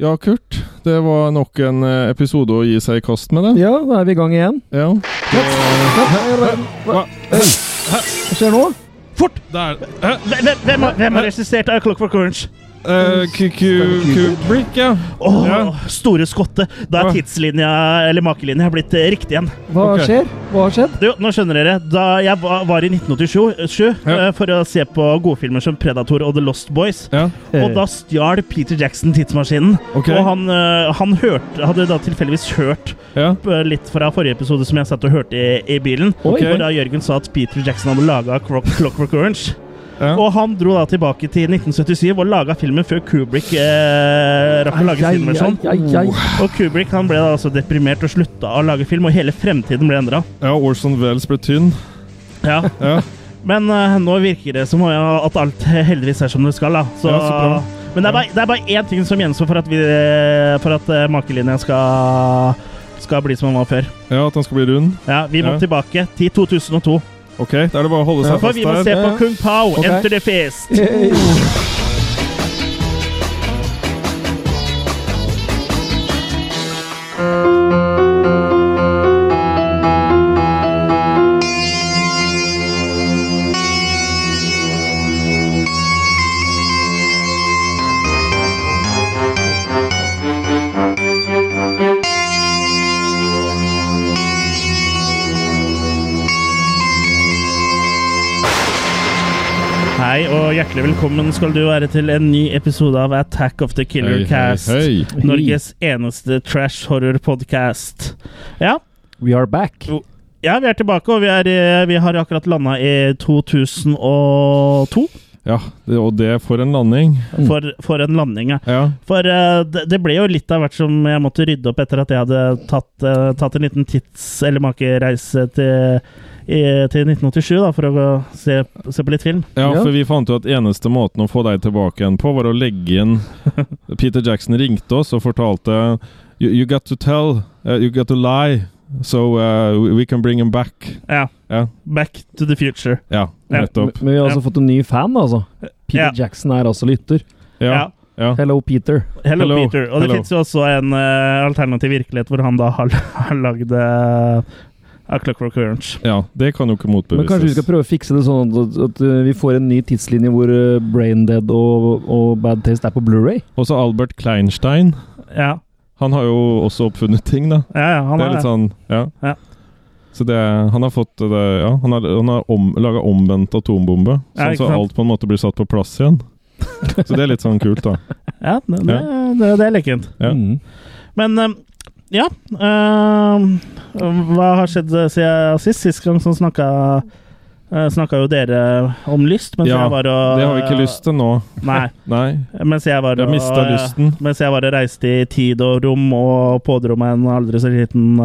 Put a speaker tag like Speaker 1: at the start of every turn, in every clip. Speaker 1: Ja, Kurt. Det var nok en eh, episode å gi seg i kast med, det.
Speaker 2: Ja, da er vi i gang igjen.
Speaker 1: Ja.
Speaker 2: Hva, hva, i all verden? hva,
Speaker 1: Hva?
Speaker 2: Oi. hva skjer nå?
Speaker 1: Fort! Der. Hæ?
Speaker 3: Hvem, har- hvem har regissert A Clockwork Orange?
Speaker 1: Eh, Ku- Ku- Kubrick, ja.
Speaker 3: Åh,
Speaker 1: Ja.
Speaker 3: store skottet! Da
Speaker 1: Hva?
Speaker 3: er tidslinja, eller makelinja, blitt eh, riktig igjen.
Speaker 2: Hva
Speaker 1: Ok.
Speaker 2: skjer? Hva har skjedd?
Speaker 3: Du, nå skjønner dere. Da jeg va- var i 1987 sju,
Speaker 1: Ja.
Speaker 3: eh, for å se på godfilmer som Predator og The Lost Boys,
Speaker 1: ja.
Speaker 3: og da stjal Peter Jackson tidsmaskinen.
Speaker 1: Ok.
Speaker 3: Og han, eh, han hørte, hadde da tilfeldigvis hørt
Speaker 1: Ja.
Speaker 3: eh, litt fra forrige episode som jeg satt og hørte i, i bilen,
Speaker 1: Ok.
Speaker 3: hvor da Jørgen sa at Peter Jackson hadde laga Clockwork Orange.
Speaker 1: Ja.
Speaker 3: Og han dro da tilbake til 1977 og laga filmen før Kubrick eh, rakk å lage
Speaker 2: Ai,
Speaker 3: sin
Speaker 1: sånn.
Speaker 3: versjon.
Speaker 2: ai, ai, ai.
Speaker 1: Oh.
Speaker 3: Og Kubrick han ble da altså deprimert og slutta å lage film, og hele fremtiden ble endra.
Speaker 1: ja, Orson Welles ble tynn.
Speaker 3: Ja.
Speaker 1: Ja.
Speaker 3: Men eh, nå virker det som at alt heldigvis er som det skal. da. Så,
Speaker 1: Ja, så bra.
Speaker 3: men det er, bare, det er bare én ting som gjenstår for at, vi, for at eh, makelinja skal, skal bli som den var før.
Speaker 1: ja, at han skal bli rund.
Speaker 3: Ja, Vi må
Speaker 1: Ja.
Speaker 3: tilbake til 2002.
Speaker 1: Ok, da er det bare å holde
Speaker 2: Ja.
Speaker 1: seg
Speaker 3: For vi må
Speaker 1: fast
Speaker 3: se
Speaker 1: der.
Speaker 3: på
Speaker 2: ja.
Speaker 3: Kung Pao,
Speaker 2: Ok.
Speaker 3: Enter the Fist. Hei og hjertelig velkommen skal du være til en ny episode av Attack of the Killer
Speaker 1: Hei, hei,
Speaker 3: Cast.
Speaker 1: hei.
Speaker 3: Norges eneste trash horror podcast. Ja,
Speaker 2: We are back.
Speaker 3: ja, vi er tilbake, og vi, er, eh, vi har akkurat landa i 2002.
Speaker 1: Ja, det, og det for en landing.
Speaker 3: For, for en landing, ja.
Speaker 1: Ja.
Speaker 3: For eh, det, det ble jo litt av hvert som jeg måtte rydde opp etter at jeg hadde tatt, eh, tatt en liten tids- eller makereise til, i, til 1987, da, for å gå- se, se på litt film.
Speaker 1: Ja,
Speaker 2: Ja.
Speaker 1: for vi fant jo at eneste måten å få deg tilbake igjen på, var å legge inn Peter Jackson ringte oss og fortalte You, you got to tell, uh, you got to lie, so uh, we- we can bring him back.
Speaker 3: Ja.
Speaker 1: Ja.
Speaker 3: Back to the future.
Speaker 1: Ja,
Speaker 3: Ja.
Speaker 1: nettopp.
Speaker 2: Men vi har altså fått en ny fan, altså. Peter
Speaker 3: Ja.
Speaker 2: Jackson er altså lytter.
Speaker 1: Ja, ja.
Speaker 2: Hello, Peter.
Speaker 3: Hello,
Speaker 1: Hello.
Speaker 3: Peter. Og det
Speaker 1: Hello.
Speaker 3: fins jo også en eh, alternativ virkelighet hvor han da har, har lagd eh, A Clockwork Orange.
Speaker 1: ja det kan jo ikke
Speaker 2: Men kanskje vi skal
Speaker 1: motbevises.
Speaker 2: prøve å fikse det sånn at, at uh, vi får en ny tidslinje hvor uh, Brain Dead og, og Bad Taste er på Blu-ray?
Speaker 1: Også Albert Kleinstein.
Speaker 3: Ja,
Speaker 1: Han har jo også oppfunnet ting, da.
Speaker 3: ja, ja han
Speaker 1: det er
Speaker 3: er
Speaker 1: litt sånn Ja.
Speaker 3: Ja.
Speaker 1: Så det, han har fått det Ja, han har, han har om, laga omvendt atombombe.
Speaker 3: Ja,
Speaker 1: Sånn
Speaker 3: ikke
Speaker 1: så
Speaker 3: sant?
Speaker 1: alt på en måte blir satt på plass igjen. Så det er litt sånn kult, da.
Speaker 3: Ja, det, det, det, det er lekent.
Speaker 1: Ja.
Speaker 2: Mm.
Speaker 3: Men eh, ja eh, Hva har skjedd eh, siden sist? Sist gang så snakka eh, Snakka jo dere om lyst, mens
Speaker 1: Ja,
Speaker 3: jeg var og
Speaker 1: Det har vi ikke lyst til nå.
Speaker 3: Nei.
Speaker 1: Nei.
Speaker 3: Mens jeg var
Speaker 1: Jeg
Speaker 3: og
Speaker 1: mista lysten.
Speaker 3: Mens jeg var og reiste i tid og rom og pådro meg en aldri så liten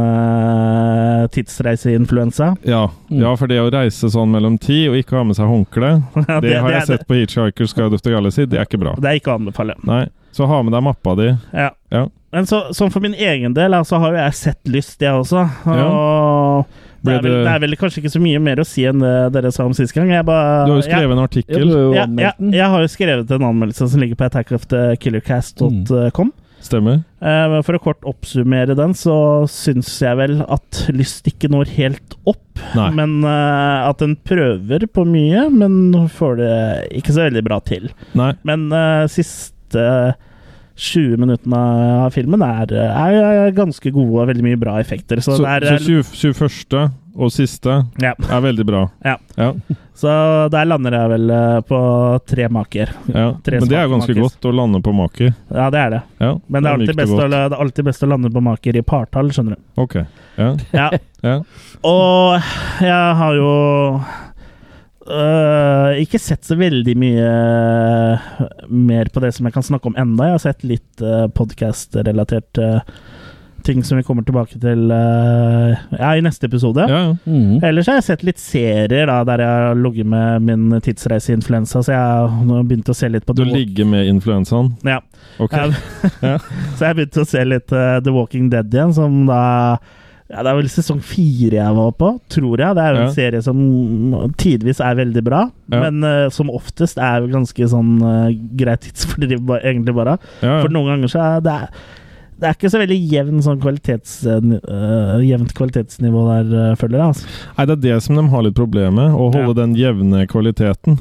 Speaker 3: eh, tidsreiseinfluensa.
Speaker 1: Ja. ja, for det å reise sånn mellom ti og ikke ha med seg håndkle,
Speaker 3: Ja,
Speaker 1: det har jeg
Speaker 3: er-
Speaker 1: sett på Hitchhiker's Guide of the Galaxy, det er ikke bra.
Speaker 3: Det er ikke å anbefale.
Speaker 1: Nei. Så ha med deg mappa di.
Speaker 3: Ja.
Speaker 1: Ja.
Speaker 3: Men så, sånn for min egen del, så altså, har jo jeg sett lyst, jeg også.
Speaker 1: Ja.
Speaker 3: Og det
Speaker 1: Ble
Speaker 3: er, vel,
Speaker 1: det-
Speaker 3: det er vel kanskje ikke så mye mer å si enn det dere sa om sist gang. Jeg bare,
Speaker 1: Du har jo skrevet en
Speaker 2: Ja, du
Speaker 1: artikkel.
Speaker 2: har jo
Speaker 3: jeg, jeg,
Speaker 2: anmeldt
Speaker 3: jeg,
Speaker 2: den.
Speaker 3: jeg har jo skrevet en anmeldelse som ligger på
Speaker 1: Mm.
Speaker 3: attackofthekillercast.com.
Speaker 1: Stemmer?
Speaker 3: Eh, For å kort oppsummere den, så syns jeg vel at lyst ikke når helt opp.
Speaker 1: Nei.
Speaker 3: Men eh, at den prøver på mye, men får det ikke så veldig bra til.
Speaker 1: Nei.
Speaker 3: Men eh, siste 20 minuttene av filmen er, er, er ganske gode og veldig mye bra effekter. Så,
Speaker 1: Så,
Speaker 3: det er,
Speaker 1: så 20, 21. og siste
Speaker 3: ja,
Speaker 1: er veldig bra.
Speaker 3: Ja.
Speaker 1: ja.
Speaker 3: så der lander jeg vel eh, på tre maker.
Speaker 1: ja.
Speaker 3: Tre
Speaker 1: Men det er jo ganske
Speaker 3: smaker.
Speaker 1: godt å lande på maker.
Speaker 3: Ja, det er det.
Speaker 1: Ja,
Speaker 3: Men det er, alltid
Speaker 1: mykt og
Speaker 3: best å,
Speaker 1: godt.
Speaker 3: la- det er alltid best å lande på maker i partall, skjønner du.
Speaker 1: Ok. Ja.
Speaker 3: Ja.
Speaker 1: Ja.
Speaker 3: Og jeg har jo øh, ikke sett så veldig mye eh, mer på det som jeg kan snakke om enda. Jeg har sett litt uh, podkast-relatert øh, ting som vi kommer tilbake til øh, ja, i neste episode.
Speaker 1: Ja, ja.
Speaker 2: Mm.
Speaker 3: Ellers har jeg sett litt serier da, der jeg har ligget med min tidsreiseinfluensa, så jeg har nå begynt å se litt på
Speaker 1: Du
Speaker 3: The Walk-
Speaker 1: ligger med influensaen?
Speaker 3: Ja.
Speaker 1: Ok.
Speaker 3: Ja. så jeg begynte å se litt eh, The Walking Dead igjen, som da Ja, Det er vel sesong fire jeg var på, tror jeg. Det er jo en
Speaker 1: Ja.
Speaker 3: serie som tidvis er veldig bra,
Speaker 1: Ja.
Speaker 3: men eh, som oftest er jo ganske sånn eh, greit tidsfordriv, ba- egentlig bare.
Speaker 1: Ja,
Speaker 3: For noen ganger så er det det er ikke så veldig jevn, sånn kvalitets, eh, jevnt kvalitetsnivå der, eh, føler jeg. Altså.
Speaker 1: Nei, det er det som de har litt problem med. Å holde
Speaker 3: Ja.
Speaker 1: den jevne kvaliteten,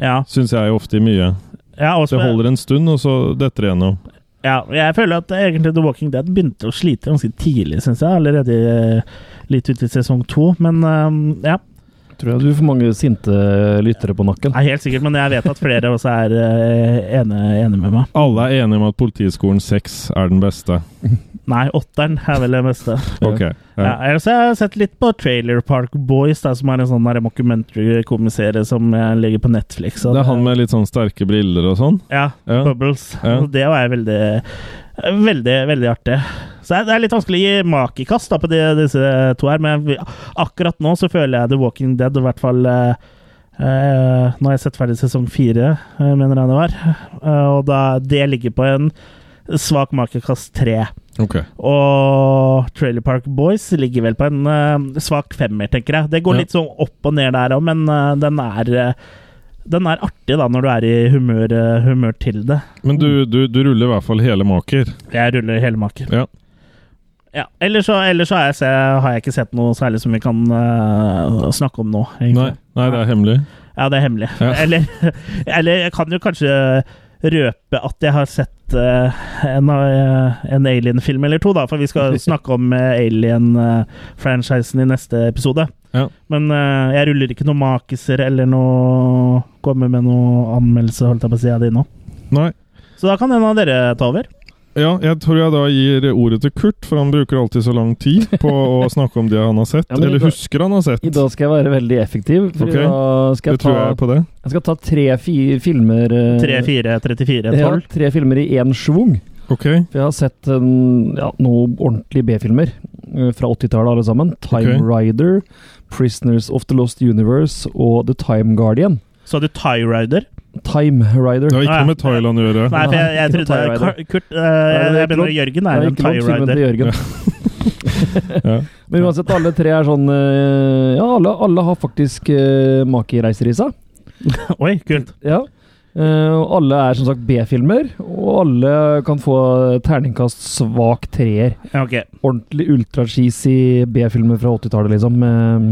Speaker 3: Ja.
Speaker 1: syns jeg ofte i mye.
Speaker 3: Ja, og så-
Speaker 1: Det holder en stund, og så detter det gjennom.
Speaker 3: Ja, jeg føler at egentlig The Walking Dead begynte å slite ganske tidlig, syns jeg. Allerede eh, litt ut i sesong to. Men eh, ja,
Speaker 2: Tror jeg du får mange sinte lyttere på nakken.
Speaker 3: Nei, helt sikkert. Men jeg vet at flere også er eh, enig, enig med meg.
Speaker 1: Alle er enige om at Politiskolen 6 er den beste.
Speaker 3: Nei, åtteren er vel det meste.
Speaker 1: Ok.
Speaker 3: Ja,
Speaker 1: Ja.
Speaker 3: ellers har jeg sett litt på Trailer Park Boys, da, som er en sånn der mockumentary-komiserie som eh, ligger på Netflix. og
Speaker 1: Det er han med litt sånn sterke briller og sånn.
Speaker 3: Ja,
Speaker 1: Ja.
Speaker 3: Bubbles.
Speaker 1: Ja.
Speaker 3: Og Det var jeg veldig Veldig, veldig artig. Så det er litt vanskelig å gi makekast da, på de, disse to her, men vi- akkurat nå så føler jeg The Walking Dead, og i hvert fall eh, eh, Nå har jeg sett ferdig sesong fire, eh, mener jeg det var, Eh, og da, det ligger på en svak makekast tre.
Speaker 1: Ok.
Speaker 3: Og Trailer Park Boys ligger vel på en eh, svak femmer, tenker jeg. Det går
Speaker 1: Ja.
Speaker 3: litt sånn opp og ned der òg, men eh, den er eh, den er artig da, når du er i humør, eh, humør til det.
Speaker 1: Men du, du, du ruller i hvert fall hele maker.
Speaker 3: Jeg ruller helmaker.
Speaker 1: Ja.
Speaker 3: Ja, ellers så, ellers så har, jeg se, har jeg ikke sett noe særlig som vi kan eh, snakke om nå.
Speaker 1: Nei,
Speaker 3: egentlig.
Speaker 1: nei, det er hemmelig.
Speaker 3: Ja, det er hemmelig.
Speaker 1: Ja.
Speaker 3: Eller, eller jeg kan jo kanskje røpe at jeg har sett eh, en, av- eh, en Alien-film eller to, da. For vi skal snakke om eh, Alien-franchisen i neste episode.
Speaker 1: Ja.
Speaker 3: Men eh, jeg ruller ikke noen makiser eller noe Kommer med noe anmeldelse, holdt jeg på å si, av de nå.
Speaker 1: Nei.
Speaker 3: Så da kan en av dere ta over.
Speaker 1: Ja, jeg tror jeg da gir ordet til Kurt, for han bruker alltid så lang tid på å snakke om det han har sett.
Speaker 2: Ja, men i
Speaker 1: eller
Speaker 2: dag-
Speaker 1: husker han har sett.
Speaker 2: I dag skal jeg være veldig effektiv. For
Speaker 1: Ok.
Speaker 2: i dag
Speaker 1: Det
Speaker 2: skal jeg,
Speaker 1: tror jeg
Speaker 2: ta,
Speaker 1: er på det.
Speaker 2: jeg skal ta tre fi filmer eh,
Speaker 3: 3, 4, 34, 12.
Speaker 2: ja, tre filmer i én schwung.
Speaker 1: Ok.
Speaker 2: For jeg har sett en, ja, noen ordentlige B-filmer eh, fra 80-tallet, alle sammen. Time
Speaker 1: Ok.
Speaker 2: Rider, Prisoners of the Lost Universe og The Time Guardian.
Speaker 3: Så hadde du Tie Rider.
Speaker 2: Time Rider.
Speaker 1: Det har
Speaker 3: Nei.
Speaker 1: ikke med Thailand å gjøre.
Speaker 3: Nei, for jeg, jeg
Speaker 2: ikke
Speaker 3: trodde
Speaker 2: Tie Rider.
Speaker 3: Kar- Kurt eh,
Speaker 2: det er
Speaker 3: Jeg
Speaker 2: ikke lov. Det
Speaker 3: mener Jørgen er
Speaker 2: er
Speaker 3: en
Speaker 2: ikke
Speaker 3: Tie
Speaker 2: lov filmen
Speaker 3: Rider.
Speaker 2: til Jørgen.
Speaker 1: Ja.
Speaker 2: Men uansett, alle tre er sånn eh, Ja, alle, alle har faktisk eh, makereiser i seg.
Speaker 3: Oi, kult.
Speaker 2: Ja. Eh, og alle er som sagt B-filmer, og alle kan få terningkast svak treer.
Speaker 3: Ja, ok.
Speaker 2: Ordentlig ultracheesy B-filmer fra 80-tallet, liksom. Eh,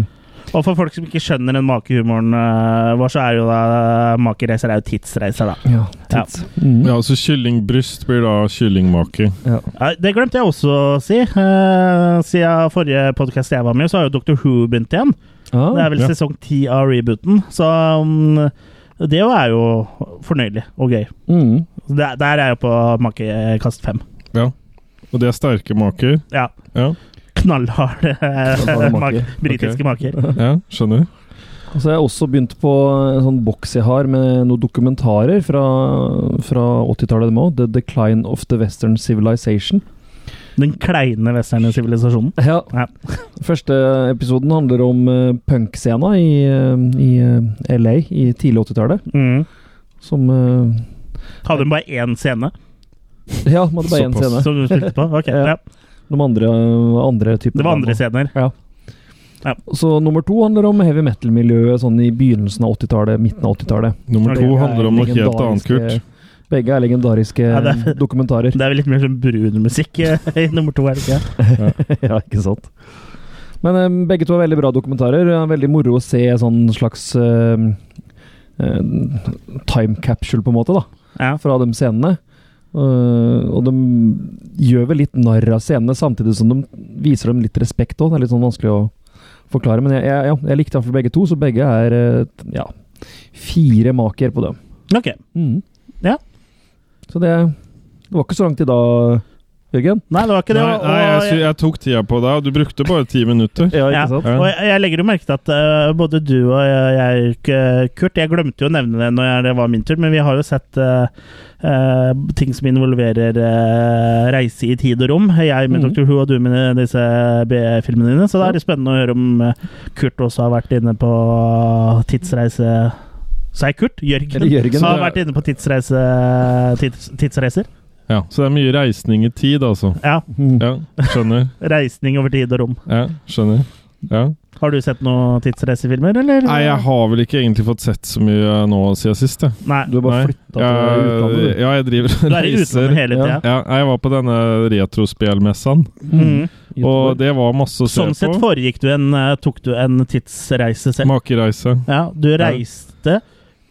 Speaker 3: Og for folk som ikke skjønner den makehumoren eh, vår, så er jo da eh, makereiser er jo tidsreiser, da.
Speaker 2: ja, tids. Mm.
Speaker 1: ja, så kyllingbryst blir da kyllingmake.
Speaker 3: Ja, det glemte jeg også å si. Eh, siden forrige podkast jeg var med, i, så har jo Dr. Who begynt igjen.
Speaker 2: Ah,
Speaker 3: Det er vel
Speaker 1: ja.
Speaker 3: sesong ti av rebooten, så mm, det er jo fornøyelig og gøy.
Speaker 2: mm.
Speaker 3: Så Der, der er jeg på makekast fem.
Speaker 1: Og det er sterke maker.
Speaker 3: Ja.
Speaker 1: Ja,
Speaker 3: Knallharde
Speaker 2: Knallharde
Speaker 3: mak-
Speaker 2: maker.
Speaker 3: britiske maker.
Speaker 1: ja skjønner.
Speaker 2: Og så har jeg også begynt på en sånn boks jeg har med noen dokumentarer fra, fra 80-tallet. dem også. The Decline of the Western Civilization.
Speaker 3: Den kleine westerne sivilisasjonen.
Speaker 2: Ja.
Speaker 3: Ja.
Speaker 2: Første episoden handler om eh, punkscena i, eh, i eh, LA i tidlig 80-tallet.
Speaker 3: Mm.
Speaker 2: Som eh,
Speaker 3: Hadde hun bare én scene
Speaker 2: Ja, man hadde bare én
Speaker 1: Såpass.
Speaker 2: scene.
Speaker 3: som hun spilte på? Ok,
Speaker 2: Ja.
Speaker 3: ja.
Speaker 2: De andre, andre typer
Speaker 3: Det var
Speaker 2: band.
Speaker 3: andre scener.
Speaker 2: Så nummer to handler om heavy metal-miljøet sånn i begynnelsen av 80-tallet, midten av 80-tallet.
Speaker 1: Nummer to
Speaker 3: Ok,
Speaker 2: Begge
Speaker 1: handler
Speaker 2: er
Speaker 1: om noe helt annet, Kurt.
Speaker 2: legendariske- Begge er legendariske
Speaker 3: Ja, det er-
Speaker 2: dokumentarer.
Speaker 3: Det er vel litt mer sånn brun musikk eh, i nummer to, er det ikke?
Speaker 2: ja, ikke sant. Men eh, begge to er veldig bra dokumentarer. Det er Veldig moro å se sånn slags eh, eh, time capsule, på en måte, da,
Speaker 3: Ja.
Speaker 2: fra de scenene. Eh, og de gjør vel litt narr av scenene, samtidig som de viser dem litt respekt òg. Det er litt sånn vanskelig å forklare, men jeg, jeg, ja, jeg likte iallfall begge to, så begge er eh, t- ja, fire maker på dem.
Speaker 3: Ok.
Speaker 2: Mm.
Speaker 3: Ja.
Speaker 2: Så det, det var ikke så langt i da, Jørgen.
Speaker 3: Nei, det var ikke det.
Speaker 1: Nei,
Speaker 3: og-
Speaker 1: nei jeg, sy-
Speaker 3: og-
Speaker 1: jeg tok tida på deg, og du brukte bare ti minutter.
Speaker 2: Ja,
Speaker 3: ja,
Speaker 1: sant?
Speaker 3: og jeg, jeg legger jo merke til at eh, både du og jeg, jeg, eh, Kurt Jeg glemte jo å nevne det når jeg, det var min tur, men vi har jo sett eh, eh, ting som involverer eh, reise i tid og rom.
Speaker 1: Mm.
Speaker 3: Jeg med
Speaker 2: Mhm.
Speaker 3: Dr. Who og du med disse B-filmene dine. Så da
Speaker 2: Ja.
Speaker 3: er det spennende å høre om eh, Kurt også har vært inne på tidsreise Sa jeg Kurt? Jørgen.
Speaker 2: Eller Jørgen.
Speaker 3: Som har
Speaker 1: det-
Speaker 3: vært inne på tidsreise, tids, tidsreiser.
Speaker 1: Ja, så det er mye reisning i tid, altså.
Speaker 3: Ja.
Speaker 2: Mm.
Speaker 1: Ja, skjønner.
Speaker 3: Reisning over tid og rom.
Speaker 1: Ja, skjønner. Ja.
Speaker 3: Har du sett noen tidsreisefilmer, eller?
Speaker 1: Nei, jeg har vel ikke egentlig fått sett så mye nå siden sist, jeg.
Speaker 3: Nei.
Speaker 2: Du har bare
Speaker 1: Nei.
Speaker 2: flytta til utlandet, du.
Speaker 1: Ja, jeg driver
Speaker 3: Du
Speaker 1: og
Speaker 3: er i utlandet
Speaker 1: reiser.
Speaker 3: hele
Speaker 2: Ja.
Speaker 3: tida.
Speaker 1: Ja, jeg var på denne retrospelmessaen,
Speaker 3: Mm.
Speaker 1: og det var masse å se
Speaker 3: Sånn sett
Speaker 1: på.
Speaker 3: foregikk du en eh, Tok du en tidsreise selv?
Speaker 1: Makereise.
Speaker 3: Ja, du reiste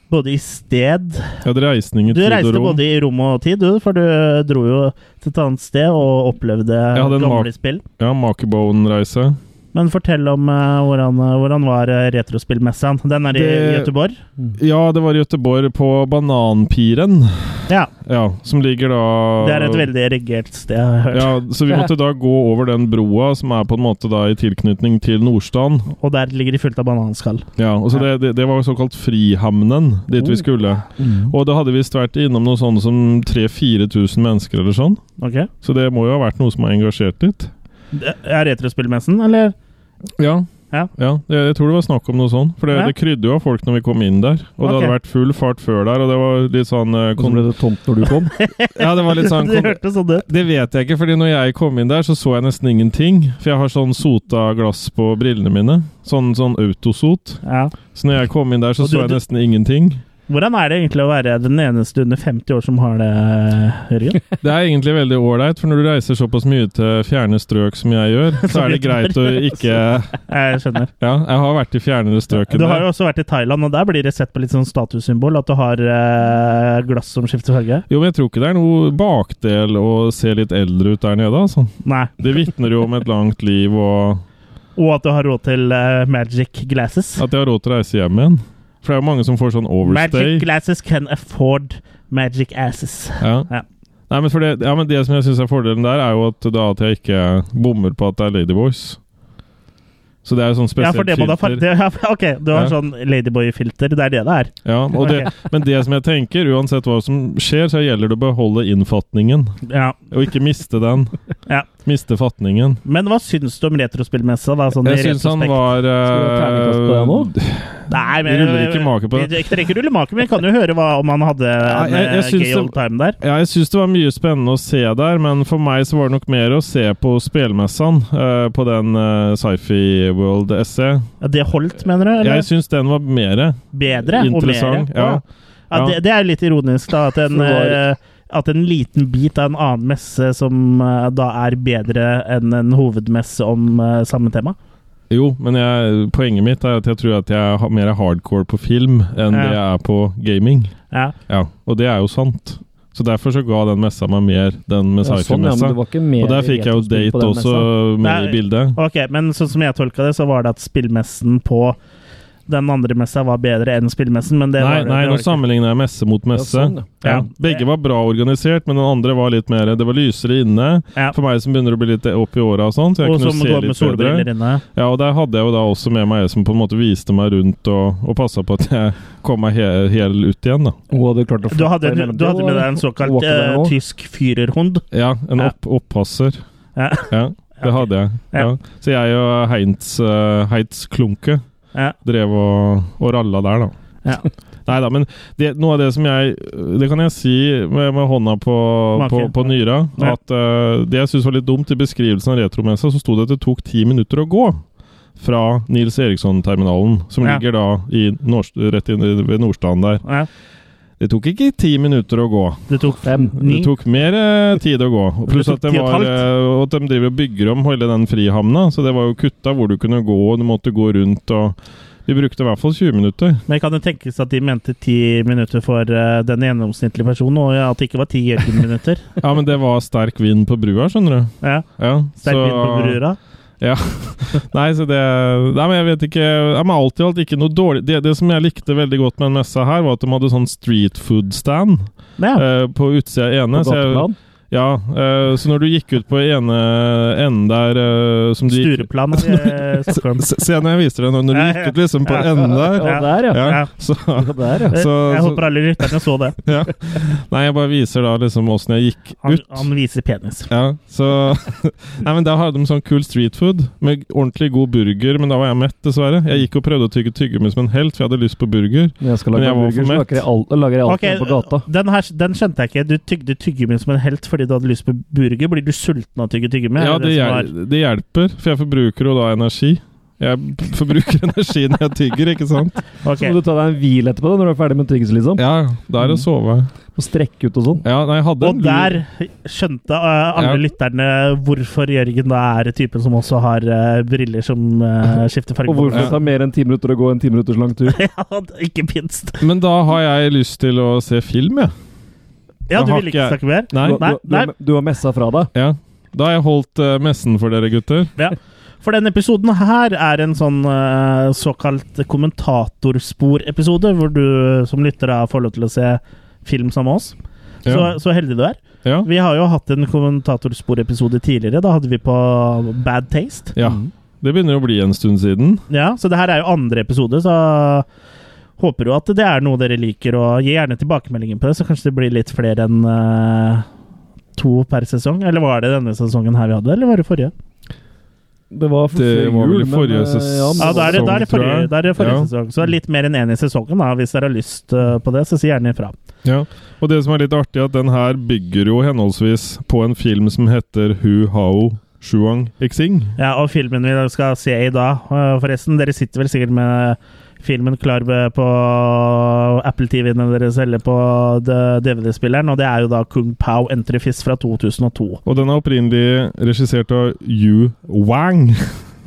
Speaker 3: både i sted
Speaker 1: Jeg hadde reisning i
Speaker 3: Du
Speaker 1: tid og
Speaker 3: reiste
Speaker 1: rom.
Speaker 3: både i rom og tid, du, for du dro jo til et annet sted og opplevde
Speaker 1: hadde en
Speaker 3: gamle
Speaker 1: mak-
Speaker 3: spill.
Speaker 1: Ja, Makerbone-reise.
Speaker 3: Men fortell om eh, hvordan, hvordan var eh, retrospillmessene. Den er i
Speaker 1: Det-
Speaker 3: Göteborg.
Speaker 1: Ja, det var i Göteborg, på Bananpiren.
Speaker 3: Ja,
Speaker 1: Ja, som ligger da
Speaker 3: det er et veldig regert sted, har jeg hørt.
Speaker 1: Ja, så vi måtte da gå over den broa som er på en måte da i tilknytning til Nordstrand.
Speaker 3: Og der ligger de fullt av bananskall.
Speaker 1: Ja, og så
Speaker 3: Ja.
Speaker 1: det, det, det var såkalt Frihamnen, dit
Speaker 2: Oh.
Speaker 1: vi skulle.
Speaker 2: Mm.
Speaker 1: Og det hadde visst vært innom noe sånn som 3000-4000 mennesker eller sånn.
Speaker 3: Ok?
Speaker 1: Så det må jo ha vært noe som har engasjert litt.
Speaker 3: Det Er retrospillmessen, eller?
Speaker 1: Ja.
Speaker 3: Ja.
Speaker 1: jeg, jeg tror det var snakk om noe sånn. For det,
Speaker 3: Ja.
Speaker 1: det krydde jo av folk når vi kom inn der. Og det
Speaker 3: Ok.
Speaker 1: hadde vært full fart før der, og det var litt sånn eh,
Speaker 2: Og så
Speaker 1: kon
Speaker 2: ble det tomt når du kom.
Speaker 1: Ja, det var litt sånn
Speaker 3: det
Speaker 1: kon
Speaker 3: hørtes sånn ut.
Speaker 1: Det vet jeg ikke, fordi når jeg kom inn der, så så jeg nesten ingenting. For jeg har sånn sota glass på brillene mine. Sånn, sånn autosot.
Speaker 3: Ja.
Speaker 1: Så når jeg kom inn der, så
Speaker 3: Og du-
Speaker 1: så jeg
Speaker 3: du-
Speaker 1: nesten ingenting.
Speaker 3: Hvordan er det egentlig å være den eneste under 50 år som har det, eh, Jørgen?
Speaker 1: Det er egentlig veldig ålreit, for når du reiser såpass mye til fjerne strøk som jeg gjør, så er det greit å ikke Ja,
Speaker 3: Jeg skjønner.
Speaker 1: jeg har vært i fjernere strøk enn
Speaker 3: Du har
Speaker 1: det.
Speaker 3: jo også vært i Thailand, og der blir det sett på litt sånn statussymbol at du har eh, glass som skifter farge.
Speaker 1: Jo, men jeg tror ikke det er noe bakdel å se litt eldre ut der nede, altså.
Speaker 3: Nei.
Speaker 1: Det vitner jo om et langt liv og
Speaker 3: Og at du har råd til eh, magic glasses.
Speaker 1: at jeg har råd til å reise hjem igjen. For det er jo mange som får sånn overstay.
Speaker 3: Magic glasses can afford magic asses.
Speaker 1: Ja.
Speaker 3: Ja.
Speaker 1: Nei, men for det, ja, men det som jeg syns er fordelen der, er jo at, da, at jeg ikke bommer på at det er Ladyboys. Så det er jo sånn
Speaker 3: Ja,
Speaker 1: spesielt
Speaker 3: for det må da
Speaker 1: filter.
Speaker 3: det, ja, OK, du har
Speaker 1: Ja.
Speaker 3: sånn ladyboy-filter. Det er det det er.
Speaker 1: Ja, og det, men det som jeg tenker, uansett hva som skjer, så gjelder det å beholde innfatningen.
Speaker 3: Ja.
Speaker 1: Og ikke miste den.
Speaker 3: Ja.
Speaker 1: Miste fatningen.
Speaker 3: Men hva syns du om retrospillmessa, da? Sånn i
Speaker 1: Jeg syns han
Speaker 3: retrospekt?
Speaker 1: var
Speaker 2: Skal du ha terningkast på
Speaker 1: eh,
Speaker 3: Nei,
Speaker 1: Vi ruller ikke make på det.
Speaker 3: Vi trenger ikke rulle make, men vi kan jo høre hva, om han hadde en
Speaker 1: jeg- jeg
Speaker 3: eh,
Speaker 1: syns
Speaker 3: gay
Speaker 1: det-
Speaker 3: old time der.
Speaker 1: ja, Jeg syns det var mye spennende å se der, men for meg så var det nok mer å se på spelmessene. eh, på den eh, Sci-Fi World SE.
Speaker 3: Ja, det holdt, mener du? Eller
Speaker 1: Jeg syns den var mere.
Speaker 3: bedre og mer?
Speaker 1: interessant, ja.
Speaker 3: Ja,
Speaker 1: Ja.
Speaker 3: det, det er jo litt ironisk, da. At en,
Speaker 2: For hva-
Speaker 3: eh, at en liten bit av en annen messe som eh, da er bedre enn en hovedmesse om eh, samme tema.
Speaker 1: Jo, men jeg, poenget mitt er at jeg tror at jeg er mer hardcore på film enn
Speaker 3: Ja.
Speaker 1: det jeg er på gaming.
Speaker 3: Ja.
Speaker 1: Ja, Og det er jo sant. Så derfor så ga den messa meg mer, den med
Speaker 2: Ja, sånn, ja, men
Speaker 1: sci-fi-messa.
Speaker 2: det var ikke mer
Speaker 1: og der fikk jeg jo
Speaker 2: retrospill
Speaker 1: date
Speaker 2: på den
Speaker 1: også
Speaker 2: messa.
Speaker 1: med
Speaker 3: Nei.
Speaker 1: i bildet.
Speaker 3: Ok, Men sånn som jeg tolka det, så var det at spillmessen på den andre messa var bedre enn spillmessen, men det
Speaker 1: Nei,
Speaker 3: var det,
Speaker 1: nei,
Speaker 3: det
Speaker 1: nå
Speaker 3: var det ikke.
Speaker 1: sammenligner jeg messe mot
Speaker 2: Ja,
Speaker 1: messe.
Speaker 2: sånn, ja.
Speaker 1: Ja,
Speaker 3: Ja.
Speaker 1: begge var bra organisert, men den andre var litt mer Det var lysere inne.
Speaker 3: Ja.
Speaker 1: For meg som begynner å bli litt opp i åra og sånn. Så jeg
Speaker 3: Og
Speaker 1: kunne
Speaker 3: som
Speaker 1: se
Speaker 3: går med
Speaker 1: litt bedre.
Speaker 3: solbriller inne.
Speaker 1: Ja, og der hadde jeg jo da også med meg ei som på en måte viste meg rundt og, og passa på at jeg kom meg he hel ut igjen, da.
Speaker 2: Hun hadde klart å
Speaker 3: Du
Speaker 2: flytte
Speaker 3: hadde,
Speaker 2: i mellomtiden,
Speaker 3: du hadde med
Speaker 2: da.
Speaker 3: deg en såkalt
Speaker 2: Walker der
Speaker 3: eh,
Speaker 2: også.
Speaker 3: tysk fyrerhund.
Speaker 1: Ja, en
Speaker 3: Ja.
Speaker 1: opp opppasser.
Speaker 3: Ja.
Speaker 1: det hadde jeg. Ja.
Speaker 3: Ja.
Speaker 1: Så jeg og Heinz, eh, Heinz Klunke
Speaker 3: Ja.
Speaker 1: drev og, og ralla der, da.
Speaker 3: Ja.
Speaker 1: Nei da, men det, noe av det som jeg Det kan jeg si med, med hånda på,
Speaker 3: Make.
Speaker 1: på, på nyra.
Speaker 3: Ja.
Speaker 1: At eh, det jeg syns var litt dumt i beskrivelsen av retromessa, så sto det at det tok ti minutter å gå. Fra Nils Eriksson-terminalen, som
Speaker 3: Ja.
Speaker 1: ligger da i Nors rett inn i- ved Nordstrand der.
Speaker 3: Ja.
Speaker 1: Det tok ikke ti minutter å gå.
Speaker 3: Du tok
Speaker 2: Fem.
Speaker 3: ni.
Speaker 1: Det tok mer eh, tid å gå. Og Pluss
Speaker 3: Det
Speaker 1: at,
Speaker 3: tok
Speaker 1: det
Speaker 3: ti og et
Speaker 1: var,
Speaker 3: halvt.
Speaker 1: eh, og at de driver og bygger om hele den frihamna, så det var jo kutta hvor du kunne gå, og du måtte gå rundt og Vi brukte i hvert fall 20 minutter.
Speaker 3: Men kan det tenkes at de mente ti minutter for eh, den gjennomsnittlige personen, og at det ikke var ti Jørgen-minutter?
Speaker 1: Ja, men det var sterk vind på brua, skjønner du.
Speaker 3: Ja,
Speaker 1: Ja,
Speaker 3: Sterk vind på brura.
Speaker 1: Nei, så det Nei, men jeg vet ikke ja, men Alt i alt ikke noe dårlig det, det som jeg likte veldig godt med den messa her, var at de hadde sånn street food stand
Speaker 3: Ja.
Speaker 1: eh, på utsida ene.
Speaker 2: På
Speaker 1: Så jeg,
Speaker 2: gateplan.
Speaker 1: Ja, eh, så når du gikk ut på ene enden der eh, som du gikk,
Speaker 3: Stureplan her i Stockholm.
Speaker 1: Se se når jeg viser deg nå, når du
Speaker 3: Ja,
Speaker 1: gikk
Speaker 3: ja.
Speaker 1: ut liksom på
Speaker 3: Ja.
Speaker 1: enden der
Speaker 2: Ja, der, ja.
Speaker 1: ja,
Speaker 3: Ja.
Speaker 1: så,
Speaker 2: ja der, ja.
Speaker 3: Jeg,
Speaker 1: Så-
Speaker 3: Eh, jeg
Speaker 1: så-
Speaker 3: håper alle lytterne så det.
Speaker 1: ja. Nei, jeg bare viser da liksom åssen jeg gikk
Speaker 3: Han,
Speaker 1: ut.
Speaker 3: han viser penis.
Speaker 1: Ja, så Nei, men da hadde de sånn cool street food med ordentlig god burger, men da var jeg mett, dessverre. Jeg gikk og prøvde å tygge tyggegummi som en helt, for jeg hadde lyst på burger.
Speaker 2: Når jeg skal
Speaker 1: Men
Speaker 2: lage
Speaker 1: jeg var
Speaker 2: burger,
Speaker 1: for
Speaker 2: så
Speaker 1: mett.
Speaker 2: lager jeg alt, lager jeg alt
Speaker 3: Ok,
Speaker 2: på gata.
Speaker 3: Den, her, den skjønte jeg ikke. Du tygde tyggegummi som en helt fordi du hadde lyst på burger. Blir du sulten av å tygge tyggegummi?
Speaker 1: Ja,
Speaker 3: Er
Speaker 1: det,
Speaker 3: det som
Speaker 1: hjel det hjelper, for jeg forbruker jo da energi. Jeg b- forbruker energi når jeg tygger, ikke sant?
Speaker 3: er-
Speaker 2: Så
Speaker 3: Ok.
Speaker 2: må du ta deg en hvil etterpå da, når du er ferdig med tyggis, liksom.
Speaker 1: Ja, da er det å sove.
Speaker 2: Og strekke ut og sånn.
Speaker 1: Ja, nei, jeg hadde
Speaker 3: Og
Speaker 1: en lur-
Speaker 3: der skjønte eh,
Speaker 1: Ja.
Speaker 3: alle lytterne hvorfor Jørgen da er typen som også har eh, briller som eh, skifter farge.
Speaker 2: Og
Speaker 3: på
Speaker 2: hvorfor det tar mer enn ti minutter å gå en ti minutters lang tur.
Speaker 3: Ja, ikke minst.
Speaker 1: Men da har jeg lyst til å se film, jeg.
Speaker 3: Ja,
Speaker 1: Jeg
Speaker 3: du
Speaker 1: har
Speaker 3: ville ikke
Speaker 1: ikke-
Speaker 3: snakke mer?
Speaker 1: Nei.
Speaker 2: Du,
Speaker 3: Nei,
Speaker 2: du, du,
Speaker 3: nei.
Speaker 2: du har messa fra deg.
Speaker 1: Ja. Da har jeg holdt eh, messen for dere, gutter.
Speaker 3: For denne episoden her er en sånn eh, såkalt kommentatorspor-episode, hvor du som lytter da får lov til å se film sammen med oss. Så,
Speaker 1: Ja.
Speaker 3: så heldig du er.
Speaker 1: Ja.
Speaker 3: Vi har jo hatt en kommentatorspor-episode tidligere. Da hadde vi på Bad Taste.
Speaker 1: ja.
Speaker 2: Mm.
Speaker 1: Det begynner å bli en stund siden.
Speaker 3: Ja, Så det her er jo andre episode, så håper jo at det er noe dere liker. Og gi gjerne tilbakemeldinger på det, så kanskje det blir litt flere enn eh, to per sesong. Eller var det denne sesongen her vi hadde, eller var det forrige?
Speaker 2: Det var, for
Speaker 1: Det
Speaker 2: før
Speaker 1: var vel i
Speaker 2: men,
Speaker 1: forrige
Speaker 2: eh,
Speaker 1: ses-
Speaker 2: ja, men-
Speaker 3: Ja, da er det, da er det
Speaker 1: Sesong, tror
Speaker 3: forrige,
Speaker 1: jeg.
Speaker 3: da er det forrige
Speaker 1: Ja.
Speaker 3: sesong. Så litt mer enn én i sesongen, da. Hvis dere har lyst eh, på det, så si gjerne ifra.
Speaker 1: Ja, og det som er litt artig, er at den her bygger jo henholdsvis på en film som heter Hu Hao Shuang Xing.
Speaker 3: Ja, og filmen vi skal se i dag, eh, forresten. Dere sitter vel sikkert med filmen klar ved- på Apple TV-ene deres eller på D- DVD-spilleren, og det er jo da Kung Pao Entry Fist fra 2002.
Speaker 1: Og den er opprinnelig regissert av Yu Wang.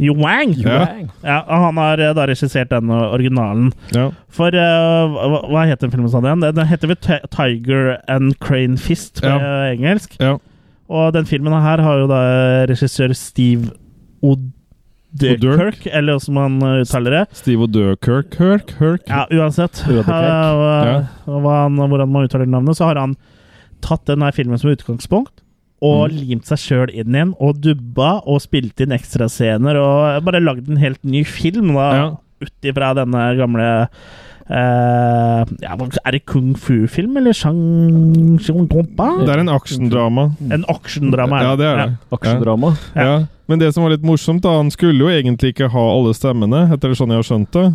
Speaker 3: Jo Wang!
Speaker 1: Ja.
Speaker 3: Ja, og han har eh, da regissert den originalen.
Speaker 1: Ja,
Speaker 3: For eh, hva, hva het den filmen sa den? Den heter vel Ti- Tiger and Crane Fist på
Speaker 1: Ja.
Speaker 3: eh, engelsk.
Speaker 1: ja.
Speaker 3: Og den filmen her har jo da eh, regissør Steve O'Durk, eller som han uh, uttaler det.
Speaker 1: Steve O'Durkirk Kirk, Kirk.
Speaker 3: Ja, uansett
Speaker 2: Odekirk.
Speaker 3: uh, hva han, hvordan man uttaler navnet, så har han tatt den her filmen som utgangspunkt. Og
Speaker 1: Mm.
Speaker 3: limt seg sjøl inn igjen, og dubba og spilte inn ekstrascener. Og bare lagd en helt ny film da,
Speaker 1: Ja.
Speaker 3: ut ifra denne gamle eh, ja, hva- Er det kung fu-film, eller Shang Shang-Gompa?
Speaker 1: Det er en aksjendrama.
Speaker 3: En aksjendrama.
Speaker 1: Mm. Ja, det er det.
Speaker 2: Aksjedrama.
Speaker 1: Ja. Men det som var litt morsomt, da, han skulle jo egentlig ikke ha alle stemmene, etter sånn jeg har skjønt det.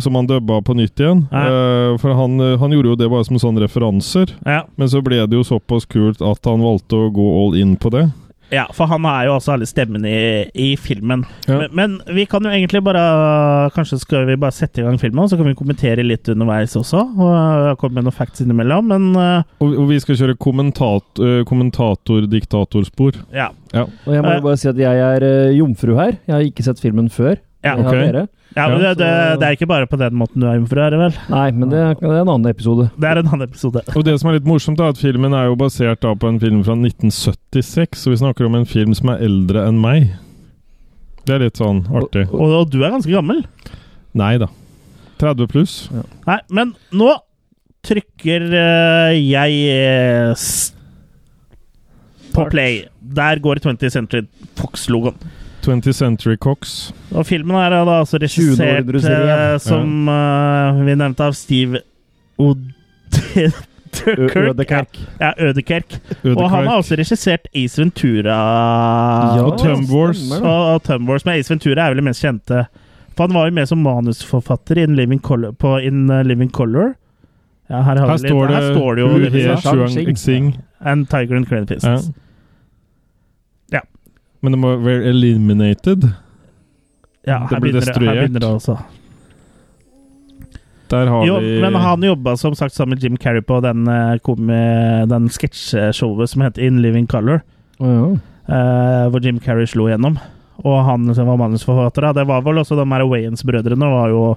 Speaker 1: Som han dubba på nytt igjen. Eh, for han, han gjorde jo det bare som sånne referanser.
Speaker 3: Ja. Ja.
Speaker 1: Men så ble det jo såpass kult at han valgte å gå all in på det.
Speaker 3: Ja, for han er jo også alle stemmene i, i filmen.
Speaker 1: Ja.
Speaker 3: Men, men vi kan jo egentlig bare Kanskje skal vi bare sette i gang filmen, og så kan vi kommentere litt underveis også. Og komme med noen facts innimellom. Men eh,
Speaker 1: Og, og vi skal kjøre kommentat, eh, kommentator-diktatorspor.
Speaker 3: ja.
Speaker 2: Og jeg må
Speaker 3: Eh.
Speaker 2: jo bare si at jeg er eh, jomfru her. Jeg har ikke sett filmen før.
Speaker 3: Ja,
Speaker 2: Jeg har
Speaker 1: ok.
Speaker 2: dere.
Speaker 3: ja, men
Speaker 2: Ja,
Speaker 3: det, det,
Speaker 2: så-
Speaker 3: det er ikke bare på den måten du er jomfru, er det vel?
Speaker 2: Nei, men det, er- det er en annen episode.
Speaker 3: Det er en annen episode.
Speaker 1: Og det som er litt morsomt, er at filmen er jo basert da på en film fra 1976, så vi snakker om en film som er eldre enn meg. Det er litt sånn artig.
Speaker 3: Og, og du er ganske gammel.
Speaker 1: Nei da. 30 pluss.
Speaker 3: Nei, men nå trykker eh, jeg eh, s- på play. Der går 20th Century Fox-logoen.
Speaker 1: 20th Century Cox.
Speaker 3: Og filmen her er da
Speaker 2: 20
Speaker 3: altså
Speaker 2: år
Speaker 3: regissert
Speaker 2: du ser igjen.
Speaker 3: eh, som eh, vi nevnte, av Steve
Speaker 2: Ø-
Speaker 3: Odekerk.
Speaker 2: Ødekerk.
Speaker 3: Ja, Ødekerk. Og han har
Speaker 1: Ødekark.
Speaker 3: også regissert Ace Ventura.
Speaker 2: Ja,
Speaker 1: og Tum Wars.
Speaker 2: stemmer det.
Speaker 3: Og, og Thumb Wars, men Ace Ventura er vel det mest kjente. For han var jo med som manusforfatter i In Living Color, på In eh, Living Color. Ja, her, har
Speaker 1: Her
Speaker 3: vi litt-
Speaker 1: står det
Speaker 3: her står det jo
Speaker 1: Hu
Speaker 3: det vi
Speaker 1: He
Speaker 3: sa.
Speaker 1: Shuang Xing.
Speaker 3: And Tiger and Crane Fist.
Speaker 1: Ja.
Speaker 3: Ja.
Speaker 1: Men de var eliminated.
Speaker 3: Ja,
Speaker 1: Det ble
Speaker 3: her begynner det, her
Speaker 1: destruert.
Speaker 3: begynner det altså. også.
Speaker 1: Der har
Speaker 3: Jo,
Speaker 1: vi
Speaker 3: men han jobba som sagt sammen med Jim Carrey på den, eh, komi- den sketsjshowet som heter In Living Color,
Speaker 2: Å,
Speaker 3: eh, hvor Jim Carrey slo igjennom. Og han som var manusforfatter, da, det var vel også de her Wayans-brødrene var jo,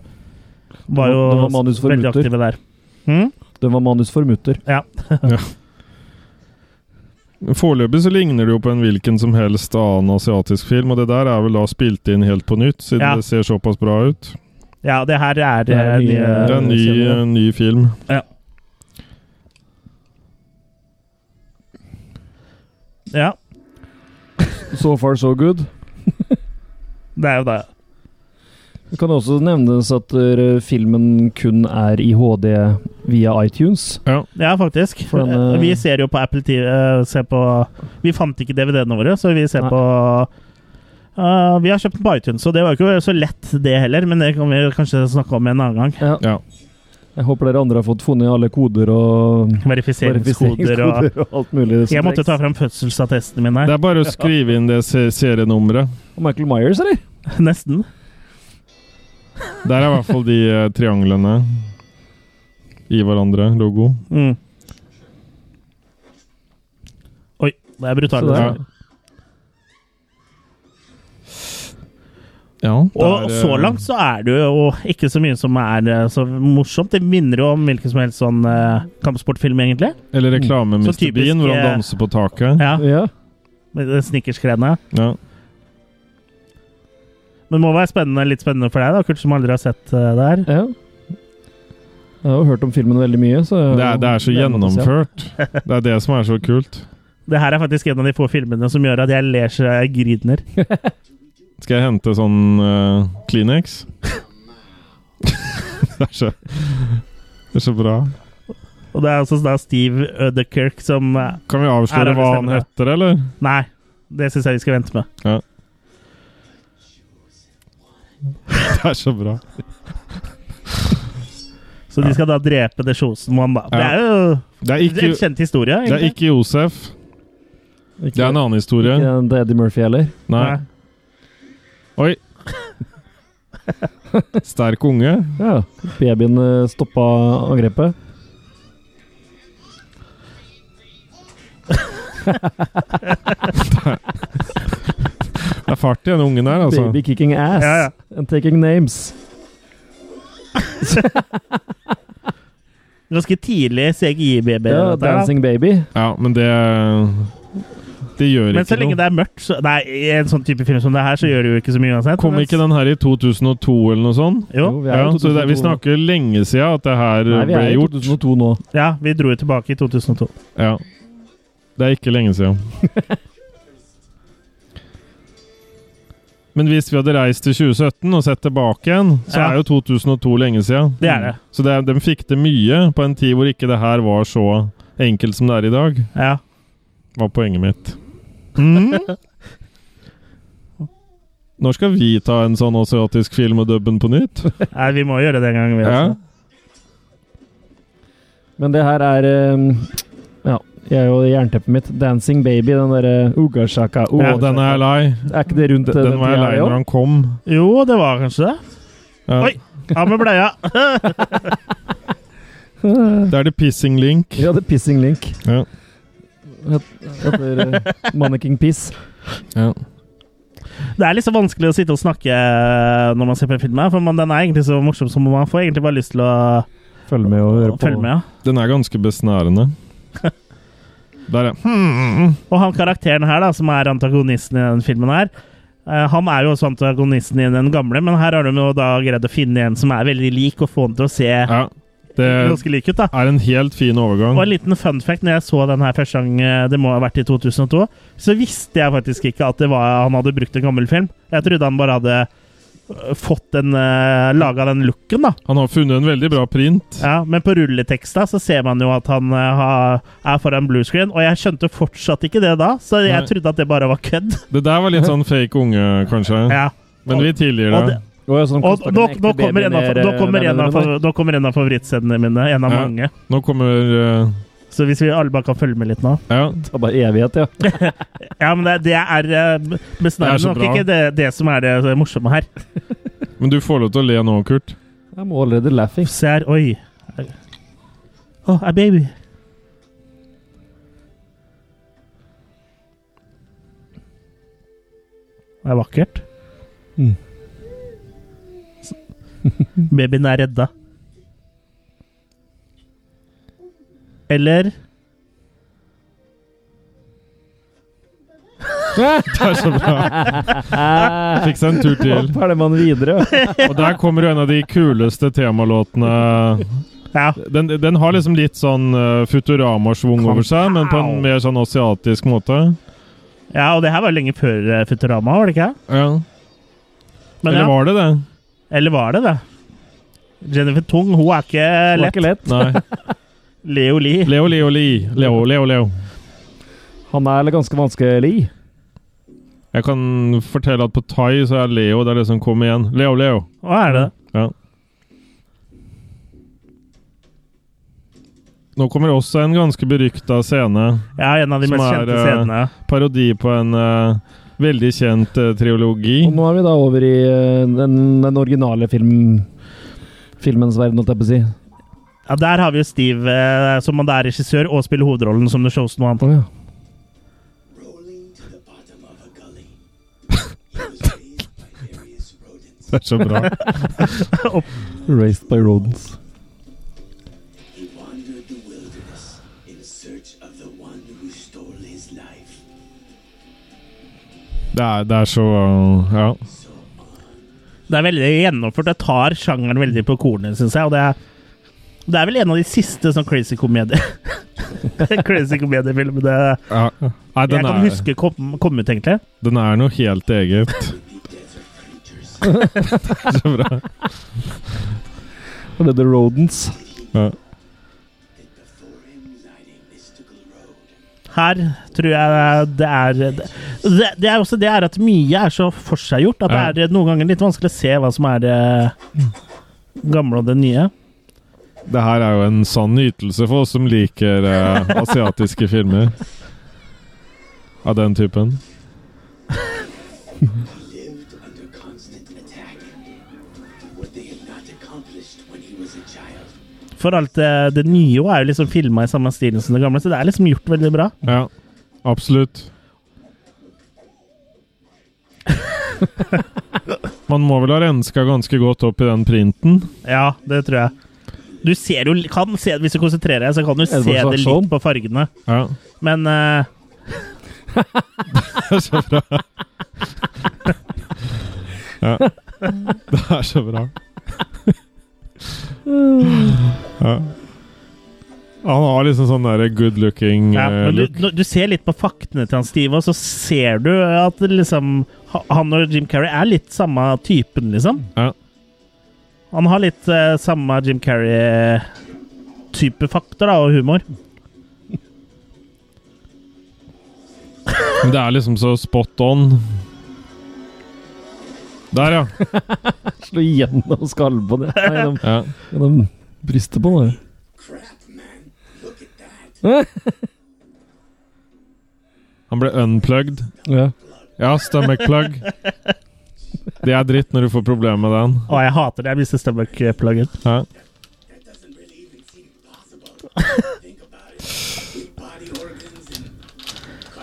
Speaker 3: var jo
Speaker 2: Det var manus for
Speaker 3: veldig
Speaker 2: mutter.
Speaker 3: aktive der. Hm?
Speaker 2: ja. Det var manus for mutter.
Speaker 1: Foreløpig så ligner det jo på en hvilken som helst annen asiatisk film, og det der er vel da spilt inn helt på nytt, siden
Speaker 3: Ja.
Speaker 1: det ser såpass bra ut.
Speaker 3: Ja, det her er,
Speaker 2: Det er
Speaker 3: eh,
Speaker 2: mye-
Speaker 1: Det er en ny,
Speaker 2: ser vi.
Speaker 1: en ny film.
Speaker 3: Ja,
Speaker 2: So far, so good.
Speaker 3: det er jo det.
Speaker 2: Det kan også nevnes at eh, filmen kun er i HD via iTunes.
Speaker 3: Ja, faktisk.
Speaker 2: For den,
Speaker 3: Eh,
Speaker 2: eh,
Speaker 3: Vi ser jo på Apple TV eh, ser på, Vi fant ikke DVD-ene våre, så vi ser
Speaker 2: Nei.
Speaker 3: på eh, Vi har kjøpt den på iTunes, så det var jo ikke så lett, det heller. Men det kan vi kanskje snakke om en annen gang.
Speaker 1: Ja.
Speaker 2: Jeg håper dere andre har fått funnet alle koder og
Speaker 3: Verifiseringskoder og
Speaker 2: og alt mulig. som
Speaker 3: Jeg måtte ta
Speaker 2: trengs.
Speaker 3: fram fødselsattestene mine.
Speaker 1: Det er bare å skrive inn det se- serienummeret.
Speaker 2: Og Michael Myers, eller?
Speaker 3: Nesten.
Speaker 1: Der er i hvert fall de eh, trianglene i hverandre, logo.
Speaker 3: Mm. Oi, det er brutalt.
Speaker 2: Så
Speaker 1: Ja.
Speaker 2: der.
Speaker 1: ja
Speaker 3: Og
Speaker 1: der, eh,
Speaker 3: så langt så er det jo ikke så mye som er eh, så morsomt. Det minner jo om hvilken som helst sånn eh, kampsportfilm, egentlig.
Speaker 1: Eller reklame med
Speaker 3: Så
Speaker 1: Mr.
Speaker 3: typisk,
Speaker 1: Bean, hvor han
Speaker 3: eh,
Speaker 1: danser på taket.
Speaker 3: Ja,
Speaker 2: Ja.
Speaker 3: med det Snickersgreiene.
Speaker 1: Ja.
Speaker 3: Men det må være spennende, litt spennende for deg, da, Kurt, som aldri har sett eh, det her.
Speaker 2: ja. Jeg har jo hørt om filmen veldig mye, så
Speaker 1: Det, er, det er så gjennomført. Det er det som er så kult.
Speaker 3: Det her er faktisk en av de få filmene som gjør at jeg ler så jeg griner.
Speaker 1: Skal jeg hente sånn eh, Kleenex? det, er så, det er så bra.
Speaker 3: Og det er altså da Steve Udderkirk som eh,
Speaker 1: Kan vi
Speaker 3: Her er det
Speaker 1: avsløre hva han
Speaker 3: stemmer,
Speaker 1: heter, eller?
Speaker 3: Nei, det syns jeg vi skal vente med.
Speaker 1: Det er så bra.
Speaker 3: Så de skal da drepe The Chosen One, da. Det
Speaker 1: Ja.
Speaker 3: er jo
Speaker 1: Det er ikke,
Speaker 3: en kjent historie,
Speaker 1: det er
Speaker 3: egentlig.
Speaker 1: ikke Josef. Det er en annen historie.
Speaker 2: Ikke en til Eddie Murphy heller.
Speaker 1: Nei.
Speaker 3: Nei.
Speaker 1: Oi. Sterk unge.
Speaker 2: Ja. Babyen eh, stoppa angrepet.
Speaker 1: Det er fart i den ungen der, altså.
Speaker 2: Baby kicking ass
Speaker 3: Ja, ja.
Speaker 2: and taking names.
Speaker 3: Ganske tidlig CGI-BB.
Speaker 2: Ja, dancing baby.
Speaker 1: Ja, men det Det gjør
Speaker 3: Men så
Speaker 1: ikke
Speaker 3: lenge
Speaker 1: noe.
Speaker 3: det er mørkt så, Nei, i en sånn type film som det her, så gjør det jo ikke så mye uansett.
Speaker 1: Kom ikke den her i 2002 eller noe sånt?
Speaker 3: Jo.
Speaker 2: Jo, vi er
Speaker 1: Ja,
Speaker 2: i
Speaker 1: så det,
Speaker 2: 2002
Speaker 1: vi snakker lenge siden at det her
Speaker 2: Nei, vi
Speaker 1: ble
Speaker 2: er i
Speaker 1: gjort.
Speaker 2: 2002 nå.
Speaker 3: Ja, vi dro jo tilbake i 2002.
Speaker 1: Ja. Det er ikke lenge siden. Men hvis vi hadde reist til 2017 og sett tilbake igjen, så
Speaker 3: Ja.
Speaker 1: er jo 2002 lenge siden.
Speaker 3: Det er det.
Speaker 1: Så det, de fikk til mye på en tid hvor ikke det her var så enkelt som det er i dag,
Speaker 3: Ja.
Speaker 1: var poenget mitt. Mm. Når skal vi ta en sånn asiatisk film og dubbe den på nytt?
Speaker 3: Nei, vi må gjøre det en gang, vi altså.
Speaker 1: Ja.
Speaker 3: også.
Speaker 2: Men det her er eh, Ja, jeg og jernteppet mitt. Dancing baby, den derre Ugashaka.
Speaker 1: Å, den er jeg lei.
Speaker 2: Er ikke det rundt uh,
Speaker 1: Den, den var jeg lei når han kom.
Speaker 3: Jo, det var kanskje det.
Speaker 1: Ja.
Speaker 3: Oi. Av med bleia!
Speaker 2: han
Speaker 1: Det er det Pissing Link.
Speaker 2: Ja, det er Pissing Link.
Speaker 1: Ja.
Speaker 2: Het- Heter eh, Manneking Piss.
Speaker 1: Ja.
Speaker 3: Det er litt så vanskelig å sitte og snakke eh, når man ser på en film, her, for man, den er egentlig så morsom som man får egentlig bare lyst til å
Speaker 2: Følg med og hør på.
Speaker 3: følge med. Ja.
Speaker 1: Den er ganske besnærende. Der, ja. Hmm.
Speaker 3: Og han karakteren her, da, som er antagonisten i den filmen her, eh, han er jo også antagonisten i den gamle, men her har de jo da greid å finne en som er veldig lik, og få han til å se
Speaker 1: ja. Det
Speaker 3: ganske lik ut, da.
Speaker 1: er en helt fin
Speaker 3: Og en
Speaker 1: overgang.
Speaker 3: liten fun fact, når jeg så den her første gang, eh, det må ha vært i 2002, så visste jeg faktisk ikke at det var, han hadde brukt en gammel film. Jeg trodde han bare hadde eh, fått den uh, laga den looken, da.
Speaker 1: Han har funnet en veldig bra print.
Speaker 3: Ja, men på rulleteksta så ser man jo at han eh, har- er foran bluescreen, og jeg skjønte fortsatt ikke det da, så jeg
Speaker 1: Nei.
Speaker 3: trodde at det bare var kødd.
Speaker 1: Det der var litt sånn fake unge, kanskje.
Speaker 3: Ja.
Speaker 1: Men vi tilgir
Speaker 3: Og
Speaker 1: det.
Speaker 3: det-
Speaker 2: Og, ja, sånn
Speaker 3: Og
Speaker 2: koster den
Speaker 3: nå,
Speaker 2: ekte
Speaker 3: nå kommer
Speaker 2: babyen
Speaker 3: en av,
Speaker 2: mer,
Speaker 3: nå
Speaker 2: eh,
Speaker 3: kommer
Speaker 2: nei,
Speaker 3: en
Speaker 2: nei,
Speaker 3: av,
Speaker 2: nei,
Speaker 3: fa- nå kommer en av favorittscenene mine, en av
Speaker 1: Ja.
Speaker 3: mange.
Speaker 1: Nå kommer eh,
Speaker 3: Så hvis vi alle bare kan følge med litt nå.
Speaker 1: Ja.
Speaker 2: Det er bare evighet, ja.
Speaker 3: Ja, men det, det er eh,
Speaker 1: Det er
Speaker 3: b-
Speaker 1: så
Speaker 3: besnærende nok
Speaker 1: bra.
Speaker 3: ikke det, det som er det morsomme her.
Speaker 1: Men du får lov til å le nå, Kurt.
Speaker 2: I'm already laughing.
Speaker 3: Se her, oi. Å, oh, baby. Det er vakkert.
Speaker 2: Mm.
Speaker 3: Babyen er redda. Eller
Speaker 1: Det er så bra. Fikk seg en tur til.
Speaker 2: Opp Ah, er det man videre.
Speaker 1: Og der kommer jo en av de kuleste temalåtene.
Speaker 3: Ja.
Speaker 1: Den, den har liksom litt sånn eh, Futurama-svung over seg, men på en mer sånn asiatisk måte.
Speaker 3: Ja, og det her var jo lenge før eh, Futurama, var det ikke?
Speaker 1: Ja.
Speaker 3: Men
Speaker 1: Eller
Speaker 3: ja.
Speaker 1: var det det?
Speaker 3: Eller var det det? Jennifer Tung, hun er ikke
Speaker 2: Det var
Speaker 3: lett.
Speaker 2: ikke lett.
Speaker 1: Nei.
Speaker 3: Leo Lee.
Speaker 1: Leo, Leo, Li. Leo, Leo, Leo.
Speaker 2: Han er ganske vanskelig.
Speaker 1: Jeg kan fortelle at på thai så er Leo det er det som kommer igjen. Leo, Leo.
Speaker 3: Hva er det?
Speaker 1: Ja. Nå kommer også en ganske berykta scene.
Speaker 3: Ja, en av de
Speaker 1: Som
Speaker 3: mest
Speaker 1: er,
Speaker 3: kjente
Speaker 1: eh,
Speaker 3: scenene.
Speaker 1: Parodi på en eh, veldig kjent eh, triologi.
Speaker 2: Og nå er vi da over i eh, den, den originale film, filmens verden, holdt jeg på å si.
Speaker 3: Ja, der har vi jo Steve, eh, som han da er regissør, og spiller hovedrollen som The Shows nå.
Speaker 2: Å, ja.
Speaker 4: rolling to the bottom of a gully. He was raised by various rodents.
Speaker 1: Det er så bra.
Speaker 2: Raised by rodents.
Speaker 4: He wandered the wilderness in search of the one who stole his life.
Speaker 1: Det er, det er så Ja.
Speaker 4: So
Speaker 3: Det er veldig gjennomført. Det tar sjangeren veldig på kornet, syns jeg. Og det er, det er vel en av de siste sånn crazy komedie Crazy komediefilmene
Speaker 1: ja. Nei,
Speaker 3: jeg
Speaker 1: den
Speaker 3: kan
Speaker 1: er,
Speaker 3: huske kom, kom ut, egentlig.
Speaker 1: den er noe helt eget.
Speaker 4: would be desert creatures.
Speaker 1: Så bra.
Speaker 2: Og det er The Rodents.
Speaker 1: Ja.
Speaker 4: that before him lied a mystical road.
Speaker 3: Her tror jeg det er Det, det er også det er at mye er så forseggjort at det er noen ganger litt vanskelig å se hva som er det gamle og det nye.
Speaker 1: Det her er jo en sann ytelse for oss som liker eh, asiatiske filmer. Av den typen.
Speaker 4: He lived under constant attack. What they had not accomplished when he was a child.
Speaker 3: For alt det, det nye også er jo liksom filma i samme stilen som det gamle, så det er liksom gjort veldig bra.
Speaker 1: Ja, absolutt. Man må vel ha renska ganske godt opp i den printen.
Speaker 3: Ja, det tror jeg. Du ser jo kan se, Hvis du konsentrerer deg, så kan du se
Speaker 2: Edward
Speaker 3: det
Speaker 2: Saxon?
Speaker 3: litt på fargene,
Speaker 1: Ja,
Speaker 3: men eh,
Speaker 1: så bra. Ja. Det er så bra. Ja. Han har liksom sånn derre good looking
Speaker 3: ja,
Speaker 1: eh,
Speaker 3: men du,
Speaker 1: look.
Speaker 3: du- du ser litt på faktene til han Steve, og så ser du at det liksom ha- han og Jim Carrey er litt samme typen, liksom.
Speaker 1: Ja.
Speaker 3: Han har litt eh, samme Jim Carrey-type fakter da, og humor.
Speaker 1: Men Det er liksom så spot on. Der, ja.
Speaker 2: Slå gjennom skallen på det. Nei, Gjennom,
Speaker 1: ja.
Speaker 2: gjennom brystet på det.
Speaker 4: Crap, man. Look at that.
Speaker 1: Han ble unplugged.
Speaker 2: Ja.
Speaker 1: Ja, stomach plug. Det er dritt når du får problemer med den.
Speaker 3: Å, jeg hater det. Jeg mister stomach-pluggen.
Speaker 1: Ja.
Speaker 4: That doesn't really even seem possible. Think about it. With body organs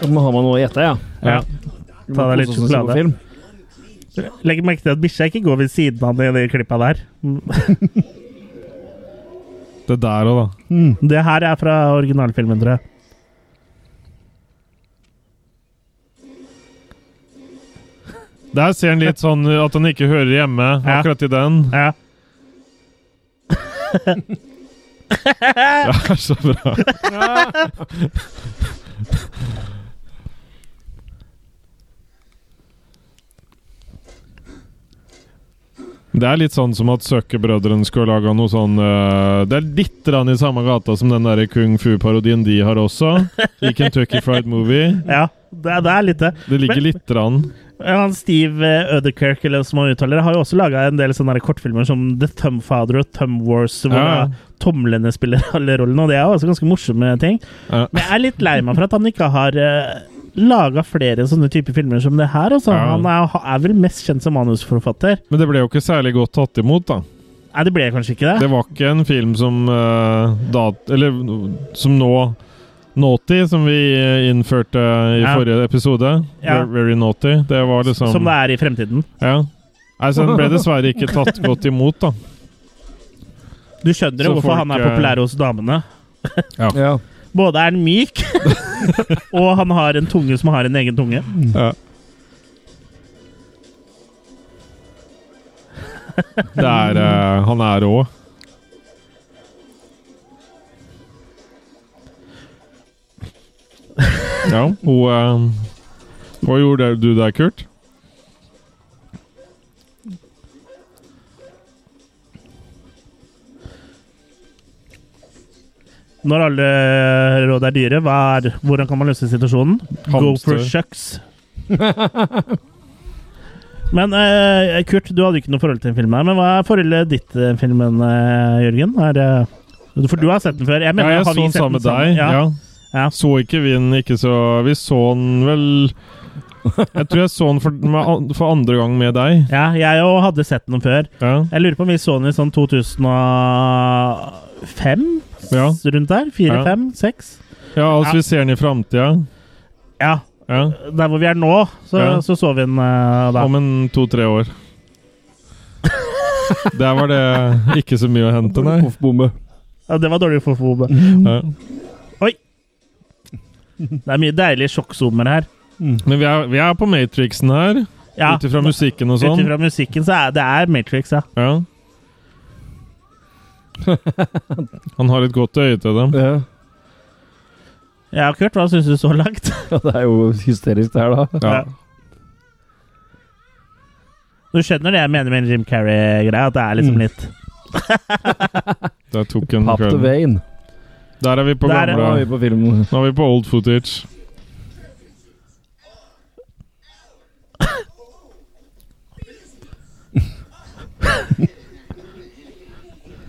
Speaker 4: and
Speaker 2: Da må ha meg noe å gjette, ja.
Speaker 1: Ja.
Speaker 2: Vi må
Speaker 3: Ta deg litt
Speaker 2: kose oss med
Speaker 3: sjokolade.
Speaker 2: film.
Speaker 3: Legg merke til at bikkja ikke går ved siden av han i de klippa der.
Speaker 1: Det der òg, da.
Speaker 3: Det her er fra originalfilmen, tror jeg.
Speaker 1: Der ser han litt sånn at han ikke hører hjemme
Speaker 3: Ja.
Speaker 1: akkurat i den.
Speaker 3: Ja.
Speaker 1: Det er så bra. Det er litt sånn som at Søkkebrødrene skulle laga noe sånn øh, Det er litt grann i samme gata som den der kung fu-parodien de har også, i Kentucky Fried Movie.
Speaker 3: ja. Det, er- det er litt det.
Speaker 1: Det ligger
Speaker 3: Men-
Speaker 1: litt grann.
Speaker 3: Han Steve eh, Ødekirk, eller som han uttaler det, har jo også laga en del sånne der kortfilmer som The Thumbfather og Thumb Wars, hvor
Speaker 1: Ja.
Speaker 3: da tomlene spiller alle rollene, og det er jo også ganske morsomme ting.
Speaker 1: Ja.
Speaker 3: Men jeg er litt lei meg for at han ikke har uh, laga flere sånne typer filmer som det her. Altså.
Speaker 1: Ja.
Speaker 3: Han er, er vel mest kjent som manusforfatter.
Speaker 1: Men det ble jo ikke særlig godt tatt imot, da.
Speaker 3: Nei, det ble kanskje ikke det.
Speaker 1: Det var ikke en film som eh, dat, Eller som nå Naughty, som vi eh, innførte i
Speaker 3: Ja.
Speaker 1: forrige episode.
Speaker 3: Ja.
Speaker 1: Ver- Very naughty. Det var liksom
Speaker 3: Som det er i fremtiden.
Speaker 1: Ja. Nei, så den ble dessverre ikke tatt godt imot, da.
Speaker 3: Du skjønner jo
Speaker 1: Så
Speaker 3: hvorfor
Speaker 1: folk,
Speaker 3: han er
Speaker 1: eh,
Speaker 3: populær hos damene.
Speaker 2: Ja.
Speaker 3: Både er han myk, og han har en tunge som har en egen tunge.
Speaker 1: Ja. Det er eh, Han er rå. Ja, hun eh, Hva gjorde du der, Kurt?
Speaker 3: Når alle råd er dyre, hva er, hvordan kan man løse situasjonen? Go
Speaker 1: Hamster.
Speaker 3: for shucks. Men eh, Kurt, du hadde ikke noe forhold til den filmen. her, Men hva er forholdet ditt til den filmen, eh, Jørgen? Er, det- for du har sett den før. Jeg mener,
Speaker 1: ja, jeg så
Speaker 3: har vi
Speaker 1: den
Speaker 3: sett
Speaker 1: sammen med deg. Ja.
Speaker 3: Ja. Ja.
Speaker 1: Så ikke vi den ikke så Vi så den vel Jeg tror jeg så den for, med an- for andre gang med deg.
Speaker 3: ja, jeg òg hadde sett den før.
Speaker 1: Ja.
Speaker 3: Jeg lurer på om vi så den i sånn 2005?
Speaker 1: Ja.
Speaker 3: Rundt der? Fire,
Speaker 1: Ja.
Speaker 3: fem, seks?
Speaker 1: ja, altså,
Speaker 3: Ja.
Speaker 1: vi ser den i framtida.
Speaker 3: Ja.
Speaker 1: Ja.
Speaker 3: Der hvor vi er nå, så
Speaker 1: Ja.
Speaker 3: så, så vi den eh, da.
Speaker 1: Om en to-tre år. Der var det ikke så mye å hente, nei.
Speaker 2: Poffbomme.
Speaker 3: Ja, det var dårlig for Fobe.
Speaker 1: Ja.
Speaker 3: Det er mye deilige sjokksommer her.
Speaker 2: Mm.
Speaker 1: Men vi er, vi er på Matrixen her,
Speaker 3: Ja,
Speaker 1: ut ifra musikken og
Speaker 3: Ut
Speaker 1: sånn.
Speaker 3: ifra musikken så er det er Matrix, ja.
Speaker 1: Ja. Han har et godt øye til dem.
Speaker 2: Ja.
Speaker 3: Ja, Kurt, hva syns du så langt?
Speaker 2: ja, det er jo hysterisk det her, da.
Speaker 1: Ja.
Speaker 3: Du skjønner det jeg mener med en Jim Carrey-greia? At det er liksom
Speaker 2: Mm.
Speaker 3: litt
Speaker 1: Der tok en
Speaker 2: Pop the
Speaker 1: kveld.
Speaker 2: vein.
Speaker 1: Der er vi på
Speaker 3: Der er-
Speaker 2: Nå er
Speaker 1: gamle
Speaker 2: vi på filmen.
Speaker 1: Nå er vi på old footage.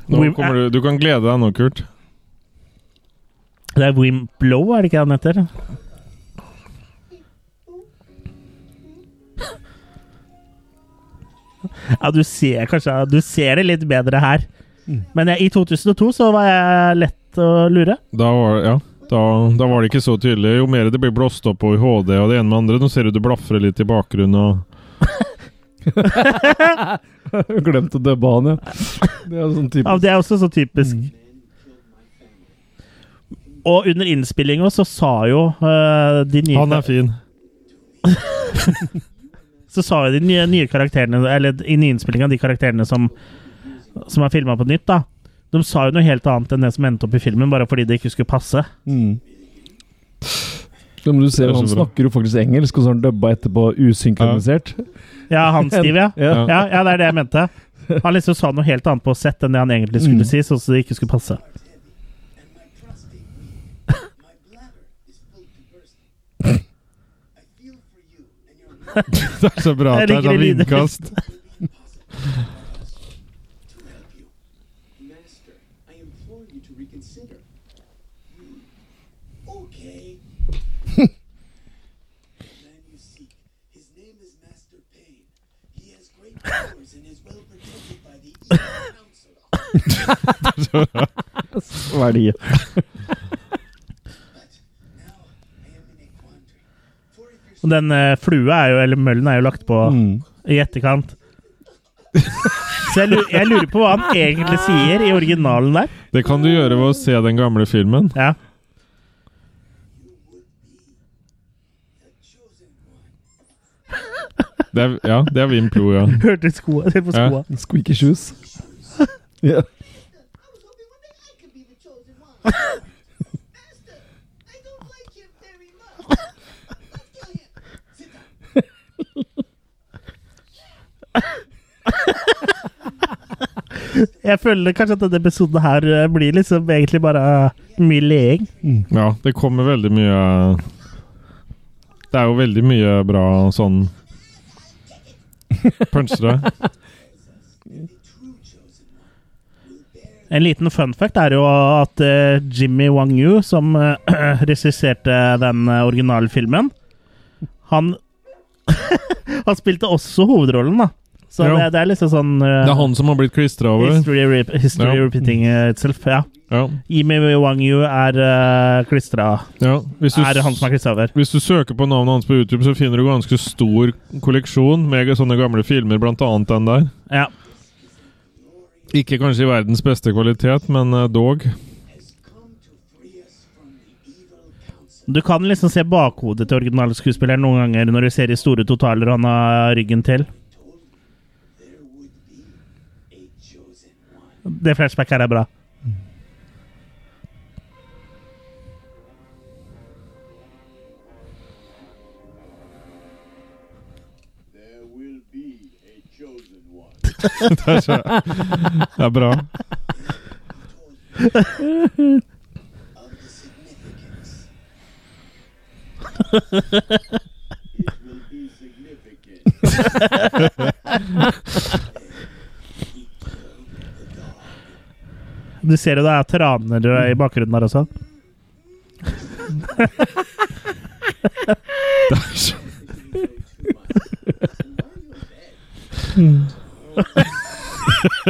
Speaker 1: Nå
Speaker 3: Wim-
Speaker 1: kommer du, du kan glede deg nå, Kurt.
Speaker 3: Det er Wim Blow, er det ikke han heter? Ja, du ser kanskje Du ser det litt bedre her.
Speaker 1: Mm.
Speaker 3: Men jeg, i 2002 så var jeg lett å lure.
Speaker 1: Da var, ja, da, da var det ikke så tydelig. Jo mer det blir blåst opp på i HD og det ene med andre, nå ser du det blafrer litt i bakgrunnen. Og
Speaker 2: Glemt å dubbe han, ja. Det er sånn type
Speaker 3: Ja, det er også så typisk.
Speaker 1: Mm.
Speaker 3: Og under innspillinga så sa jo eh, de nye
Speaker 1: han er fin.
Speaker 3: så sa jo de nye, nye karakterene Eller i nyinnspillinga, de karakterene som Som er filma på nytt, da. De sa jo noe helt annet enn det som endte opp i filmen, bare fordi det ikke skulle passe.
Speaker 2: Mm. Ja, men du ser,
Speaker 1: Det er så
Speaker 2: Han
Speaker 1: bra.
Speaker 2: snakker jo faktisk engelsk, og så har han dubba etterpå usynkronisert.
Speaker 3: Ja, han Steve, ja.
Speaker 2: Ja.
Speaker 1: Ja.
Speaker 3: ja. Ja, det er det jeg mente. Han liksom sa noe helt annet på sett enn det han egentlig skulle
Speaker 2: Mm.
Speaker 3: si, sånn så det ikke skulle passe.
Speaker 4: and my prostate, my bladder is full to bursting. I feel for you and your love
Speaker 1: Det er så bra at det
Speaker 3: Jeg
Speaker 1: er sånn
Speaker 3: liker det lyder.
Speaker 1: vindkast.
Speaker 4: will be impossible to help you. Master, I implore you to reconsider. Hmm. Okay. the man you seek, his name is Master Pain. He has great powers and is well protected by the evil council.
Speaker 2: Hva er det?
Speaker 4: But now I am in a quandary. For if your
Speaker 3: Og den eh, flua er jo, eller møllen er jo lagt på
Speaker 2: Mm.
Speaker 3: i etterkant. Så jeg, lu- jeg lurer på hva han egentlig sier i originalen der.
Speaker 1: Det kan du gjøre ved å se den gamle filmen.
Speaker 3: Ja.
Speaker 1: Det er, ja, det er Wim Plo, ja.
Speaker 3: Hørte skoa, se på
Speaker 1: Ja.
Speaker 3: skoa.
Speaker 2: Squeaky shoes. Ja.
Speaker 5: I was hoping one day I could be the chosen one. Master, I don't like him very much. I'll kill him.
Speaker 3: Jeg føler kanskje at denne episoden her eh, blir liksom egentlig bare eh, mye leing.
Speaker 1: Ja, det kommer veldig mye Det er jo veldig mye bra sånn Punchere.
Speaker 3: En liten fun fact er jo at eh, Jimmy Wang Yu, som eh, regisserte den eh, originale filmen, han Han spilte også hovedrollen, da. Så
Speaker 1: Jo.
Speaker 3: det, det er liksom sånn eh,
Speaker 1: Det er han som har blitt klistra over.
Speaker 3: History, rep history
Speaker 1: Ja.
Speaker 3: repeating eh, itself, ja.
Speaker 1: Ja,
Speaker 3: Jimmy Wang Yu er uh, klistra
Speaker 1: ja. Hvis,
Speaker 3: Er han
Speaker 1: du,
Speaker 3: som er klistra over.
Speaker 1: hvis du søker på navnet hans på YouTube, så finner du ganske stor kolleksjon med sånne gamle filmer, blant annet den der.
Speaker 3: Ja.
Speaker 1: Ikke kanskje i verdens beste kvalitet, men eh, dog.
Speaker 3: Du kan liksom se bakhodet til originalskuespilleren noen ganger når du ser i store totaler han har ryggen til. Det flashback her er bra.
Speaker 1: Det er, så, det er bra.
Speaker 4: of the significance. it will be significant. He killed the dog.
Speaker 3: Du ser jo det er tranere i bakgrunnen her også.
Speaker 1: Det er så.
Speaker 4: You know too much. And while you're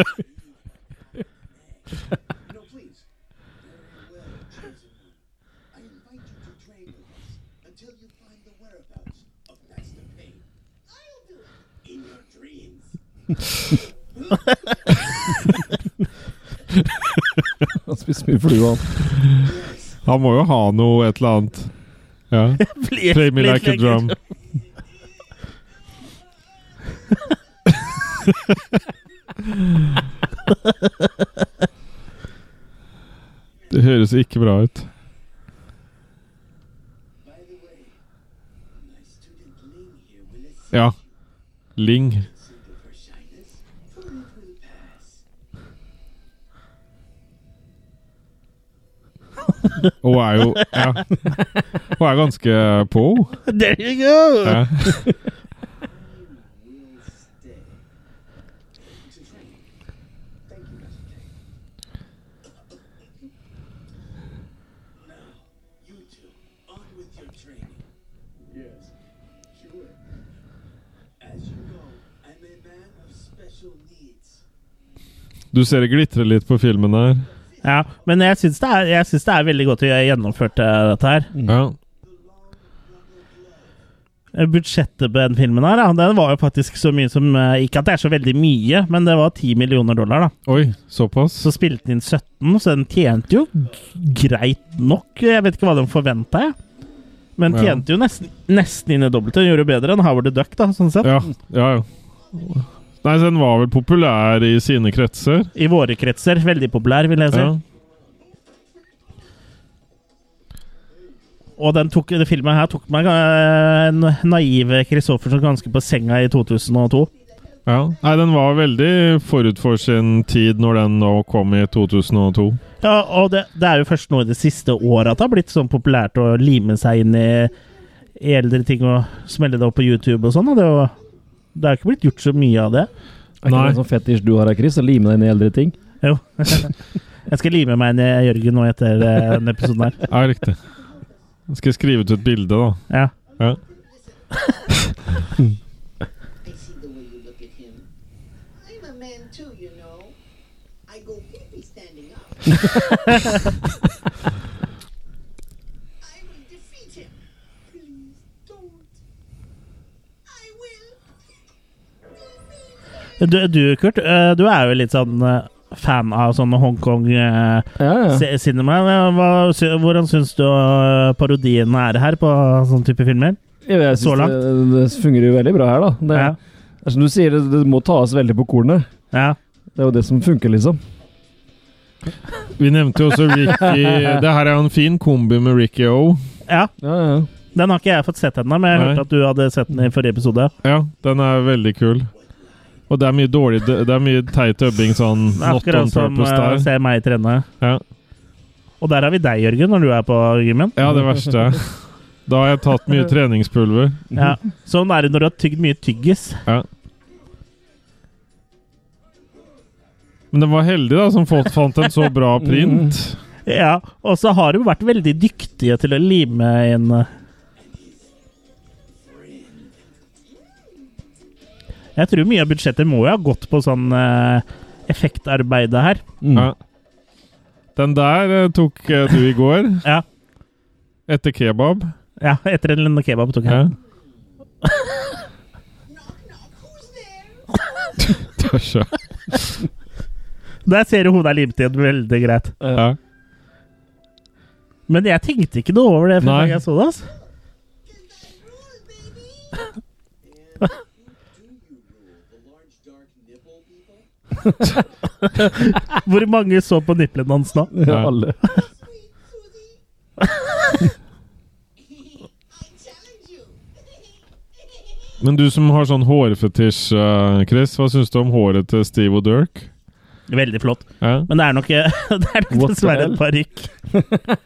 Speaker 4: dead, no, please. Very well, chosen one. I invite you to train with us until you find the whereabouts of Master Payne. I'll do it in your dreams.
Speaker 2: Han spiser mye flue, han.
Speaker 1: Han må jo ha noe et eller annet. Ja.
Speaker 3: Please,
Speaker 1: Play me
Speaker 3: please,
Speaker 1: like a
Speaker 3: legger.
Speaker 1: drum. Det høres ikke bra ut.
Speaker 4: By the way, my student Ling here will assist
Speaker 1: Ja.
Speaker 4: you.
Speaker 1: Ling.
Speaker 4: Consider her shyness, for it will pass.
Speaker 1: Hun er jo ja. Hun er ganske på, hun.
Speaker 3: There you go!
Speaker 1: Ja.
Speaker 4: will stay. To train. Thank you, Master Kane. now, you two, on with your training. Yes, sure. As you know, I'm a man of special needs.
Speaker 1: Du ser det glitrer litt på filmen her.
Speaker 3: Ja, men jeg syns det, er- jeg syns det er veldig godt å gjøre- gjennomført eh, dette her.
Speaker 1: Ja.
Speaker 3: Eh, Budsjettet på den filmen her, da, den var jo faktisk så mye som eh, Ikke at det er så veldig mye, men det var 10 millioner dollar, da.
Speaker 1: Oi, såpass?
Speaker 3: Så sånn. spilte den inn 17, så den tjente jo g- greit nok. Jeg vet ikke hva de forventa, jeg. Men
Speaker 1: Ja.
Speaker 3: tjente jo nesten, nesten inn i dobbelte. Den gjorde jo bedre enn Howard the Duck, da, sånn sett.
Speaker 1: Ja, ja, ja. Nei, så den var vel populær i sine kretser.
Speaker 3: I våre kretser. Veldig populær, vil jeg si.
Speaker 1: Ja.
Speaker 3: Og den tok, den filmen her tok meg eh, en naive Christoffersen ganske på senga i 2002.
Speaker 1: ja. Nei, den var veldig forut for sin tid når den nå kom i 2002.
Speaker 3: Ja, og det, det er jo først nå i det siste året at det har blitt sånn populært å lime seg inn i, i eldre ting og smelle det opp på YouTube og sånn. Og det, er jo- det har ikke blitt gjort så mye av det.
Speaker 2: Er ikke
Speaker 1: Nei.
Speaker 2: det en sånn fetisj du har her, Chris? Å lime deg inn i eldre ting?
Speaker 3: Jo. Jeg skal lime meg inn i Jørgen nå etter eh, denne episoden her.
Speaker 1: Ja, riktig. Skal jeg skrive ut et bilde, da?
Speaker 3: Ja.
Speaker 1: Ja.
Speaker 5: I see the way you look at him. I'm a man too, you know. I go pee pee standing up. I will defeat him. Please don't. I will defeat him.
Speaker 3: Du, du Kurt, eh, du er jo litt sånn eh, fan av sånn Hongkong-cinema.
Speaker 2: Ja, ja.
Speaker 3: Hva, sy- hvordan syns du eh, parodien er her på sånne type filmer?
Speaker 2: Jeg, jeg
Speaker 3: Så
Speaker 2: synes det, det fungerer jo veldig bra her, da. Det,
Speaker 3: Ja.
Speaker 2: det er som du sier, det, det må tas veldig på kornet.
Speaker 3: Ja.
Speaker 2: Det er jo det som funker, liksom.
Speaker 1: Vi nevnte jo også Ricky Det her er jo en fin kombi med Ricky O.
Speaker 3: ja.
Speaker 2: Ja, ja.
Speaker 3: Den har ikke jeg fått sett ennå, men jeg
Speaker 1: Nei.
Speaker 3: hørte at du hadde sett den i forrige episode.
Speaker 1: Ja, den er veldig kul. Og det er mye dårlig Det er mye teit dubbing, sånn not
Speaker 3: Akkurat
Speaker 1: on
Speaker 3: som
Speaker 1: purpose
Speaker 3: uh,
Speaker 1: der.
Speaker 3: Se meg trene.
Speaker 1: Ja.
Speaker 3: Og der har vi deg, Jørgen, når du er på gymmen.
Speaker 1: ja, det verste. Da har jeg tatt mye treningspulver.
Speaker 3: Ja. Sånn er det når du har tygd mye tyggis.
Speaker 1: Ja. Men den var heldig, da, som fått- fant en så bra print.
Speaker 3: Ja, og så har de vært veldig dyktige til å lime inn eh. Jeg tror mye av budsjettet må jo ha gått på sånn eh, effektarbeidet her.
Speaker 2: Mm.
Speaker 1: Ja. Den der eh, tok eh, du i går,
Speaker 3: Ja,
Speaker 1: etter kebab.
Speaker 3: ja etter en kebab tok jeg.
Speaker 1: Ja.
Speaker 5: Knock, knock, who's there?
Speaker 1: Det er så-
Speaker 3: Der ser du hodet er limt igjen veldig greit.
Speaker 1: Ja.
Speaker 3: Men jeg tenkte ikke noe over det før
Speaker 1: Nei.
Speaker 3: jeg så det. Altså.
Speaker 5: Rule, baby.
Speaker 4: Do you rule the large dark nipple people?
Speaker 3: Hvor mange så på nippelen hans nå?
Speaker 2: Ja,
Speaker 1: Ja.
Speaker 2: alle.
Speaker 5: Sweet Susie. I challenge you.
Speaker 1: Men du som har sånn hårfetisj, eh, Chris. Hva syns du om håret til Steve og Dirk?
Speaker 3: Veldig flott.
Speaker 1: Ja?
Speaker 3: Men det er nok, det er nok
Speaker 2: What the
Speaker 3: dessverre en
Speaker 2: hell?
Speaker 3: parykk.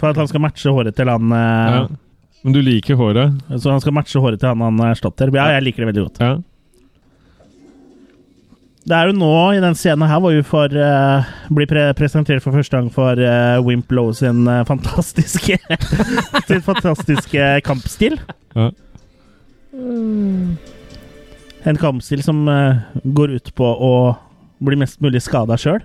Speaker 3: For at han skal matche håret til han
Speaker 1: Ja.
Speaker 3: eh,
Speaker 1: Men du liker håret?
Speaker 3: Så han skal matche håret til han han erstatter. Ja, jeg liker det veldig godt.
Speaker 1: Ja?
Speaker 3: Det er jo nå, i den scenen her, hvor vi får eh, bli pre presentert for første gang for eh, Wimp Lowe sin eh, fantastiske Sin fantastiske kampstil.
Speaker 1: Ja.
Speaker 3: En kampstil som eh, går ut på å bli mest mulig skada sjøl.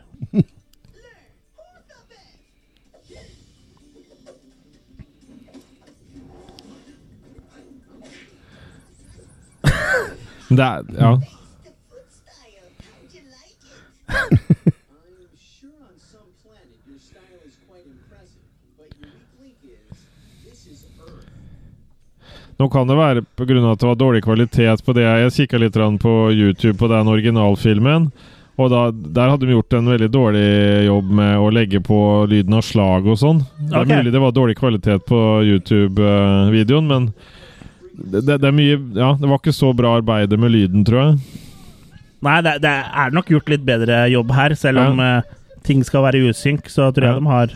Speaker 1: Men Det er, ja.
Speaker 4: The foot style. How'd you like it?
Speaker 6: I'm sure on some planet your style is quite impressive, but your weak link is this is Earth.
Speaker 1: Nå kan det være pga. at det var dårlig kvalitet på det. Jeg kikka litt grann på YouTube på den originalfilmen. Og da, der hadde de gjort en veldig dårlig jobb med å legge på lyden av slag og sånn. Det
Speaker 3: Ok.
Speaker 1: er mulig det var dårlig kvalitet på YouTube-videoen, men det, det, det er mye Ja, det var ikke så bra arbeidet med lyden, tror jeg.
Speaker 3: Nei, det, det er nok gjort litt bedre jobb her, selv
Speaker 1: Ja.
Speaker 3: om eh, ting skal være i usynk, så tror
Speaker 1: Ja.
Speaker 3: jeg de har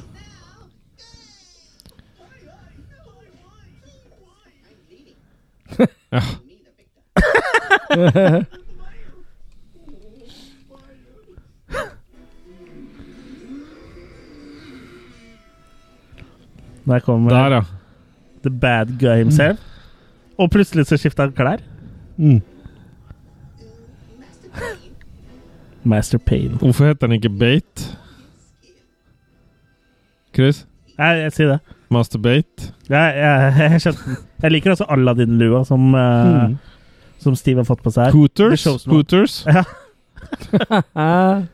Speaker 4: I'm bleeding.
Speaker 1: Ja.
Speaker 4: Me, the victim.
Speaker 3: Der kommer
Speaker 1: Der, ja.
Speaker 3: the bad guy himself. Og plutselig så skifter han klær.
Speaker 2: Mm.
Speaker 4: Master Pain.
Speaker 3: Master Pain.
Speaker 1: Hvorfor heter den ikke Bate? Chris?
Speaker 3: Jeg, jeg sier det.
Speaker 1: Master Bate?
Speaker 3: Jeg, jeg, jeg skjønte den. Jeg liker også Aladdin-lua som, eh,
Speaker 2: Mm.
Speaker 3: som Steve har fått på seg. her. The
Speaker 1: Hooters?
Speaker 3: Show's Not.
Speaker 1: Hooters?
Speaker 3: Ja.
Speaker 2: Eh,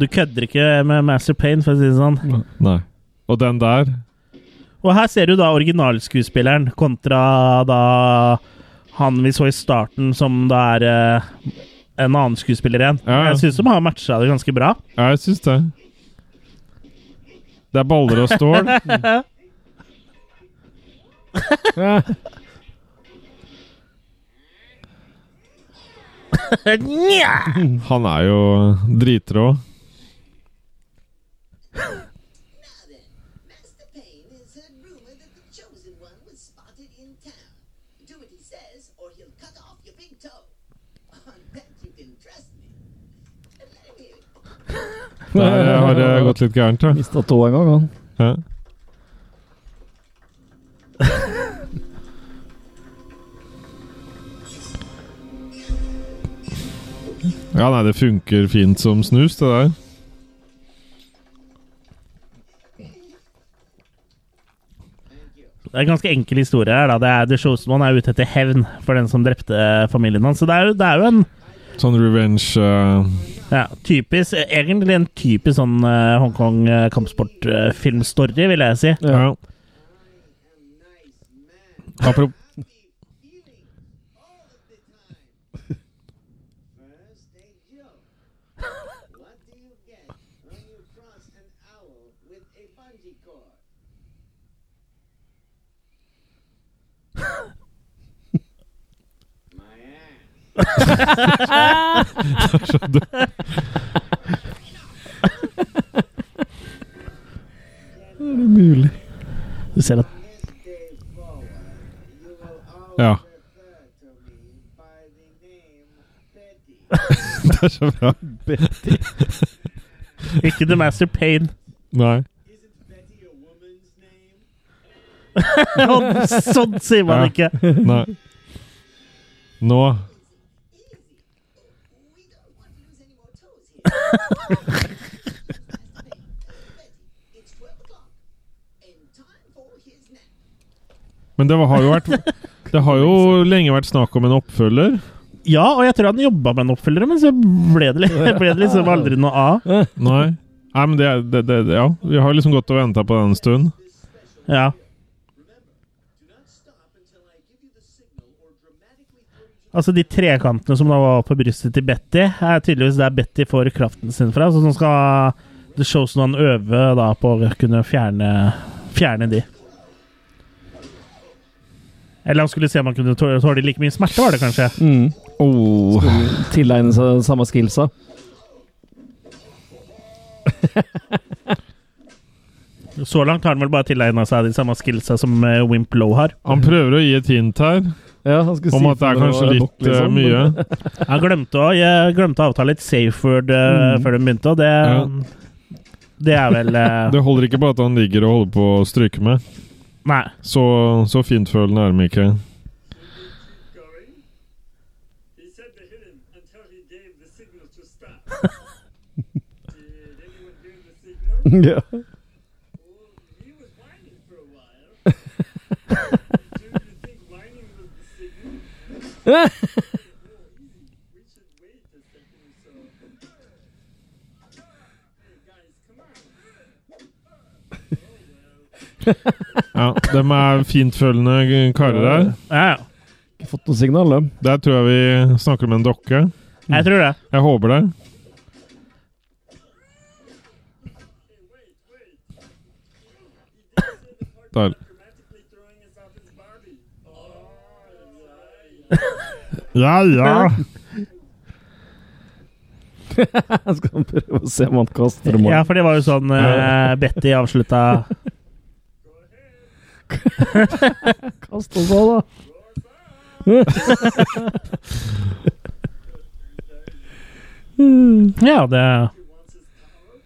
Speaker 3: Du kødder ikke med Master Pain, for å si det sånn.
Speaker 1: Nei. Og den der?
Speaker 3: Og her ser du da originalskuespilleren kontra da han vi så i starten, som da er eh, en annen skuespiller igjen.
Speaker 1: Ja, ja.
Speaker 3: Jeg syns de har matcha det ganske bra.
Speaker 1: Ja, jeg syns det. Det er baller og stål.
Speaker 3: Nja!
Speaker 1: Han er jo dritrå.
Speaker 4: Now then, Master Pain has heard rumor that the Chosen One was spotted in town. Do what he says, or he'll cut off your big toe. On that you can trust me. And let him hear it.
Speaker 1: Der eh, har det gått litt gærent, ja.
Speaker 2: Mista tåa en gang, han.
Speaker 1: ja. Ja, nei, det funker fint som snus, det der.
Speaker 3: Det er en ganske enkel historie her. da. Det er The Showsman er ute etter hevn for den som drepte eh, familien hans. Så det er jo, det er jo en
Speaker 1: Sånn revenge eh,
Speaker 3: ja, typisk, egentlig en typisk sånn eh, Hongkong eh, kampsportfilmstory, vil jeg si.
Speaker 1: Ja.
Speaker 4: Nice man.
Speaker 1: Apro-
Speaker 4: Be feeling all of the time. First, a joke. What do you get when you cross an owl with a bungee cord? My ass.
Speaker 3: Du ser at
Speaker 4: This day forward, you will always
Speaker 1: Ja.
Speaker 4: refer to me by the name Betty.
Speaker 1: Det er så bra.
Speaker 3: Ikke The Master Pain.
Speaker 1: Nei.
Speaker 4: Isn't Betty a woman's name?
Speaker 3: sånn sier man
Speaker 1: Ja.
Speaker 3: ikke.
Speaker 1: Nei. Nå
Speaker 4: Easy. We don't want to lose any more toes here. Betty, it's 12 o'clock and time for his nap.
Speaker 1: Men det har jo vært Det har jo lenge vært snakk om en oppfølger.
Speaker 3: Ja, og jeg tror han jobba med en oppfølger, men så ble det, li- ble det liksom aldri noe av.
Speaker 1: Nei. Nei, men det, er- det, det Ja, vi har liksom gått og venta på den en stund.
Speaker 3: Ja.
Speaker 4: Do not stop until I give you the signal or dramatically throw you to
Speaker 3: Altså De trekantene som da var på brystet til Betty, er tydeligvis der Betty får kraften sin fra. Så nå skal The Showsman øve da på å kunne fjerne, fjerne de.
Speaker 4: the floor.
Speaker 3: Eller han skulle se om han kunne tå- tåle like mye smerte, var det kanskje.
Speaker 2: Mm.
Speaker 1: Oh.
Speaker 2: Tilegne seg den samme skillsa.
Speaker 3: Så langt har han vel bare tilegna seg de samme skillsa som eh, Wimp Low har.
Speaker 1: Han prøver å gi et hint her
Speaker 2: Ja, han skulle si
Speaker 1: om at det
Speaker 2: for
Speaker 1: er kanskje
Speaker 2: var
Speaker 1: litt
Speaker 2: nok, liksom.
Speaker 1: eh, mye.
Speaker 3: Han glemte å, jeg glemte å avtale et safe word eh,
Speaker 2: Mm.
Speaker 3: før de begynte, og det
Speaker 1: Ja.
Speaker 3: Det er vel eh,
Speaker 1: Det holder ikke bare at han ligger og holder på å stryke med.
Speaker 3: Nei.
Speaker 1: Så, så fintfølende er de ikke.
Speaker 4: Going? He said to hit him until he gave the signal to stop. Did anyone hear the signal?
Speaker 2: Ja.
Speaker 4: Well, he was whining for a while. Do you think whining was the signal? Oh, easy. We should wait a second or so. Hey, guys, come on.
Speaker 1: Ja, de er fintfølende karer her.
Speaker 3: Ja, ja.
Speaker 2: Ikke fått noe signal, da.
Speaker 1: Der tror jeg vi snakker med en dokke.
Speaker 3: Jeg tror det.
Speaker 1: Jeg håper det. Der.
Speaker 4: Dramatically throwing us off his Barbie. Oh, that's right.
Speaker 1: Ja, ja.
Speaker 2: Jeg skal prøve å se om han kaster dem.
Speaker 3: Ja, for det var jo sånn eh, Betty avslutta
Speaker 4: Go ahead.
Speaker 2: Kast oss av, da.
Speaker 3: Ja, det
Speaker 4: He wants his power.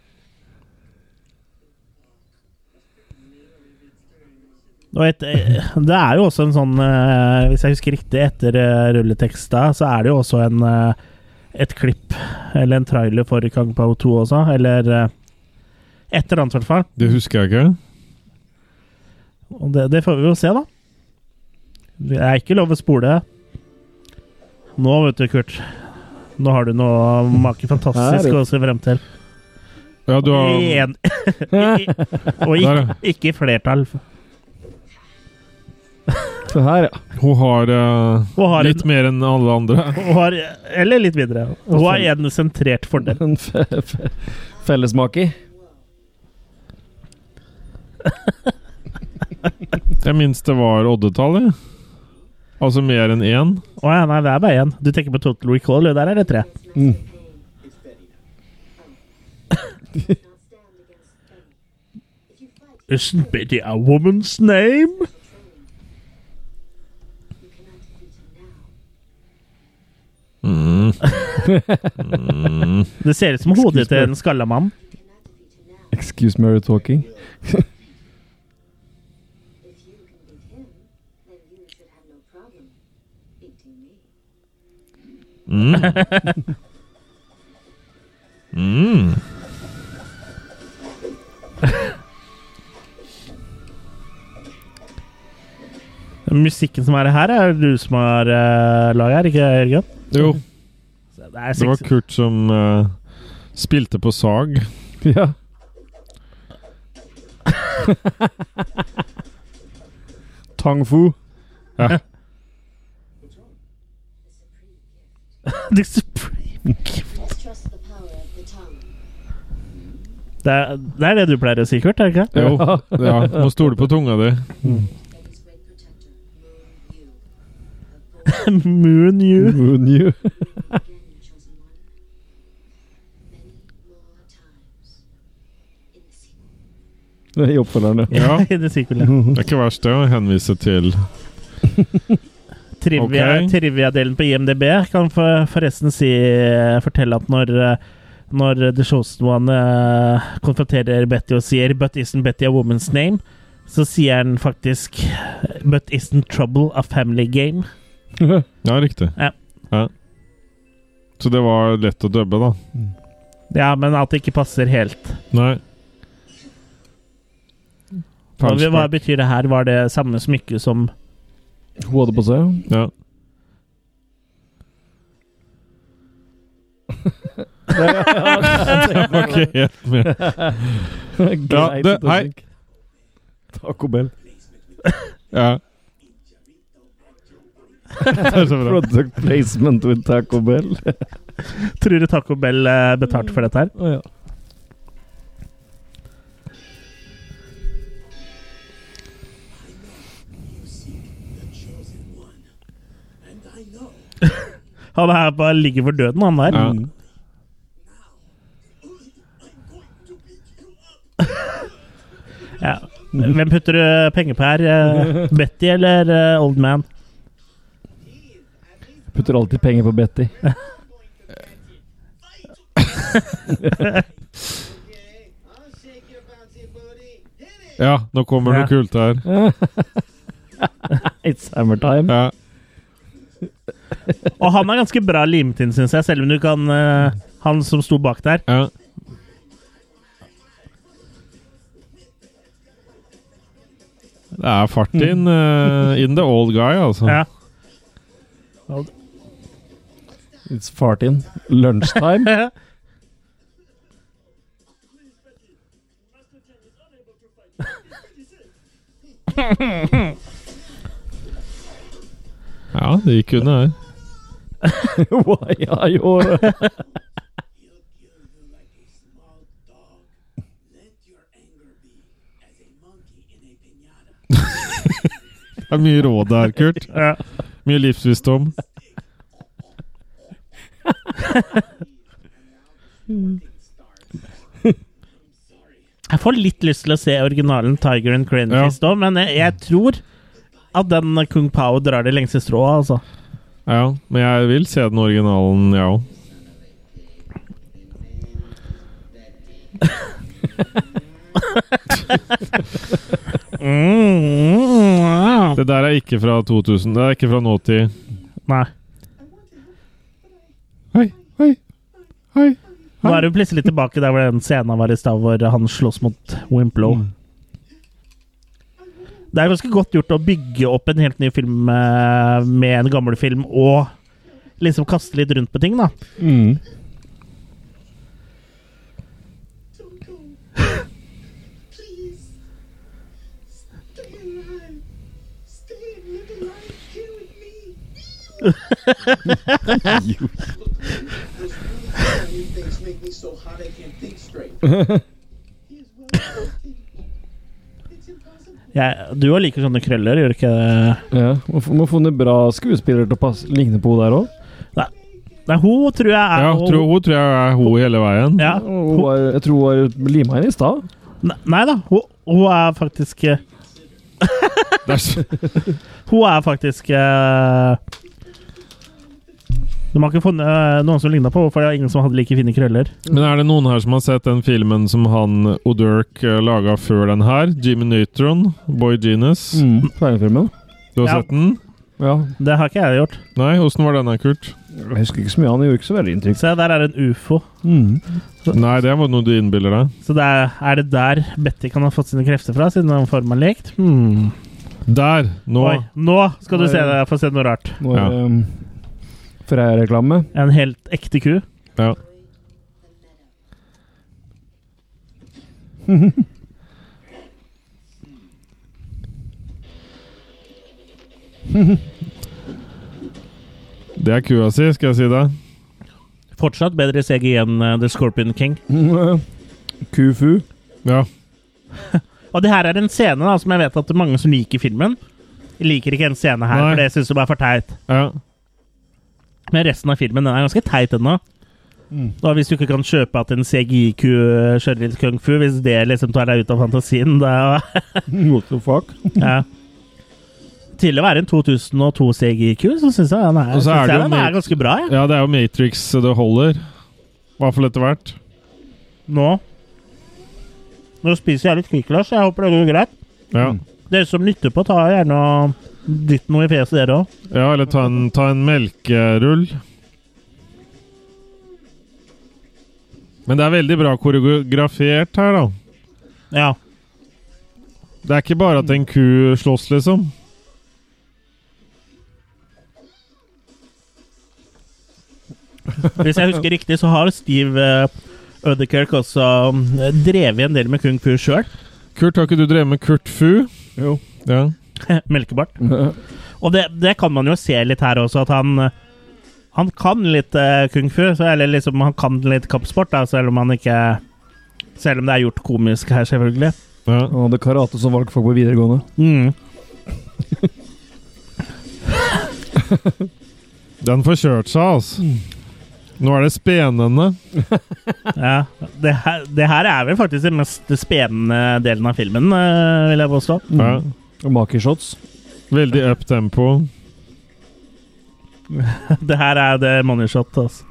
Speaker 3: Og et, eh, det er jo også en sånn eh, Hvis jeg husker riktig, etter eh, rulleteksta, så er det jo også en eh, et klipp, eller en trailer for Kang Pao 2 også, eller eh, et eller annet, i hvert fall.
Speaker 1: Det husker jeg ikke.
Speaker 3: Og det, det får vi jo se, da. Det er ikke lov å spole. Nå, vet du, Kurt. Nå har du noe make fantastisk
Speaker 2: Her.
Speaker 3: å se frem til.
Speaker 1: Ja, du har
Speaker 3: I en, i, og
Speaker 1: Der, ja.
Speaker 3: ikke, ikke i flertall.
Speaker 2: Se her, ja.
Speaker 1: Hun har, eh,
Speaker 3: Hun har
Speaker 1: litt mer enn alle andre.
Speaker 3: Hun har, eller litt mindre. Hun har en sentrert fordel.
Speaker 2: En fe fe fellesmaker.
Speaker 1: Jeg minst det var oddetallet. Altså mer enn én.
Speaker 3: Å ja, nei, det er bare én. Du tenker på Total Recall, jo, der er det tre.
Speaker 5: It's
Speaker 3: Isn't Betty
Speaker 5: Betty now. Now stand against Betty. If you fight,
Speaker 3: a woman's name?
Speaker 5: you cannot defeat him now.
Speaker 1: Mm.
Speaker 3: Det ser ut som hodet til en skalla mann.
Speaker 5: You cannot defeat him now.
Speaker 2: Excuse me, are you talking?
Speaker 5: If you can beat him, then you should have no problem beating me.
Speaker 1: Mm. Mm.
Speaker 3: Musikken som er her, er det du som har uh, laget her, ikke Jørgen?
Speaker 1: Jo,
Speaker 3: Så Det er
Speaker 1: det var
Speaker 3: sexy.
Speaker 1: Kurt som eh, spilte på sag.
Speaker 2: Ja. Tang fu.
Speaker 1: Ja.
Speaker 5: The supreme gift.
Speaker 3: The Supreme Gift.
Speaker 5: Let's trust the power of the tongue.
Speaker 3: Det er, det er det du pleier å si, Kurt? er det ikke?
Speaker 1: Jo, ja. Må stole på tunga di.
Speaker 5: Betty's great protector, Moon Yu. A boy
Speaker 3: Moon you.
Speaker 2: Moon you.
Speaker 5: again, you chosen one. Many more times. In the sequel.
Speaker 2: I oppfølgerne.
Speaker 1: Ja.
Speaker 3: I det sequelet.
Speaker 1: Det er ikke verst det å henvise til
Speaker 3: Trivia-
Speaker 1: Ok.
Speaker 3: Trivia-delen på IMDb kan for, forresten si, fortelle at når eh, når The Chosen One eh, konfronterer Betty og sier 'But isn't Betty a woman's name?', så sier han faktisk 'But isn't trouble a family game?'
Speaker 1: Ja, riktig.
Speaker 3: Ja.
Speaker 1: Ja. Så det var lett å dubbe, da.
Speaker 3: Ja, men at det ikke passer helt.
Speaker 1: Nei.
Speaker 3: Og vi- hva
Speaker 1: Palmspark.
Speaker 3: betyr det her? Var det samme smykke som
Speaker 2: Hun hadde på seg.
Speaker 1: Ja. Jeg var ikke helt med. Ja, det- hei.
Speaker 2: Taco Bell.
Speaker 1: Ja. Det er så bra.
Speaker 2: Product placement with Taco Bell.
Speaker 3: Tror du Taco Bell eh, betalte for dette her?
Speaker 2: Å, ja.
Speaker 4: You seek the chosen I know.
Speaker 3: Han er bare ligger for døden, han der.
Speaker 1: Ja.
Speaker 4: Now, I'm going to beat you up.
Speaker 3: Ja. Hvem putter du penger på her? Eh, Betty eller eh, Old Man?
Speaker 4: Here, at least
Speaker 2: Putter alltid penger på Betty.
Speaker 4: I'm going to get you. Fight! okay, I'll shake your bouncy booty. Hit it!
Speaker 1: Ja, nå kommer
Speaker 3: Ja.
Speaker 1: noe kult her.
Speaker 3: It's summertime.
Speaker 1: Ja.
Speaker 3: Og han er ganske bra limt inn, syns jeg, selv om du kan eh, Han som sto bak der.
Speaker 1: Ja. Det er fart in, eh, in the old guy, altså.
Speaker 3: Mm. Ja.
Speaker 2: It's fart in. Lunchtime.
Speaker 4: Master Chen is unable to fight. He's pretty sick.
Speaker 1: Ja, det gikk unna her.
Speaker 2: Why are you
Speaker 4: He'll kill you like a small dog. Let your anger be as a monkey in a pinata.
Speaker 1: Det er mye råd der, Kurt.
Speaker 3: Ja.
Speaker 1: Mye livsvisdom.
Speaker 3: Jeg får litt lyst til å se originalen Tiger and Cranefish òg, men jeg, jeg tror at den Kung Pao drar det lengste strået, altså.
Speaker 1: Ja, men jeg vil se den originalen, jeg ja. òg.
Speaker 3: Mm.
Speaker 1: Det der er ikke fra 2000. Det er ikke fra nåtid.
Speaker 3: Nei.
Speaker 1: Hei, hei, hei.
Speaker 3: Nå er du plutselig tilbake der hvor den scenen var i stad, hvor han slåss mot Wimplow.
Speaker 1: Mm.
Speaker 3: Det er ganske godt gjort å bygge opp en helt ny film eh, med en gammel film, og liksom kaste litt rundt på ting, da.
Speaker 2: mm.
Speaker 4: Don't go. Please. Stay alive. Stay and live a life here with me. Those really tiny things make me so hot I can't think straight. He is well protected. It's impossible.
Speaker 3: Jeg, du òg liker sånne krøller, gjør du ikke det?
Speaker 2: ja. Må få- må få noen bra skuespillere til å passe, ligne på henne der òg.
Speaker 3: Nei, Nei, hun tror jeg er
Speaker 1: Ja,
Speaker 3: hun-
Speaker 1: tro, hun tror jeg er hun hele veien.
Speaker 3: ja.
Speaker 2: Hun var- Jeg tror hun var lima henne i stad.
Speaker 3: Ne- Nei da, hun, hun er faktisk eh,
Speaker 1: Det er så-
Speaker 3: Hun er faktisk eh, De har ikke funnet eh, noen som ligna på henne, for det er ingen som hadde like fine krøller.
Speaker 1: Men er det noen her som har sett den filmen som han O'Dirk laga før den her? Jimmy Neutron, Boy Genius.
Speaker 2: Mm. Tegnefilmen.
Speaker 1: Du har
Speaker 3: Ja.
Speaker 1: sett den?
Speaker 2: Ja.
Speaker 3: Det har ikke jeg gjort.
Speaker 1: Nei, åssen var denne, Kurt?
Speaker 2: Jeg husker ikke så mye, han gjorde ikke så veldig inntrykk.
Speaker 3: Se, der er en ufo.
Speaker 2: Mm.
Speaker 1: Nei, det var noe du innbiller deg.
Speaker 3: Så det er, er det der Betty kan ha fått sine krefter fra, siden han forma likt? Hmm.
Speaker 1: Der! Nå!
Speaker 3: Oi, nå skal du se det, få se noe rart.
Speaker 2: Nå er
Speaker 1: Ja.
Speaker 2: det um, Freia-reklame.
Speaker 3: En helt ekte ku.
Speaker 1: Ja. Det er kua si, skal jeg si deg.
Speaker 3: Fortsatt bedre CG enn eh, The Scorpion King.
Speaker 2: Mm, Kufu.
Speaker 1: Ja.
Speaker 3: Og det her er en scene da, som jeg vet at det er mange som liker filmen. Liker ikke en scene her,
Speaker 1: Nei.
Speaker 3: for det syns de er for teit.
Speaker 1: ja.
Speaker 3: Men resten av filmen den er ganske teit ennå.
Speaker 1: Mm.
Speaker 3: Og hvis du ikke kan kjøpe at en CGIQ kjører litt eh, kung fu, hvis det liksom tar deg ut av fantasien, da
Speaker 2: What the fuck?
Speaker 3: ja. Til å være en 2002 CGIQ, så syns jeg den er,
Speaker 1: Og så er
Speaker 3: synes
Speaker 1: det
Speaker 3: jeg
Speaker 1: jo
Speaker 3: den
Speaker 1: mer-
Speaker 3: er ganske bra. jeg.
Speaker 1: ja, det er jo Matrix det holder. I hvert fall etter hvert.
Speaker 3: Nå Nå spiser jeg litt Kvikk Lunsj. Jeg håper det går greit.
Speaker 1: Ja.
Speaker 3: Dere som lytter på, ta gjerne og dytt noe i fjeset, dere òg.
Speaker 1: ja, eller ta en, ta en melkerull. Men det er veldig bra koreografert her, da.
Speaker 3: Ja.
Speaker 1: Det er ikke bare at en ku slåss, liksom.
Speaker 3: Hvis jeg husker riktig, så har Steve Udderkirk også eh, drevet en del med kung fu sjøl.
Speaker 1: Kurt, har ikke du drevet med Kurt Fu?
Speaker 2: Jo.
Speaker 1: Ja.
Speaker 3: Melkebart.
Speaker 2: Ja.
Speaker 3: Og det, det kan man jo se litt her også, at han eh, Han kan litt eh, kung fu, så, eller liksom han kan litt kampsport, da, selv om han ikke Selv om det er gjort komisk her, selvfølgelig. Mm.
Speaker 1: ja.
Speaker 2: Han hadde karate som valgfag på videregående.
Speaker 3: Mm.
Speaker 1: Den får kjørt seg, altså. Nå er det spenende.
Speaker 3: Ja, det her, det her er vel faktisk den mest spennende delen av filmen, eh, vil jeg påstå.
Speaker 1: Ja.
Speaker 2: Og Makershots.
Speaker 1: Veldig up tempo.
Speaker 3: Det her er det money shot, altså.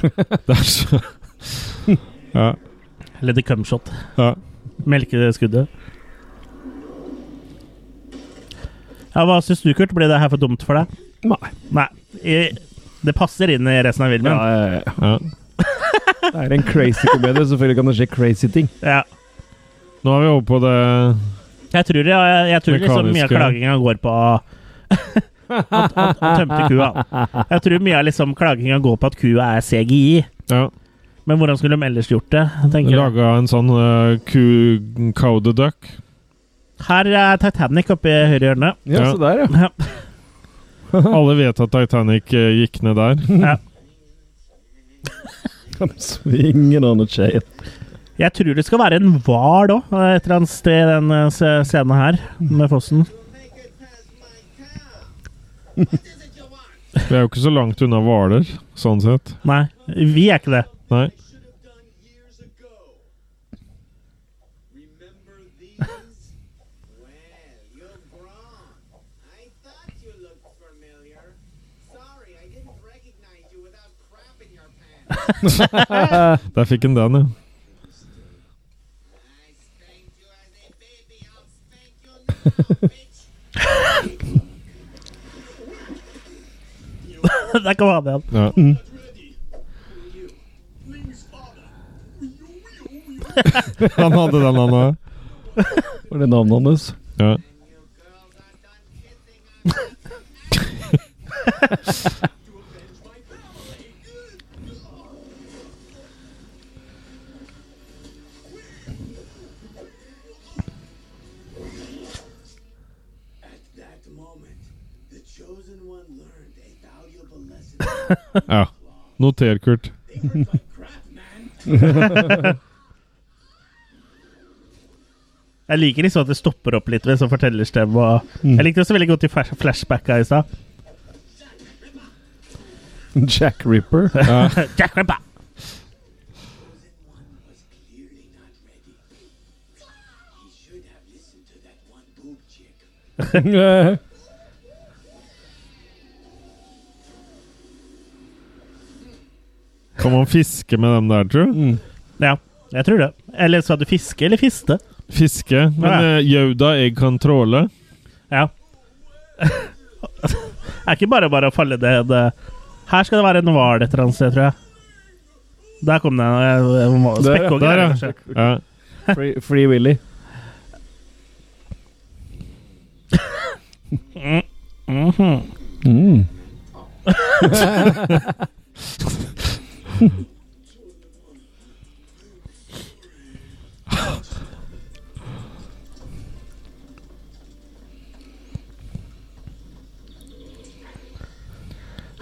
Speaker 1: Det er så Ja.
Speaker 3: Eller the cum shot.
Speaker 1: ja.
Speaker 3: Melkeskuddet. Ja, hva syns du, Kurt? Ble det her for dumt for deg?
Speaker 2: Nei.
Speaker 3: Nei. I- Det passer inn i resten av filmen.
Speaker 2: Ja, ja, ja.
Speaker 1: ja.
Speaker 2: Det er en crazy komedie. Selvfølgelig kan det skje crazy ting.
Speaker 3: Ja.
Speaker 1: Nå er vi over på det
Speaker 3: Jeg tror, jeg, jeg tror liksom mye av
Speaker 1: Mekaniske.
Speaker 3: klaginga går på at, at, at tømte kua. Jeg tror mye av liksom klaginga går på at kua er CGI.
Speaker 1: Ja.
Speaker 3: Men hvordan skulle de ellers gjort det? tenker jeg.
Speaker 1: Laga en sånn uh, cow the duck.
Speaker 3: Her er Titanic oppe i høyre hjørne.
Speaker 2: Ja,
Speaker 1: Ja.
Speaker 2: se der, ja.
Speaker 3: Ja. Uh-huh.
Speaker 1: Alle vet at Titanic eh, gikk ned der.
Speaker 3: Ja.
Speaker 2: I'm swinging on a chain.
Speaker 3: Jeg tror det skal være en hval òg, et eller annet sted i den eh, se- scenen her, med fossen.
Speaker 5: Make it past my cow. What is it you want?
Speaker 1: Vi er jo ikke så langt unna Hvaler, sånn sett.
Speaker 3: Nei, vi er ikke det.
Speaker 1: Nei.
Speaker 4: I should have done years ago. Remember these? well, you're wrong. I thought you looked familiar. Sorry, I didn't recognize you without crap in your pants.
Speaker 1: Der fikk han den, ja.
Speaker 5: I spanked you as a baby. I'll spank you now, bitch.
Speaker 3: Der kan vi ha det igjen.
Speaker 1: ja.
Speaker 4: Please, father.
Speaker 1: Han hadde den, han òg.
Speaker 2: Var det navnet hans?
Speaker 1: Ja.
Speaker 4: At that moment, the chosen one learned a valuable lesson.
Speaker 1: ja. Noter, Kurt.
Speaker 4: They hurt like crap, man.
Speaker 3: Jeg liker liksom at det stopper opp litt ved sånn fortellerstemme. Og jeg likte også veldig godt de flash- flashbacka i stad.
Speaker 2: Jack Ripper.
Speaker 3: Jack Ripper!
Speaker 4: One was clearly not ready. He should have listened to that one boob chick.
Speaker 1: Kan man fiske med dem der, tru?
Speaker 3: Ja, jeg tror det. Eller sa du fiske eller fiste?
Speaker 1: Fiske. Men
Speaker 3: Ja.
Speaker 1: eh, Yoda, jeg kan tråle.
Speaker 3: Ja. det er ikke bare bare å falle ned eh. Her skal det være en hval et eller annet sted, tror jeg. Der kom den. eh,
Speaker 2: Der, ja.
Speaker 3: Spekkhoggeren,
Speaker 1: Der, ja.
Speaker 3: kanskje.
Speaker 1: Ja.
Speaker 2: Free, free Willy. Mm.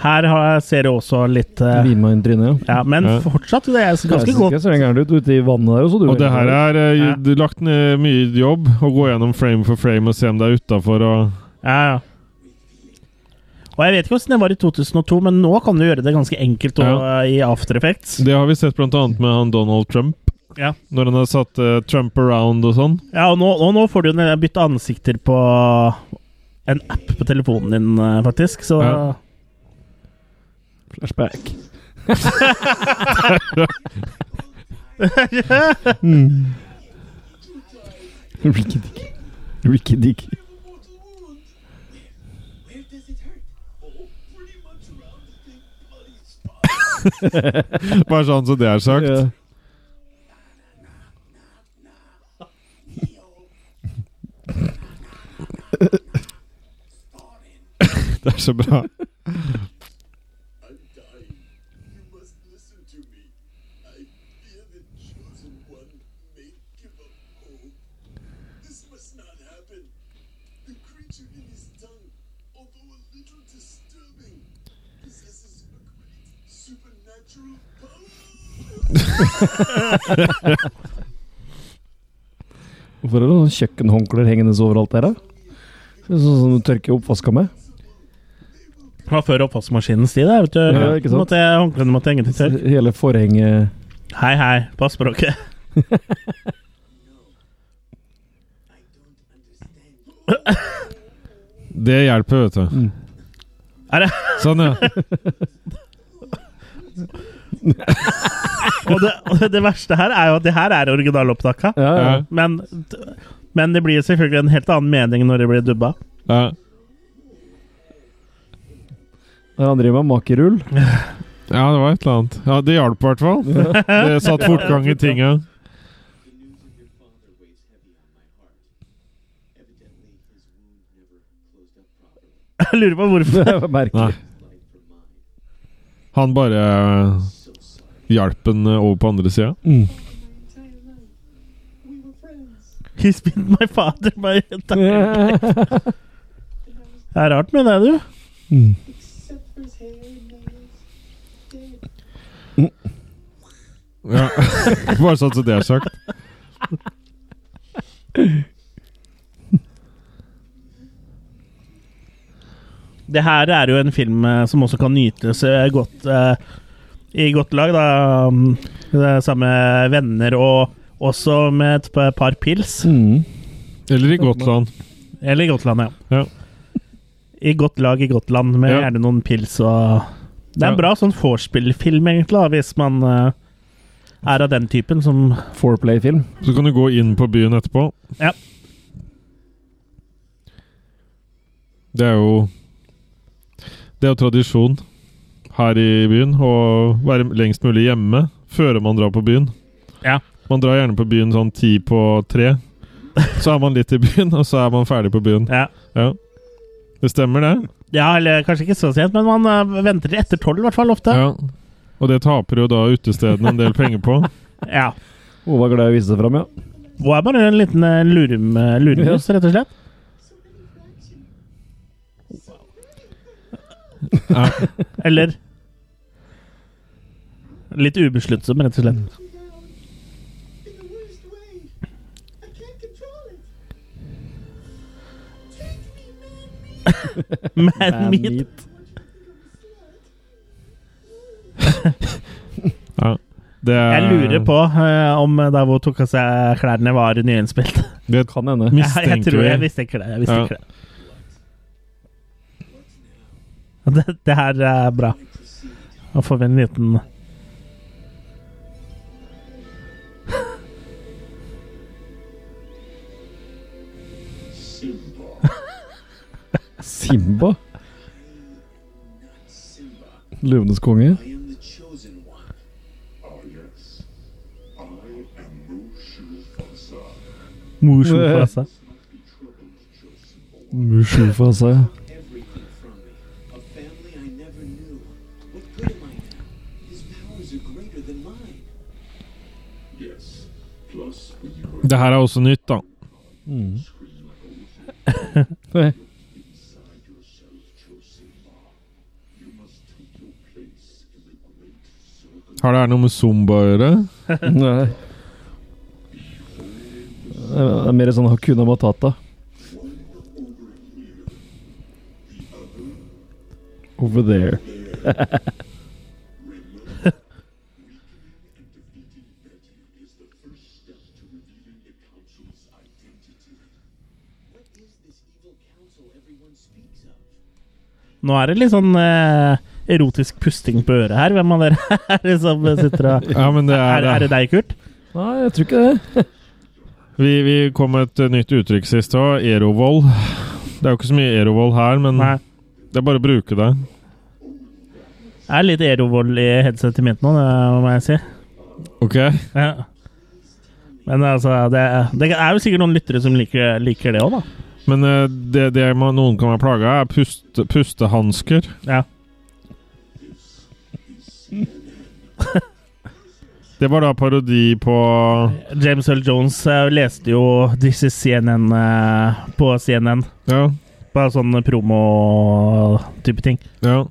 Speaker 3: Her har, ser du også litt eh,
Speaker 2: Lima inn trynet.
Speaker 3: Ja, men
Speaker 1: Ja.
Speaker 3: fortsatt det er
Speaker 2: Jeg
Speaker 3: ganske
Speaker 2: synes
Speaker 3: godt.
Speaker 2: ikke så gærent ut ute i vannet der også, du.
Speaker 1: Og det her er eh,
Speaker 3: Ja.
Speaker 1: du lagt ned mye jobb å gå gjennom frame for frame og se om det er utafor og
Speaker 3: Ja, ja. Og jeg vet ikke hvordan det var i 2002, men nå kan du gjøre det ganske enkelt og,
Speaker 1: Ja.
Speaker 3: eh, i After Effects.
Speaker 1: Det har vi sett blant annet med han Donald Trump.
Speaker 3: Ja.
Speaker 1: Når han har satt eh, Trump around og sånn.
Speaker 3: Ja, og nå, og nå får du jo ned- bytte ansikter på en app på telefonen din, eh, faktisk, så
Speaker 1: Ja.
Speaker 2: Flashback. mm. Ricky Dick. Ricky Dick.
Speaker 4: Mortal wound. Where does it hurt? Oh, pretty much around the big bloody spot.
Speaker 1: Bare sånn så det er sagt.
Speaker 2: Ja.
Speaker 1: Det er så bra.
Speaker 4: I'm dying. You must listen to me. I fear the chosen one may give up hope. This must not happen. The creature in his tongue, although a little disturbing, possesses a great supernatural power.
Speaker 2: Hvorfor er det noen kjøkkenhåndklær hengende overalt der, da? Sånn som du tørker oppvaska med?
Speaker 3: Det var før oppvaskmaskinens tid. da, Vet du.
Speaker 2: Ja, ikke sant?
Speaker 3: Måtte jeg, håndklærne måtte henge til tørk.
Speaker 2: Hele forhenget
Speaker 3: Hei, hei, på språket.
Speaker 1: Det hjelper, vet du.
Speaker 3: Er det?
Speaker 1: Sånn, ja.
Speaker 3: Og det, og det verste her er jo at det her er originalopptaket.
Speaker 2: Ja, ja.
Speaker 1: Ja.
Speaker 3: Men, men det blir jo selvfølgelig en helt annen mening når det blir dubba.
Speaker 1: ja.
Speaker 2: Når han driver med makerull.
Speaker 1: Ja, det var et eller annet. Ja, Det hjalp i hvert fall. Det satte fortgang i tinga.
Speaker 4: The news of your father weighs heavy on my
Speaker 2: Det er
Speaker 3: Jeg lurer på hvorfor.
Speaker 4: heart. Evidently, his wound never closed up properly.
Speaker 2: merkelig.
Speaker 1: Nei. Han bare eh, hjalp den eh, over på andre sida.
Speaker 2: Mm.
Speaker 4: We were friends.
Speaker 3: He's been my father my entire life.
Speaker 2: Ja.
Speaker 3: Det er rart med det, du.
Speaker 2: Mm.
Speaker 4: Except for his hair and nails. Dead.
Speaker 1: Ja. Bare sånn som det er sagt.
Speaker 3: Det her er jo en film eh, som også kan nytes eh, godt eh, i godt lag, da. Mm, Det er samme venner og også med et pa- par pils.
Speaker 2: Mm.
Speaker 1: Eller i Gotland.
Speaker 3: Eller i godt land, ja.
Speaker 1: Ja.
Speaker 3: I godt lag i godt land, med
Speaker 1: Ja.
Speaker 3: gjerne noen pils og Det er
Speaker 1: Ja.
Speaker 3: en bra sånn vorspiel-film, egentlig, da, hvis man eh, er av den typen som
Speaker 2: Foreplay-film.
Speaker 1: Så kan du gå inn på byen etterpå.
Speaker 3: Ja.
Speaker 1: Det er jo Det er jo tradisjon her i byen å være lengst mulig hjemme før man drar på byen.
Speaker 3: Ja.
Speaker 1: Man drar gjerne på byen sånn ti på tre. Så er man litt i byen, og så er man ferdig på byen.
Speaker 3: Ja.
Speaker 1: Ja. Det stemmer, det.
Speaker 3: ja, eller kanskje ikke så sent, men man eh, venter til etter tolv, i hvert fall, ofte.
Speaker 1: Ja. Og det taper jo da utestedene en del penger på.
Speaker 3: Ja.
Speaker 2: Hun var glad i å vise seg fram, ja.
Speaker 3: Og er bare en liten eh, lurum, eh, luremus, rett og slett.
Speaker 1: Ja.
Speaker 3: Eller Litt ubesluttsom, rett og slett.
Speaker 1: Mm.
Speaker 4: You know, in the worst way. I can't control it. Take me,
Speaker 3: Man
Speaker 4: man meat.
Speaker 3: meat.
Speaker 1: Ja. Det er,
Speaker 3: Jeg lurer på eh, om da hun tok av seg klærne, var nyinnspilt.
Speaker 1: Det
Speaker 2: Kan hende.
Speaker 3: Jeg, jeg
Speaker 1: mistenker
Speaker 3: tror jeg
Speaker 1: vi.
Speaker 3: mistenker det. Jeg mistenker
Speaker 1: Ja.
Speaker 3: det. det. Det her er bra. Da får vi en liten
Speaker 4: Simba.
Speaker 2: Simba.
Speaker 4: Not Simba.
Speaker 2: Løvenes konge.
Speaker 4: I am the chosen one. Ah, yes. I am Mushu
Speaker 3: Mushu for
Speaker 4: Fasa.
Speaker 3: oss. da.
Speaker 4: Be troubled, chosen one.
Speaker 2: Mushufa, sa jeg.
Speaker 4: Everything from me. A family I never knew. What good am I now? His powers are greater than mine. Yes. Plus, when you are
Speaker 1: Det her er også nytt, da.
Speaker 4: inside yourself, Josefa, you must take your place in the great circle.
Speaker 1: Har det her noe med Zumba å gjøre?
Speaker 2: Nei. Det er mer sånn Hakuna Matata. Over there.
Speaker 4: And defeating Betty is the first step to revealing the council's identity. What is this evil council everyone speaks of?
Speaker 3: Nå er det litt sånn eh, erotisk pusting på øret her. Hvem av dere er det som sitter og
Speaker 1: Ja, men det
Speaker 3: er,
Speaker 1: er,
Speaker 3: er det deg, Kurt?
Speaker 2: Nei, jeg tror ikke det.
Speaker 1: Vi, vi kom med et eh, nytt uttrykk sist òg. Erovold. Det er jo ikke så mye erovold her, men
Speaker 3: Nei.
Speaker 1: det er bare å bruke det.
Speaker 3: Jeg er litt erovold i headsetet mitt nå, det må jeg si.
Speaker 1: Ok?
Speaker 3: Ja. Men altså, det, det er jo sikkert noen lyttere som liker, liker det òg, da.
Speaker 1: Men eh, det, det man, noen kan være plaga av, er puste, pustehansker.
Speaker 3: Ja.
Speaker 1: Det var da parodi på
Speaker 3: James Earl Jones eh, leste jo This is CNN eh, på CNN.
Speaker 1: Ja.
Speaker 3: På sånn promo-type ting.
Speaker 1: ja.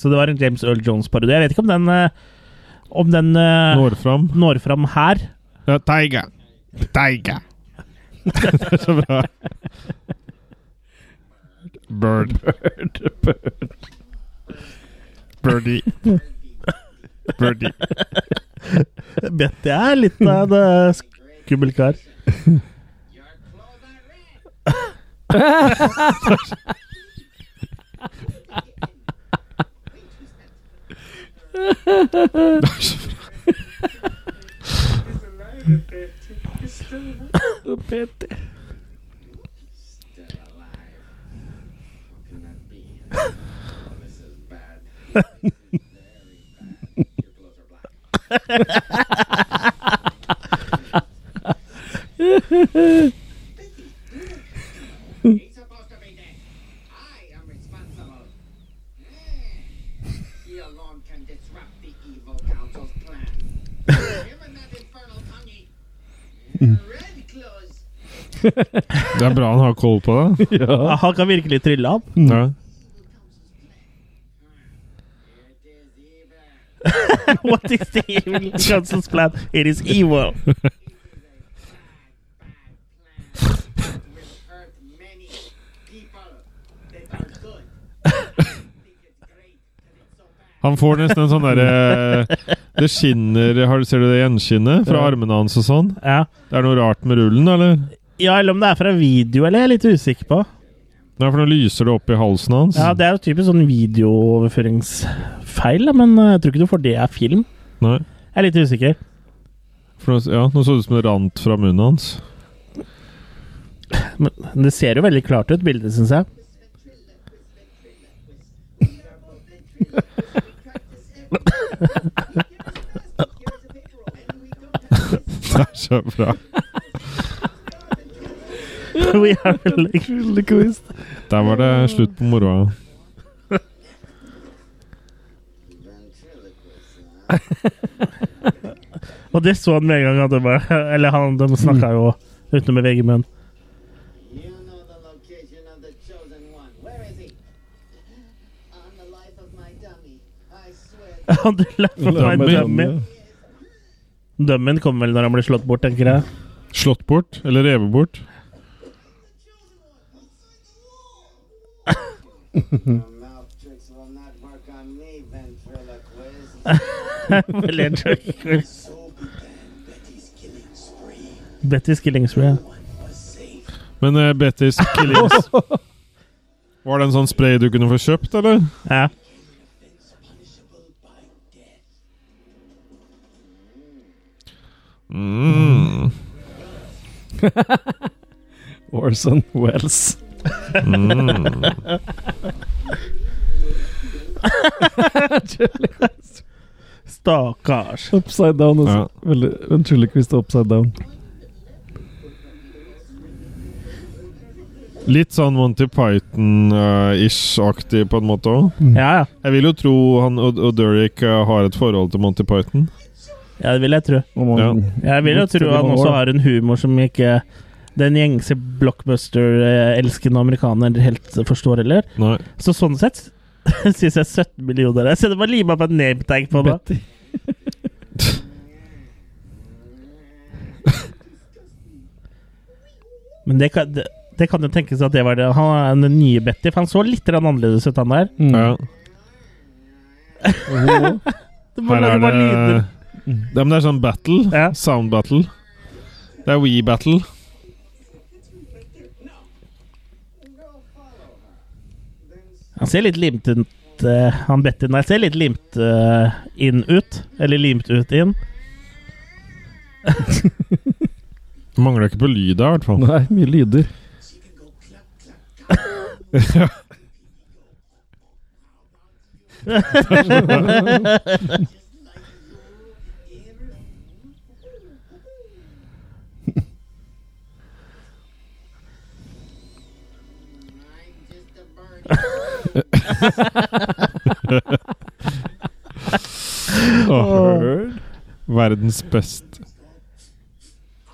Speaker 3: Så det var en James Earl Jones-parodi. Jeg vet ikke om den, eh, om den eh,
Speaker 1: Når fram.
Speaker 3: når fram her.
Speaker 1: Ja, Taiga. Taiga. det er så bra. Bird.
Speaker 2: Bird. Bird.
Speaker 1: Birdie. Birdie.
Speaker 3: Betty er litt av en eh, skummel kar.
Speaker 4: Your clothes are red.
Speaker 2: Peter.
Speaker 4: Still alive. How can that be? Oh, this is bad. This is very bad. Your clothes are black. He's supposed to be dead. I am responsible. Hmm. He alone can disrupt the evil council's plan. Him and that infernal tonguey. Red clothes.
Speaker 1: Det er bra han har koll på det.
Speaker 3: Ja, Han kan virkelig trylle han.
Speaker 1: Ja.
Speaker 4: Evil council's plan. Hmm. It is evil.
Speaker 3: What is the evil Johnson's plan? It is evil.
Speaker 1: Han får nesten en sånn derre Det skinner har, du- Ser du det gjenskinnet fra
Speaker 2: Ja.
Speaker 1: armene hans og sånn?
Speaker 3: Ja.
Speaker 1: Det er noe rart med rullen, eller?
Speaker 3: ja, eller om det er fra video, eller? Jeg er litt usikker på.
Speaker 1: Nei, for nå lyser det opp i halsen hans.
Speaker 3: Ja, Det er jo typisk sånn videooverføringsfeil, da, men eh, jeg tror ikke du får det av film.
Speaker 1: Nei.
Speaker 3: Jeg er litt usikker.
Speaker 1: For nå, ja, nå så det ut som det rant fra munnen hans.
Speaker 3: Men det ser jo veldig klart ut, bildet, syns jeg.
Speaker 1: Det er så bra.
Speaker 3: We are like
Speaker 1: Der var det slutt på moroa.
Speaker 3: Og det så han med en gang. At det bare, eller han, de snakka jo utenom med vegg i munnen.
Speaker 4: You know the location of the chosen one. Where is he? On the life of my dummy. I swear.
Speaker 3: Han dømmer dømmen. Dømmen kommer vel når han blir slått bort, tenker jeg.
Speaker 1: Slått bort? Eller revet bort?
Speaker 4: Your mouth tricks will not work on me, ventriloquist.
Speaker 3: Veldig en joke.
Speaker 4: so began Betty's killing spree.
Speaker 3: Betty's killing spree.
Speaker 4: One was safe.
Speaker 1: Men eh, Bettys killings Var det en sånn spray du kunne få kjøpt, eller?
Speaker 3: Ja.
Speaker 4: It's punishable by death.
Speaker 1: Mm.
Speaker 2: Orson Wells.
Speaker 1: Mm.
Speaker 3: Stakkars.
Speaker 2: upside down. Også.
Speaker 1: Ja.
Speaker 2: Veldig, en tullequist upside down.
Speaker 1: Litt sånn Monty Python-ish-aktig, på en måte òg.
Speaker 3: Ja, ja.
Speaker 1: Jeg vil jo tro han og, og Derek eh, har et forhold til Monty Python.
Speaker 3: ja, det vil jeg tro.
Speaker 2: Og man,
Speaker 1: Ja.
Speaker 3: Jeg vil jo tro han også har en humor som ikke den gjengse blockbuster-elskende amerikaner helt forstår heller.
Speaker 1: Nei.
Speaker 3: Så sånn sett syns jeg 17 millioner er Så det var lima på et nametag på meg.
Speaker 2: Betty.
Speaker 3: Men det kan, det, det kan jo tenkes at det var det. Han er den nye Betty, for han så litt grann annerledes ut, han der.
Speaker 2: Mm.
Speaker 1: Ja.
Speaker 3: Det
Speaker 1: Her
Speaker 3: var,
Speaker 1: er
Speaker 3: det var lyder.
Speaker 1: det ja, men Det er sånn battle.
Speaker 3: Ja.
Speaker 1: Sound battle. Det er Wii battle.
Speaker 4: Go follow her. Then
Speaker 3: Han ser litt limt ut, eh, han Betty. Nei, ser litt limt eh, inn ut. Eller limt ut inn.
Speaker 1: Mangler ikke på lyd her, i hvert fall.
Speaker 2: Nei, mye lyder.
Speaker 4: she can go clap, clap, clap. Just like you. Everyone. I'm just a bird.
Speaker 1: Åh. Verdens best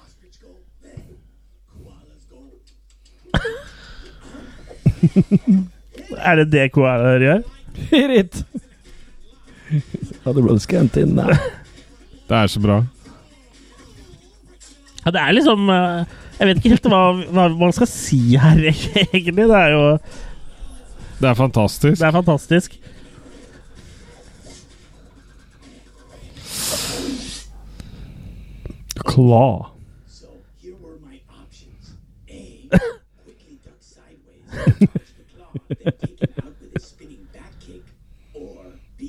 Speaker 4: Ostrich go. Koalas go.
Speaker 3: Er det det koalaer gjør?
Speaker 2: Hit it! Ja, det ble skremt inn. Nei.
Speaker 1: Det er så bra.
Speaker 3: Ja, det er liksom eh, Jeg vet ikke helt hva, hva man skal si her, egentlig. Det er jo
Speaker 1: Det er fantastisk.
Speaker 3: Det er fantastisk.
Speaker 2: Kla.
Speaker 4: So here were my options. A. Quickly duck sideways and crush the claw, then take him out with a spinning back kick. Or B.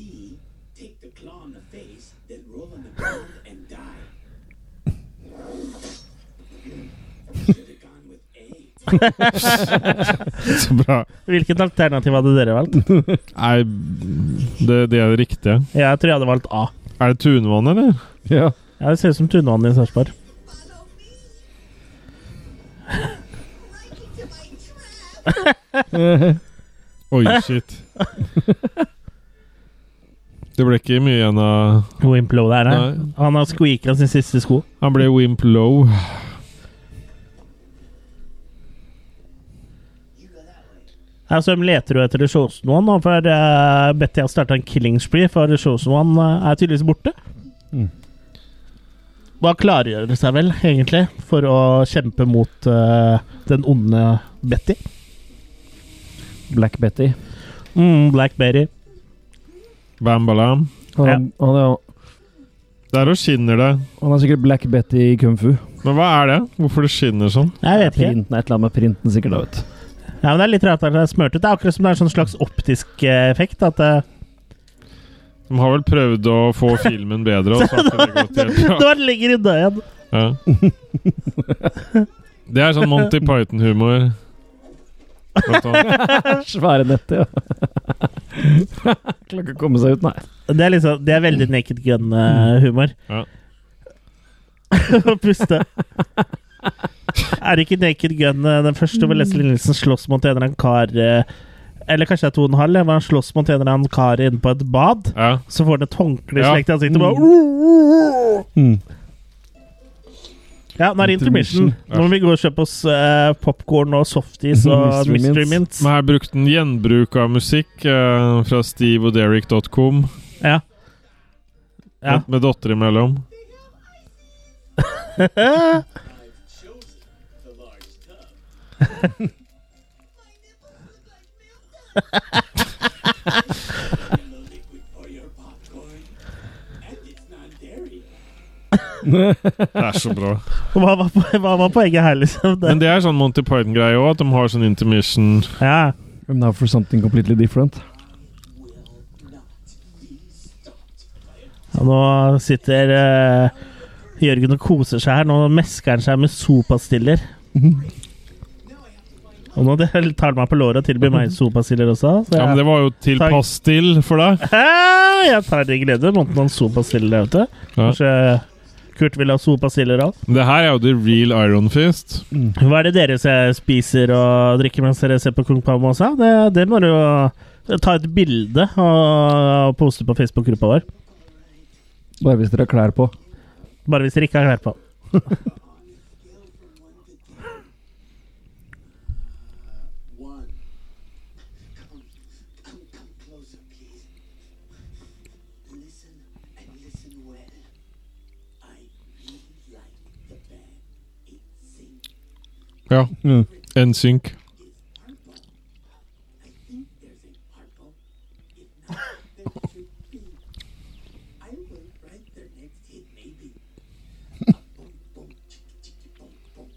Speaker 4: Take the claw in the face, then roll on the ground and die. Should have gone with A.
Speaker 1: Så bra.
Speaker 3: Hvilket alternativ hadde dere valgt?
Speaker 1: Nei, det, det er det riktige.
Speaker 3: Jeg tror jeg hadde valgt A.
Speaker 1: Er det tunvann, eller?
Speaker 2: Ja.
Speaker 3: Ja, det ser ut som tunvannet i Sarpsborg.
Speaker 5: Follow me. right into my trap.
Speaker 1: Oi, shit. Det ble ikke mye igjen av
Speaker 3: Wimp Low der, nei.
Speaker 1: Nei.
Speaker 3: Han har squeaka sin siste sko.
Speaker 1: Han ble Wimp Low.
Speaker 4: You go that way.
Speaker 3: Ja, så altså, de leter jo etter The Chosen One, og for eh, Betty har starta en killing spree, for The Chosen One eh, er tydeligvis borte.
Speaker 2: Mm.
Speaker 3: Da klargjør det seg vel, egentlig, for å kjempe mot eh, den onde Betty.
Speaker 2: Black Betty.
Speaker 3: Mm, Black Berry.
Speaker 1: Bam balam.
Speaker 2: Han,
Speaker 3: Ja.
Speaker 2: han, er,
Speaker 1: Der og skinner det.
Speaker 2: han er sikkert Black Betty i kung fu.
Speaker 1: Men hva er det? Hvorfor det skinner sånn?
Speaker 3: Jeg vet ikke.
Speaker 2: Printen er et eller annet med printen, sikkert. da, vet du.
Speaker 3: Ja, men Det er litt rart at det er smurt ut. Det er akkurat som det er en sånn slags optisk eh, effekt. At eh,
Speaker 1: De har vel prøvd å få filmen bedre, og så har ikke det gått
Speaker 3: det,
Speaker 1: helt bra.
Speaker 3: var lenger unna igjen.
Speaker 1: Ja. Det er sånn Monty Python-humor. Blant annet.
Speaker 2: Svære nettet, ja. Klarer ikke å komme seg ut, nei.
Speaker 3: Det er, liksom, det er veldig naked gun-humor.
Speaker 1: Ja.
Speaker 3: Å puste. Er det ikke naked gun eh, den første hvor Leslie Nilsen slåss mot en eller annen kar eh, Eller kanskje det er to og en halv, eh, hvor han slåss mot en eller annen kar inne på et bad.
Speaker 1: Ja.
Speaker 3: Så får han et håndkle
Speaker 1: Ja.
Speaker 3: slekt i ansiktet. og Bare,
Speaker 2: Mm. Hmm.
Speaker 3: ja, nå er det intermission. Nå må vi gå og kjøpe oss eh, popcorn og softies og
Speaker 2: Mystery
Speaker 3: mystery mints.
Speaker 2: Mints.
Speaker 1: Men her brukte han gjenbruk av musikk eh, fra steveogderrick.com.
Speaker 3: Ja. Ja.
Speaker 1: Med, med dotter imellom.
Speaker 4: Chosen the large tub.
Speaker 5: My nipples look like milk.
Speaker 4: Yellow liquid for your popcorn. And it's not dairy.
Speaker 1: Det er så bra.
Speaker 3: Hva var, po- hva var poenget her, liksom? Det.
Speaker 1: Men det er sånn Monty Python-greie òg, at de har sånn intermission.
Speaker 3: Ja.
Speaker 2: I'm now for something completely different.
Speaker 4: Will not be stopped by a
Speaker 3: Ja, Nå sitter eh, Jørgen og koser seg her. Nå mesker han seg med sopastiller. Og nå det- tar han meg på låret og tilbyr meg sopastiller også. Så jeg,
Speaker 1: Ja, men det var jo til
Speaker 3: Takk.
Speaker 1: pastill for deg.
Speaker 3: Ah, jeg tar det i glede. Måtte noen sopastiller der ute.
Speaker 1: Ja.
Speaker 3: Kanskje Kurt vil ha sopastiller òg.
Speaker 1: Men Det her er jo the real Iron Fist.
Speaker 3: Hva er det dere ser- spiser og drikker mens dere ser på Kung Pao Mosa? Det, det må du jo ta et bilde og poste på Facebook-gruppa vår.
Speaker 2: Bare hvis dere har klær på.
Speaker 3: Bare hvis dere ikke har klær på.
Speaker 4: one. Come, come, come closer, please. Listen and listen well. I really like the band. It sings.
Speaker 1: Ja.
Speaker 3: Mm.
Speaker 1: NSYNC.
Speaker 4: It's purple. I think there's a purple. If not, there should be. I will write their next hit, maybe. A boom, boom, chick, chick, boom, boom.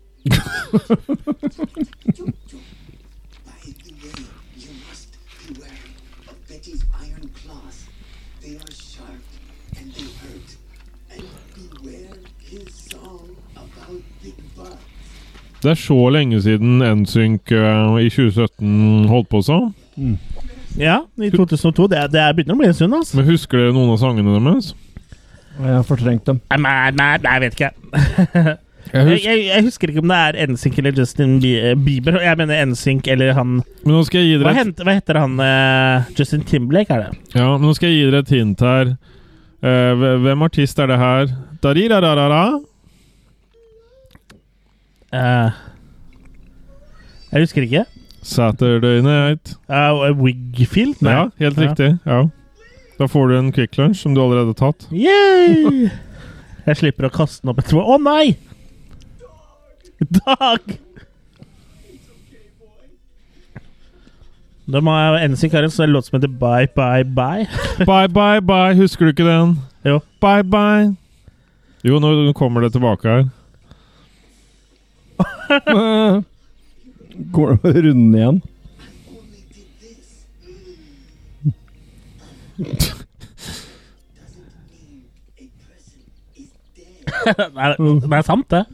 Speaker 4: Choo, choo. By the way, you must beware of Betty's iron claws. They are sharp and they hurt. And beware his song about big bugs.
Speaker 1: Det er så lenge siden NSYNC eh, i 2017 holdt på sånn.
Speaker 3: Ja, i 2002. Det, det begynner å bli en stund, altså.
Speaker 1: Men husker dere noen av sangene deres?
Speaker 2: Og jeg har fortrengt dem.
Speaker 3: Nei, nei, nei, nei, jeg vet ikke.
Speaker 1: Jeg
Speaker 3: Jeg,
Speaker 1: husker.
Speaker 3: jeg, jeg husker ikke om det er NSYNC eller Justin Bi- eh, Bieber. Jeg mener NSYNC eller han
Speaker 1: Men nå skal jeg gi
Speaker 3: Hva,
Speaker 1: dere et
Speaker 3: hent, hva heter han eh, Justin Timberlake, er det?
Speaker 1: Ja, men nå skal jeg gi dere et hint her. Eh, hve- hvem artist er det her? Darirararara?
Speaker 3: Eh, jeg husker ikke.
Speaker 1: Saturday Night.
Speaker 3: Eh, Wigfield? Nei.
Speaker 1: Ja, helt
Speaker 3: Ja.
Speaker 1: riktig. Ja. Da får du en Quick Lunch som du allerede har tatt.
Speaker 3: Yay! Jeg slipper å kaste den opp etterpå. Å nei! Dag! De har en sikkert en sånn låt som heter Bye Bye Bye.
Speaker 1: Bye, bye, bye. Husker du ikke den?
Speaker 3: Jo.
Speaker 1: Bye, bye. Jo, nå nå kommer det tilbake her.
Speaker 2: Går det med runden igjen?
Speaker 5: Only did this. Doesn't mean a person is dead.
Speaker 3: Nei, det er sant, det.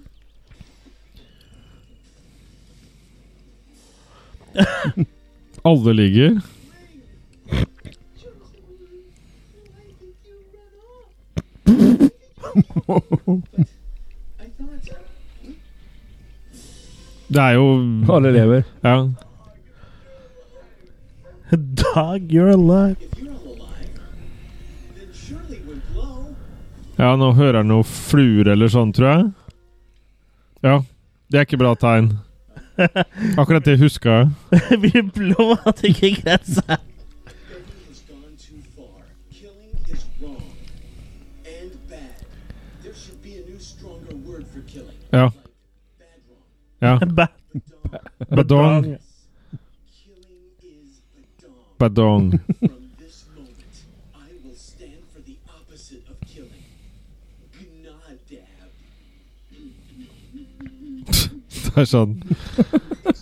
Speaker 1: Alle ligger.
Speaker 5: I think you ran off. I thought so.
Speaker 1: Det er jo
Speaker 2: Alle lever.
Speaker 1: Ja.
Speaker 3: Dog, you're alive.
Speaker 5: If you're all alive, then surely we're glow.
Speaker 1: ja, nå hører jeg noe fluer eller sånn, tror jeg. Ja. Det er ikke bra tegn. Akkurat det huska jeg.
Speaker 3: Vi blå at ikke grensa.
Speaker 5: Betty has gone too far. Killing is wrong and bad. There should be a new, stronger word for killing.
Speaker 1: Ja. ja.
Speaker 5: Bad wrong.
Speaker 3: Ba-
Speaker 1: Badong.
Speaker 5: Killing is badong.
Speaker 1: Badong.
Speaker 5: From this moment, I will stand for the opposite of killing. Gnadab.
Speaker 1: Det er sånn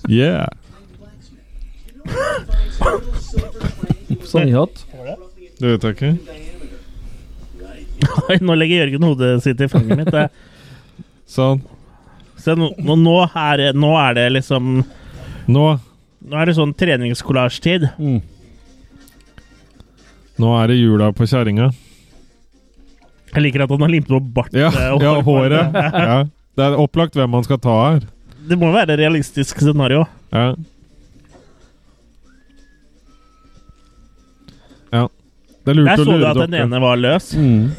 Speaker 1: Yeah.
Speaker 5: I'm the blacksmith. You know where to find some little silver triangular
Speaker 2: Sånn i hatt.
Speaker 5: roughly an
Speaker 1: Det vet jeg ikke.
Speaker 5: inch in diameter. Right
Speaker 3: Oi, nå legger Jørgen hodet sitt i fanget mitt. Det.
Speaker 1: Sånn.
Speaker 3: Så nå, nå- nå, er, det- nå er det liksom
Speaker 1: Nå.
Speaker 3: Nå er det sånn treningskollasjetid.
Speaker 1: Nå er det jula på kjerringa.
Speaker 3: Jeg liker at han har limt på bart.
Speaker 1: Ja,
Speaker 3: eh, og
Speaker 1: ja,
Speaker 3: hårfarge.
Speaker 1: håret. Ja. Det er opplagt hvem man skal ta her.
Speaker 3: Det må være et realistisk scenario.
Speaker 1: Ja. ja. Det er lurt
Speaker 3: Jeg
Speaker 1: å
Speaker 3: så jo
Speaker 1: lure
Speaker 3: at den
Speaker 1: dere.
Speaker 3: ene var løs.
Speaker 2: Hmm.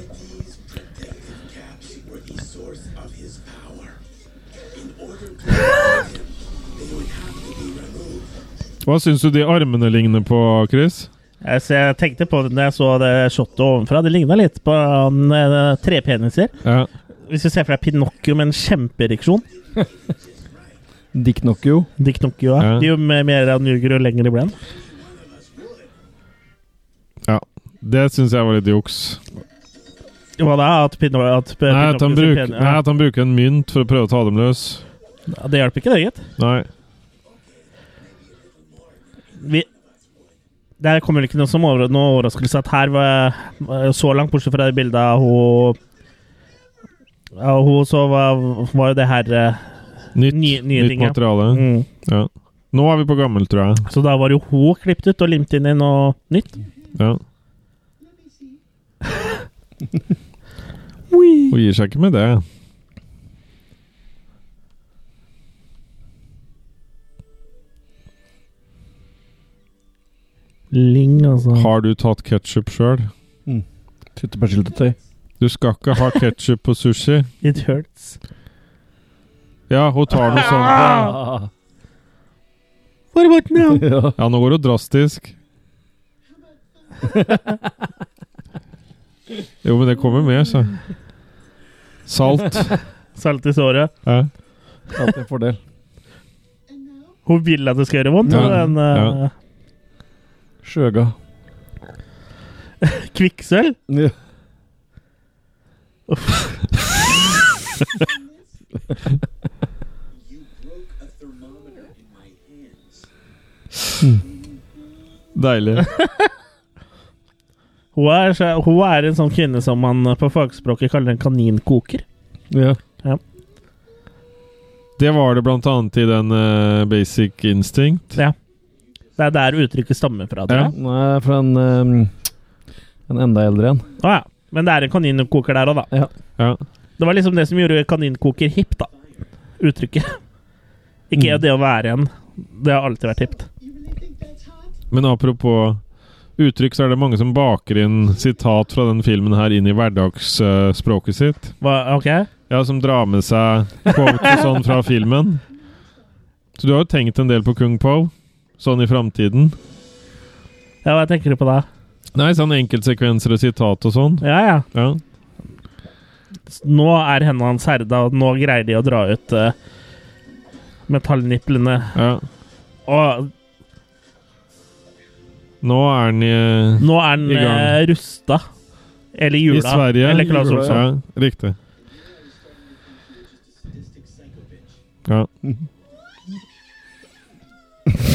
Speaker 5: These protective caps were the source of his power. In order to protect him, they would have to be removed.
Speaker 1: Hva syns du de armene ligner på, Chris?
Speaker 3: Jeg, så jeg tenkte på det når jeg så det shotet ovenfra. Det ligna litt på han, eh, trepeniser.
Speaker 1: Ja.
Speaker 3: Hvis du ser for deg Pinocchio med en kjempeereksjon.
Speaker 2: Dick Nocchio.
Speaker 3: Dick Pinocchio, ja.
Speaker 1: Ja.
Speaker 3: Jo mer han ljuger, jo lenger det ble han.
Speaker 1: ja. Det syns jeg var litt juks.
Speaker 3: Hva da? At, Pino, at P-
Speaker 1: Nei at, han
Speaker 3: Pinocchio ser
Speaker 1: bruk,
Speaker 3: pen-
Speaker 1: nei, at han bruker en mynt for å prøve å ta dem løs.
Speaker 3: ja. Det hjelper ikke, det, gitt.
Speaker 1: Nei.
Speaker 3: Vi- Det kommer vel ikke noe som over, noe overraskelse at her var var så langt, bortsett fra det bildet av hun Av hun, så var, var jo det her eh,
Speaker 1: Nytt,
Speaker 3: Nye- nye
Speaker 1: nytt
Speaker 3: ting, ja.
Speaker 1: materiale.
Speaker 3: mm.
Speaker 1: Ja. Nå er vi på gammel, tror jeg.
Speaker 3: Så da var jo hun klippet ut og limt inn i noe nytt.
Speaker 1: Ja. Hun gir seg ikke med det.
Speaker 3: Ling, altså.
Speaker 1: Har du tatt ketsjup sjøl?
Speaker 2: Tyttebærsyltetøy.
Speaker 1: Du skal ikke ha ketsjup på sushi.
Speaker 3: It hurts.
Speaker 1: Ja, hun tar noe sånn. sånt.
Speaker 2: Ah.
Speaker 3: What about now?
Speaker 2: Ja.
Speaker 1: Ja, nå går hun drastisk. Jo, men det kommer med, så. Salt.
Speaker 3: Salt i såret.
Speaker 1: Ja.
Speaker 2: Alltid en fordel.
Speaker 5: And now,
Speaker 3: Hun vil at det skal gjøre vondt.
Speaker 1: Ja,
Speaker 3: og den, eh,
Speaker 1: ja.
Speaker 2: Sjøga.
Speaker 3: Kvikksølv.
Speaker 2: Ja.
Speaker 5: you broke a thermometer in my hands.
Speaker 1: Deilig.
Speaker 3: Hun er, så- hun er en sånn kvinne som man eh, på fagspråket kaller en kaninkoker.
Speaker 2: Ja.
Speaker 1: Det var det blant annet i den eh, Basic Instinct.
Speaker 3: Det er der uttrykket stammer fra.
Speaker 1: Ja.
Speaker 3: Ja.
Speaker 2: Nei, fra en ehm, En enda eldre en.
Speaker 3: Å, ja. Men det er en kaninkoker der òg, da.
Speaker 2: Ja.
Speaker 1: Ja.
Speaker 3: Det var liksom det som gjorde kaninkoker hipp, da. Uttrykket. Ikke
Speaker 2: Mm.
Speaker 3: det å være en. Det har alltid vært hipt.
Speaker 5: You really think that's hot?
Speaker 1: Men apropos uttrykk, så er det mange som baker inn sitat fra den filmen her inn i hverdagsspråket sitt.
Speaker 3: Hva, ok?
Speaker 1: Ja, som drar med seg quotes og sånn fra filmen. Så du har jo tenkt en del på Kung Po, sånn i framtiden.
Speaker 3: Ja, hva tenker du på da?
Speaker 1: Nei, sånn enkeltsekvenser og sitat og sånn.
Speaker 3: Ja, ja.
Speaker 1: Ja.
Speaker 3: Nå er hendene hans herda, og nå greier de å dra ut eh, metallniplene.
Speaker 1: ja.
Speaker 3: Og
Speaker 1: Nå er den i
Speaker 3: Nå er den
Speaker 1: I gang.
Speaker 3: eh, rusta. Eller jula.
Speaker 1: I Sverige.
Speaker 3: Eller Claes
Speaker 1: Jula,
Speaker 3: Olsson.
Speaker 1: Ja, riktig. Ja.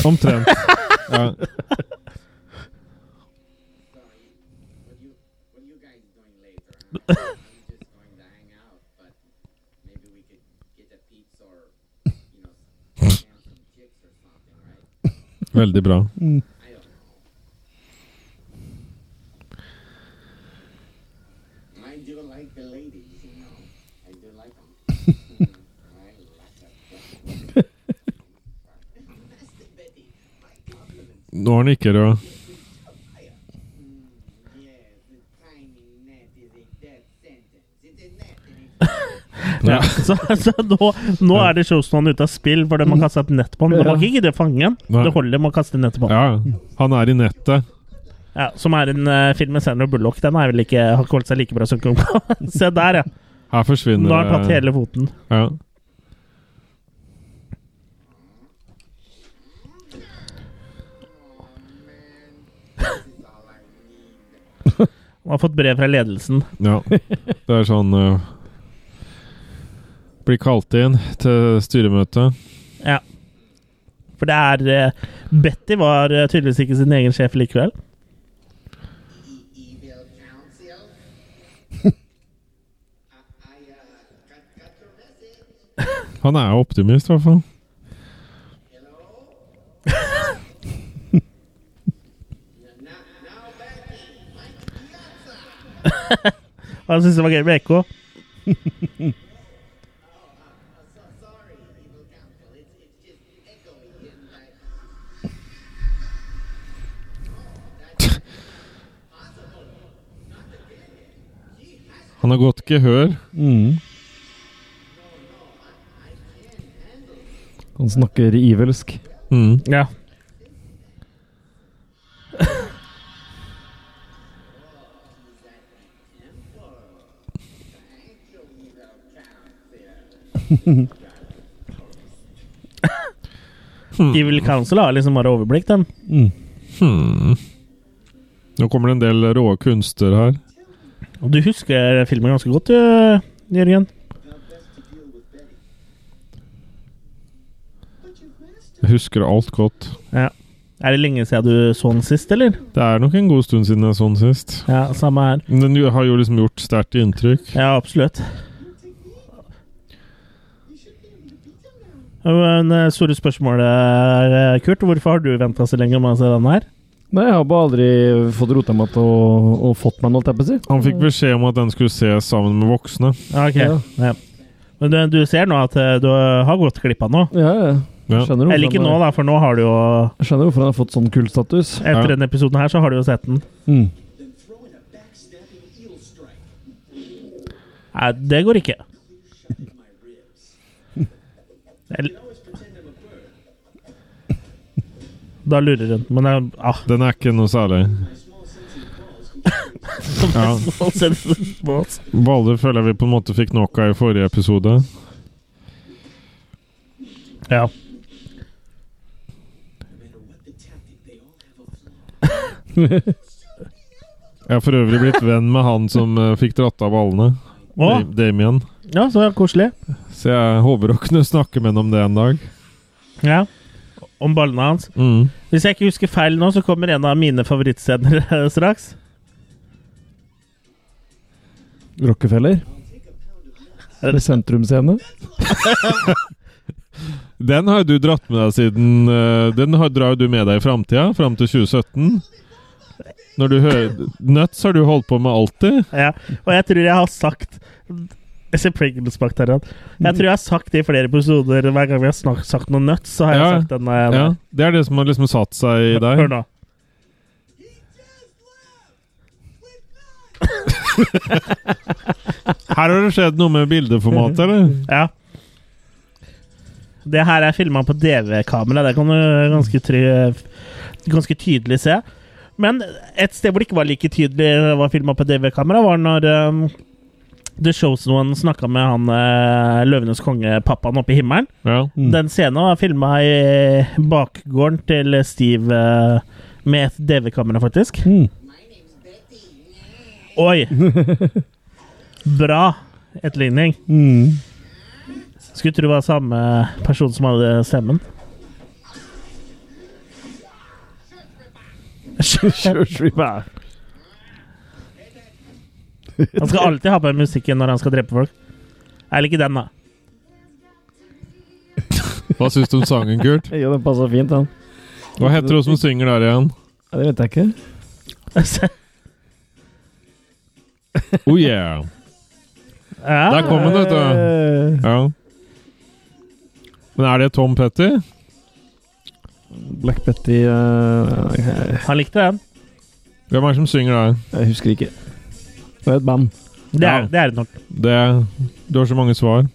Speaker 1: Omtrent. Ja.
Speaker 4: What you what are you guys doing later? I'm just going to hang out, but maybe we could get a pizza or you know some chips or something, right?
Speaker 7: Veldig bra.
Speaker 4: I don't know. I do like the ladies, you know. I do like them. I like them.
Speaker 1: Nå er den ikke rød.
Speaker 4: Yes, the tiny net is a death sentence. It's a net and it's
Speaker 3: Ja. Så, så nå, nå er det showstående ute av spill fordi man kasta et nett på den. Du må ikke gidde å fange den.
Speaker 1: Nei.
Speaker 3: Det holder med å kaste nettet på den.
Speaker 1: Ja, han er i nettet.
Speaker 3: Ja, som er en eh, film med Sandra Bullock. Den er vel ikke, har ikke holdt seg like bra som Kung Kong. Se der, ja.
Speaker 1: Her forsvinner
Speaker 3: Nå har han
Speaker 1: eh,
Speaker 3: tatt hele foten.
Speaker 1: Ja.
Speaker 3: Han har fått brev fra ledelsen.
Speaker 1: ja. Det er sånn uh, Blir kalt inn til styremøte.
Speaker 3: Ja. For det er eh, Betty var eh, tydeligvis ikke sin egen sjef likevel.
Speaker 4: e- evil counsel. I, I uh, got, got your message.
Speaker 1: Han er jo optimist, i hvert fall.
Speaker 4: Hello? now, now back in. Mike Piazza.
Speaker 3: Og han syntes det var gøy med E ekko.
Speaker 4: Oh, so sorry, evil counsel. It's, it's just echoing in my...
Speaker 1: Han har godt gehør.
Speaker 2: Han snakker ivelsk.
Speaker 1: Mm.
Speaker 3: Ja. Evil Council har liksom bare overblikk, den.
Speaker 1: Hmm. Nå kommer det en del rå kunster her.
Speaker 3: Og Du husker filmen ganske godt, du, Jørgen.
Speaker 1: Jeg husker alt godt.
Speaker 3: Ja. Er det lenge siden du så den sist, eller?
Speaker 1: Det er nok en god stund siden jeg så den sist.
Speaker 3: Ja, samme her.
Speaker 1: Men den jo- har jo liksom gjort sterkt inntrykk.
Speaker 3: Ja, absolutt. Men eh, store spørsmålet, eh, Kurt. Hvorfor har du venta så lenge med å se den her?
Speaker 2: Nei, jeg har bare aldri fått rota meg til å, å fått meg noe, holdt jeg på å si.
Speaker 1: Han fikk beskjed om at den skulle ses sammen med voksne.
Speaker 3: Ja, ok.
Speaker 2: Ja.
Speaker 3: Ja. Men du, du ser nå at eh, du har gått glipp av noe.
Speaker 2: Ja, ja.
Speaker 1: Ja.
Speaker 2: Skjønner hvorfor
Speaker 3: Eller ikke
Speaker 2: han
Speaker 3: nå,
Speaker 2: har-
Speaker 3: da, for nå har du jo
Speaker 2: Jeg skjønner hvorfor han har fått sånn kultstatus.
Speaker 3: Etter
Speaker 1: Ja.
Speaker 3: denne episoden her, så har du jo sett den.
Speaker 2: Mm.
Speaker 4: Then throw in a backstabbing eel strike.
Speaker 3: Nei, det går ikke. Eller Da lurer hun, men jeg, ah,
Speaker 1: Den er ikke noe særlig. Ja.
Speaker 3: Sånn ser det ut på oss.
Speaker 1: Baller føler jeg vi på en måte fikk nok av i forrige episode.
Speaker 3: Ja.
Speaker 1: Jeg har for øvrig blitt venn med han som eh, fikk dratt av ballene.
Speaker 3: Å,
Speaker 1: Da- Damien.
Speaker 3: ja, så koselig.
Speaker 1: Så jeg håper å kunne snakke med ham om det en dag.
Speaker 3: Ja. Om ballene hans.
Speaker 1: Mm.
Speaker 3: Hvis jeg ikke husker feil nå, så kommer en av mine favorittscener straks.
Speaker 2: Rockefeller. Er det sentrumscene?
Speaker 1: Den har jo du dratt med deg siden eh, Den har, drar jo du med deg i framtida, fram til 2017. Når du hører Nuts har du holdt på med alltid.
Speaker 3: Ja. Og jeg tror jeg har sagt Jeg ser Pringles bak der. ja. Jeg tror jeg har sagt det i flere episoder. Hver gang vi har snak, sagt noe nuts, så har jeg
Speaker 1: Ja.
Speaker 3: sagt den. eh,
Speaker 1: Ja, det er det som har liksom satt seg i
Speaker 3: der.
Speaker 1: deg.
Speaker 3: Hør nå.
Speaker 1: Her har det skjedd noe med bildeformatet, eller?
Speaker 3: Ja. Det her er filma på DV-kamera. Det kan du ganske, try ganske tydelig se. Men et sted hvor det ikke var like tydelig var filma på DV-kamera, var når um, The Chosen One snakka med han eh, Løvenes konge-pappaen oppe i himmelen.
Speaker 1: Ja.
Speaker 2: Mm.
Speaker 3: Den scenen var filma i bakgården til Steve eh, Med et DV-kamera, faktisk.
Speaker 2: Mm.
Speaker 5: My name's Betty.
Speaker 3: Oi! Bra etterligning.
Speaker 2: Mm.
Speaker 3: Skulle tro det var samme person som hadde stemmen.
Speaker 2: Kjørsviper.
Speaker 3: Han skal alltid ha på musikken når han skal drepe folk. Eller ikke den, da.
Speaker 1: Hva syns du om sangen, Kurt?
Speaker 2: Ja, den passer fint, den.
Speaker 1: Hva heter hun som synger der igjen?
Speaker 2: Ja, det vet jeg ikke.
Speaker 1: Oh yeah. Der
Speaker 3: ja.
Speaker 1: kom den, vet du.
Speaker 2: Eh,
Speaker 1: Ja. Men er det Tom Petty?
Speaker 2: Black Betty eh, jeg,
Speaker 3: Han likte den.
Speaker 1: Hvem er det som synger der?
Speaker 2: jeg husker ikke. Det er et band.
Speaker 3: Det
Speaker 1: Ja.
Speaker 3: er det er det nok.
Speaker 1: Det Du har så mange svar.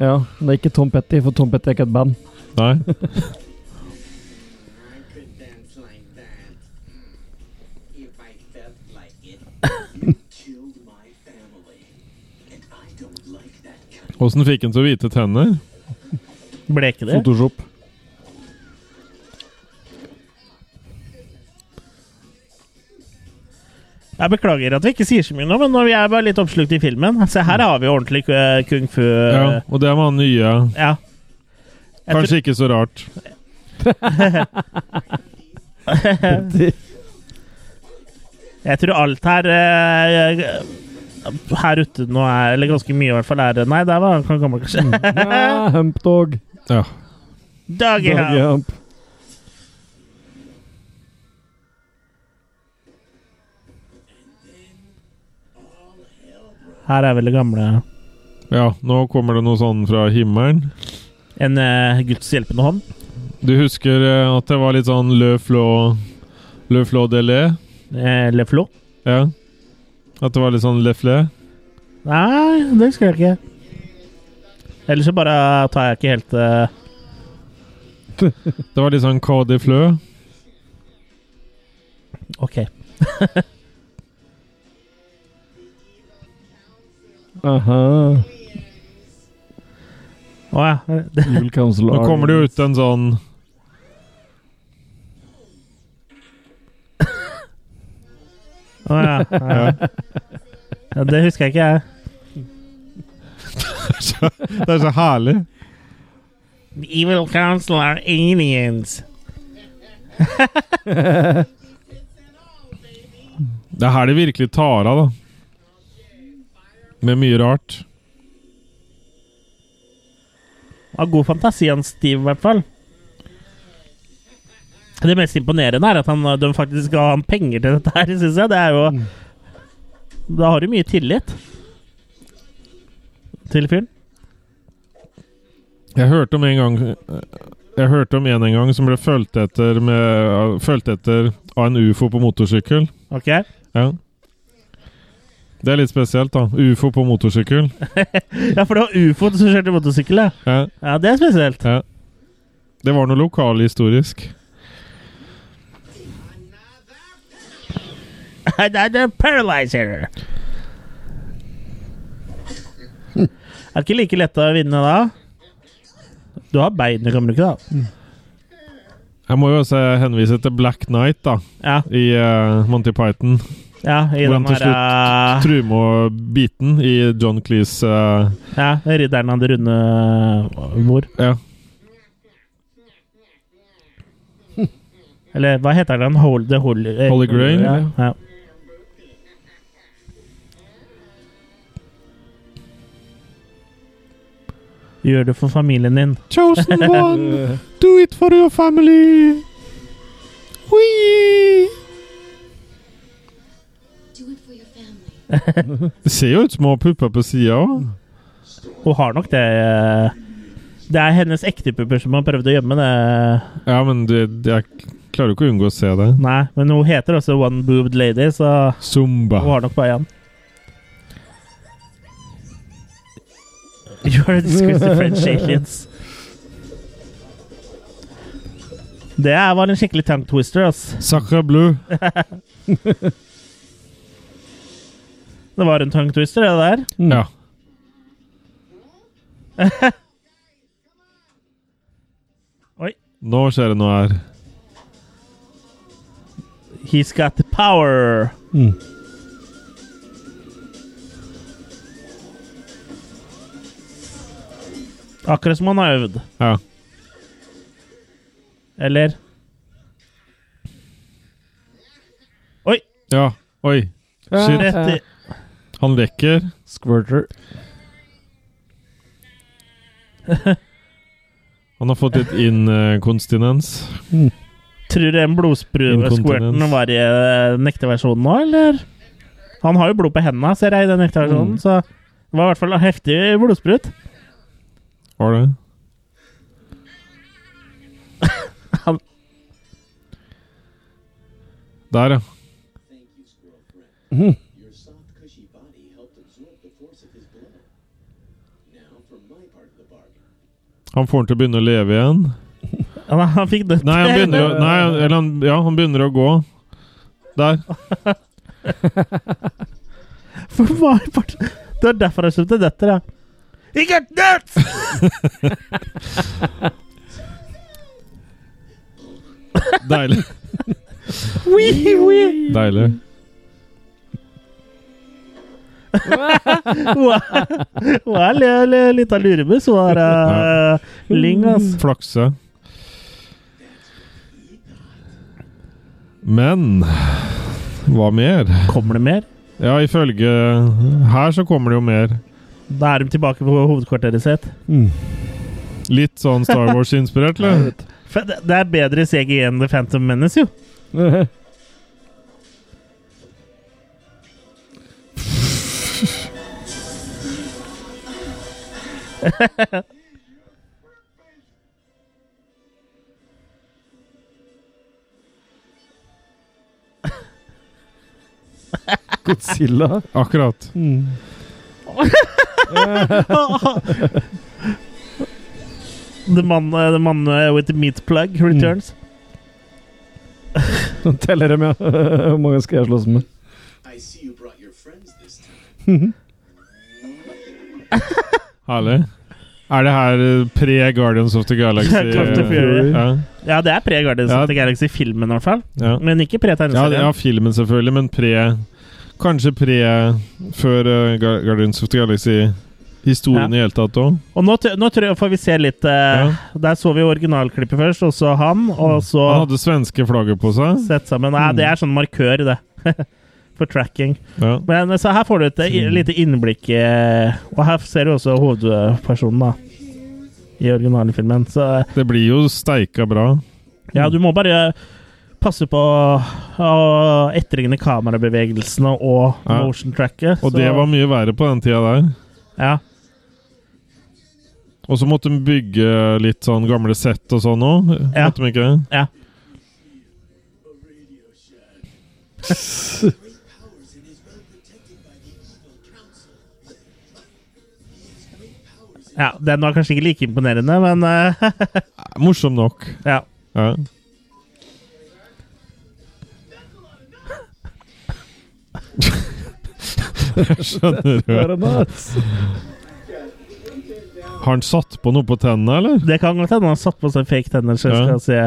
Speaker 2: Ja, men det er ikke Tom Petty, for Tom Petty er ikke et band.
Speaker 1: Nei?
Speaker 5: I could dance like that. If I felt like it, you killed my family. And I don't like that kind
Speaker 1: Åssen fikk han så hvite tenner?
Speaker 3: Ble ikke det?
Speaker 2: Photoshop.
Speaker 3: Jeg beklager at vi ikke sier så mye nå, men når vi er bare litt oppslukt i filmen Se, her har vi jo ordentlig eh, kung fu.
Speaker 1: Mm. Ja,
Speaker 3: Ja.
Speaker 1: og det med han nye.
Speaker 3: Jeg tror-
Speaker 1: Kanskje ikke så rart.
Speaker 3: Jeg tror alt her eh, Her ute nå er Eller ganske mye, i hvert fall. er Nei, der var han kan
Speaker 2: Mm.
Speaker 3: komme, kanskje.
Speaker 2: Ja, Humpdog.
Speaker 1: Ja.
Speaker 3: Doggy
Speaker 2: Doggy
Speaker 3: Hump.
Speaker 2: hump.
Speaker 3: Her er vel det gamle
Speaker 1: ja, nå kommer det noe sånn fra himmelen.
Speaker 3: En uh, Guds hjelpende hånd.
Speaker 1: Du husker eh, at det var litt sånn Le Flå Le Flå Delé?
Speaker 3: Eh, Le Flo.
Speaker 1: Ja. At det var litt sånn Le Flé?
Speaker 3: Nei, det husker jeg ikke. Ellers så bare tar jeg ikke helt eh,
Speaker 1: Det var litt sånn Cau de Fleu.
Speaker 3: OK.
Speaker 2: Aha.
Speaker 3: Å ja. Det,
Speaker 2: Evil Council
Speaker 1: Nå kommer det jo ut en sånn
Speaker 3: å ja. ja. Ja, det husker jeg ikke, jeg.
Speaker 1: Det er så herlig.
Speaker 3: The evil council are aliens.
Speaker 1: Det er her det virkelig tar av, da. Med mye rart.
Speaker 3: Har god fantasi, han Steve, i hvert fall. Det mest imponerende er at han, de faktisk ga han penger til dette her, syns jeg. Det er jo
Speaker 1: Mm.
Speaker 3: Da har du mye tillit til fyren.
Speaker 1: Jeg hørte om en gang Jeg hørte om en en gang som ble fulgt etter, med, fulgt etter av en ufo på motorsykkel.
Speaker 3: OK?
Speaker 1: Ja. Det er litt spesielt, da. Ufo på motorsykkel.
Speaker 3: Ja, for det var ufoen som kjørte motorsykkel, ja.
Speaker 1: Ja,
Speaker 3: ja. Det er spesielt.
Speaker 1: ja. Det var noe lokalhistorisk.
Speaker 3: Det er the paralyzer. Er det ikke like lett å vinne da? Du har bein, det kan du ikke, da?
Speaker 1: Jeg må jo også henvise til Black Knight da
Speaker 3: Ja.
Speaker 1: i eh, Monty Python.
Speaker 3: ja i
Speaker 1: Hvordan
Speaker 3: den
Speaker 1: til
Speaker 3: her, eh,
Speaker 1: Trumobiten i John Cleese eh,
Speaker 3: Ja, ridderen av det runde eh, bord.
Speaker 1: Ja.
Speaker 3: Eller hva heter den? Hold the Holy, eh,
Speaker 1: Holy Grail?
Speaker 3: Ja, ja. Gjør det for familien din.
Speaker 1: Chosen one, do it for your family! Hui!
Speaker 8: Do it for your family.
Speaker 1: Det ser jo ut små pupper på sida òg.
Speaker 3: Hun har nok det eh, Det er hennes ekte pupper som har prøvd å gjemme det.
Speaker 1: Ja, men det, det, jeg klarer jo ikke å unngå å se det.
Speaker 3: Nei, men hun heter også One Boobed Lady, så
Speaker 1: Zumba.
Speaker 3: hun har nok bare én. You are disgusting French aliens. Det er- var en skikkelig tongue twister, ass.
Speaker 1: Sacre bleu.
Speaker 3: Det var en tongue twister, det der.
Speaker 1: Ja.
Speaker 3: Oi.
Speaker 1: Nå skjer det noe her.
Speaker 3: He's got the power.
Speaker 2: Mm.
Speaker 3: Akkurat som han har øvd.
Speaker 1: Ja.
Speaker 3: Eller? Oi!
Speaker 1: ja. Oi. Shit.
Speaker 3: Rett
Speaker 2: eh,
Speaker 3: i
Speaker 1: Han lekker.
Speaker 2: Squirter.
Speaker 1: Han har fått litt inkontinens.
Speaker 3: Tror du den blodsprue-squirten
Speaker 1: Inkontinens.
Speaker 3: var i eh, nekteversjonen nå, eller? Han har jo blod på hendene, ser jeg, i den
Speaker 1: Mm.
Speaker 3: nekteversjonen, så det var i hvert fall en heftig blodsprut.
Speaker 1: Var det?
Speaker 3: Han-
Speaker 1: Der, ja.
Speaker 5: Thank you, squirrel friend.
Speaker 2: Mhm.
Speaker 5: Your soft, cushy body helped absorb the force of his blow. Now for my part of the bargain.
Speaker 1: Han får han til å begynne å leve igjen.
Speaker 3: Han, han fikk det.
Speaker 1: Nei, han begynner å, nei, eller han, ja, han begynner å gå. Der.
Speaker 3: For hva er part- Det er derfor jeg kjøpte dette, ja. He got nuts!
Speaker 1: Deilig.
Speaker 3: Wee, wee.
Speaker 1: Deilig.
Speaker 3: Hun er- hun er li- li- litt av lurebuss, hun er eh, Lyng, ass.
Speaker 1: Flakse. Men hva mer?
Speaker 3: Kommer det mer?
Speaker 1: Ja, ifølge Her så kommer det jo mer.
Speaker 3: Da er de tilbake på hovedkvarteret sitt.
Speaker 2: Mm.
Speaker 1: Litt sånn Star Wars-inspirert, eller?
Speaker 3: For Det det er bedre CG enn The Phantom Menace, jo.
Speaker 2: Godzilla.
Speaker 1: Akkurat.
Speaker 2: Mm.
Speaker 3: The man, eh, the man eh, with the meat plug
Speaker 1: Mm.
Speaker 3: returns.
Speaker 2: Nå teller de, ja. Hvor mange skal jeg slåss med?
Speaker 5: I see you brought your friends this time.
Speaker 1: Herlig. Er det her eh, pre-Guardians of the Galaxy?
Speaker 3: Guardians of the Fury.
Speaker 1: Ja,
Speaker 3: Ja, det er pre-Guardians
Speaker 1: eh, Ja.
Speaker 3: of the Galaxy-filmen, i hvert fall.
Speaker 1: ja.
Speaker 3: Men ikke
Speaker 1: Ja, det-
Speaker 3: pre-tegneserien.
Speaker 1: ja, filmen selvfølgelig, men pre Kanskje pre før eh, Gu- Guardians of the Galaxy-historien i hele tatt òg.
Speaker 3: Og nå, t- nå tror jeg, får vi se litt eh,
Speaker 1: Ja. Mm.
Speaker 3: Der så vi originalklippet først, og så han, og så
Speaker 1: Han Mm. hadde svenske flagget på seg.
Speaker 3: sett sammen. Nei, det er sånn markør, det. For tracking.
Speaker 1: Ja.
Speaker 3: Men eh, så her får du et i-
Speaker 1: Mm.
Speaker 3: lite innblikk eh, Og her ser du også hovedpersonen, da. I originalfilmen. Så eh,
Speaker 1: Det blir jo steika bra.
Speaker 3: ja, du må bare passe på å å etterligne kamerabevegelsene og
Speaker 1: Ja.
Speaker 3: motion tracket.
Speaker 1: Og
Speaker 3: så-
Speaker 1: det var mye verre på den tida der.
Speaker 3: Ja.
Speaker 1: Og så måtte de bygge litt sånn gamle sett og sånn òg.
Speaker 3: Ja.
Speaker 1: Måtte de ikke det?
Speaker 3: ja.
Speaker 5: Great powers and is well protected by the evil council. he has great powers
Speaker 3: ja. Den var kanskje ikke like imponerende, men eh,
Speaker 1: Morsom nok.
Speaker 3: ja.
Speaker 1: Ja. Jeg skjønner jo.
Speaker 2: Bare nuts.
Speaker 1: Har han satt på noe på tennene, eller?
Speaker 3: Det kan godt hende han har satt på seg fake tenner, så jeg
Speaker 1: Ja.
Speaker 3: skal se.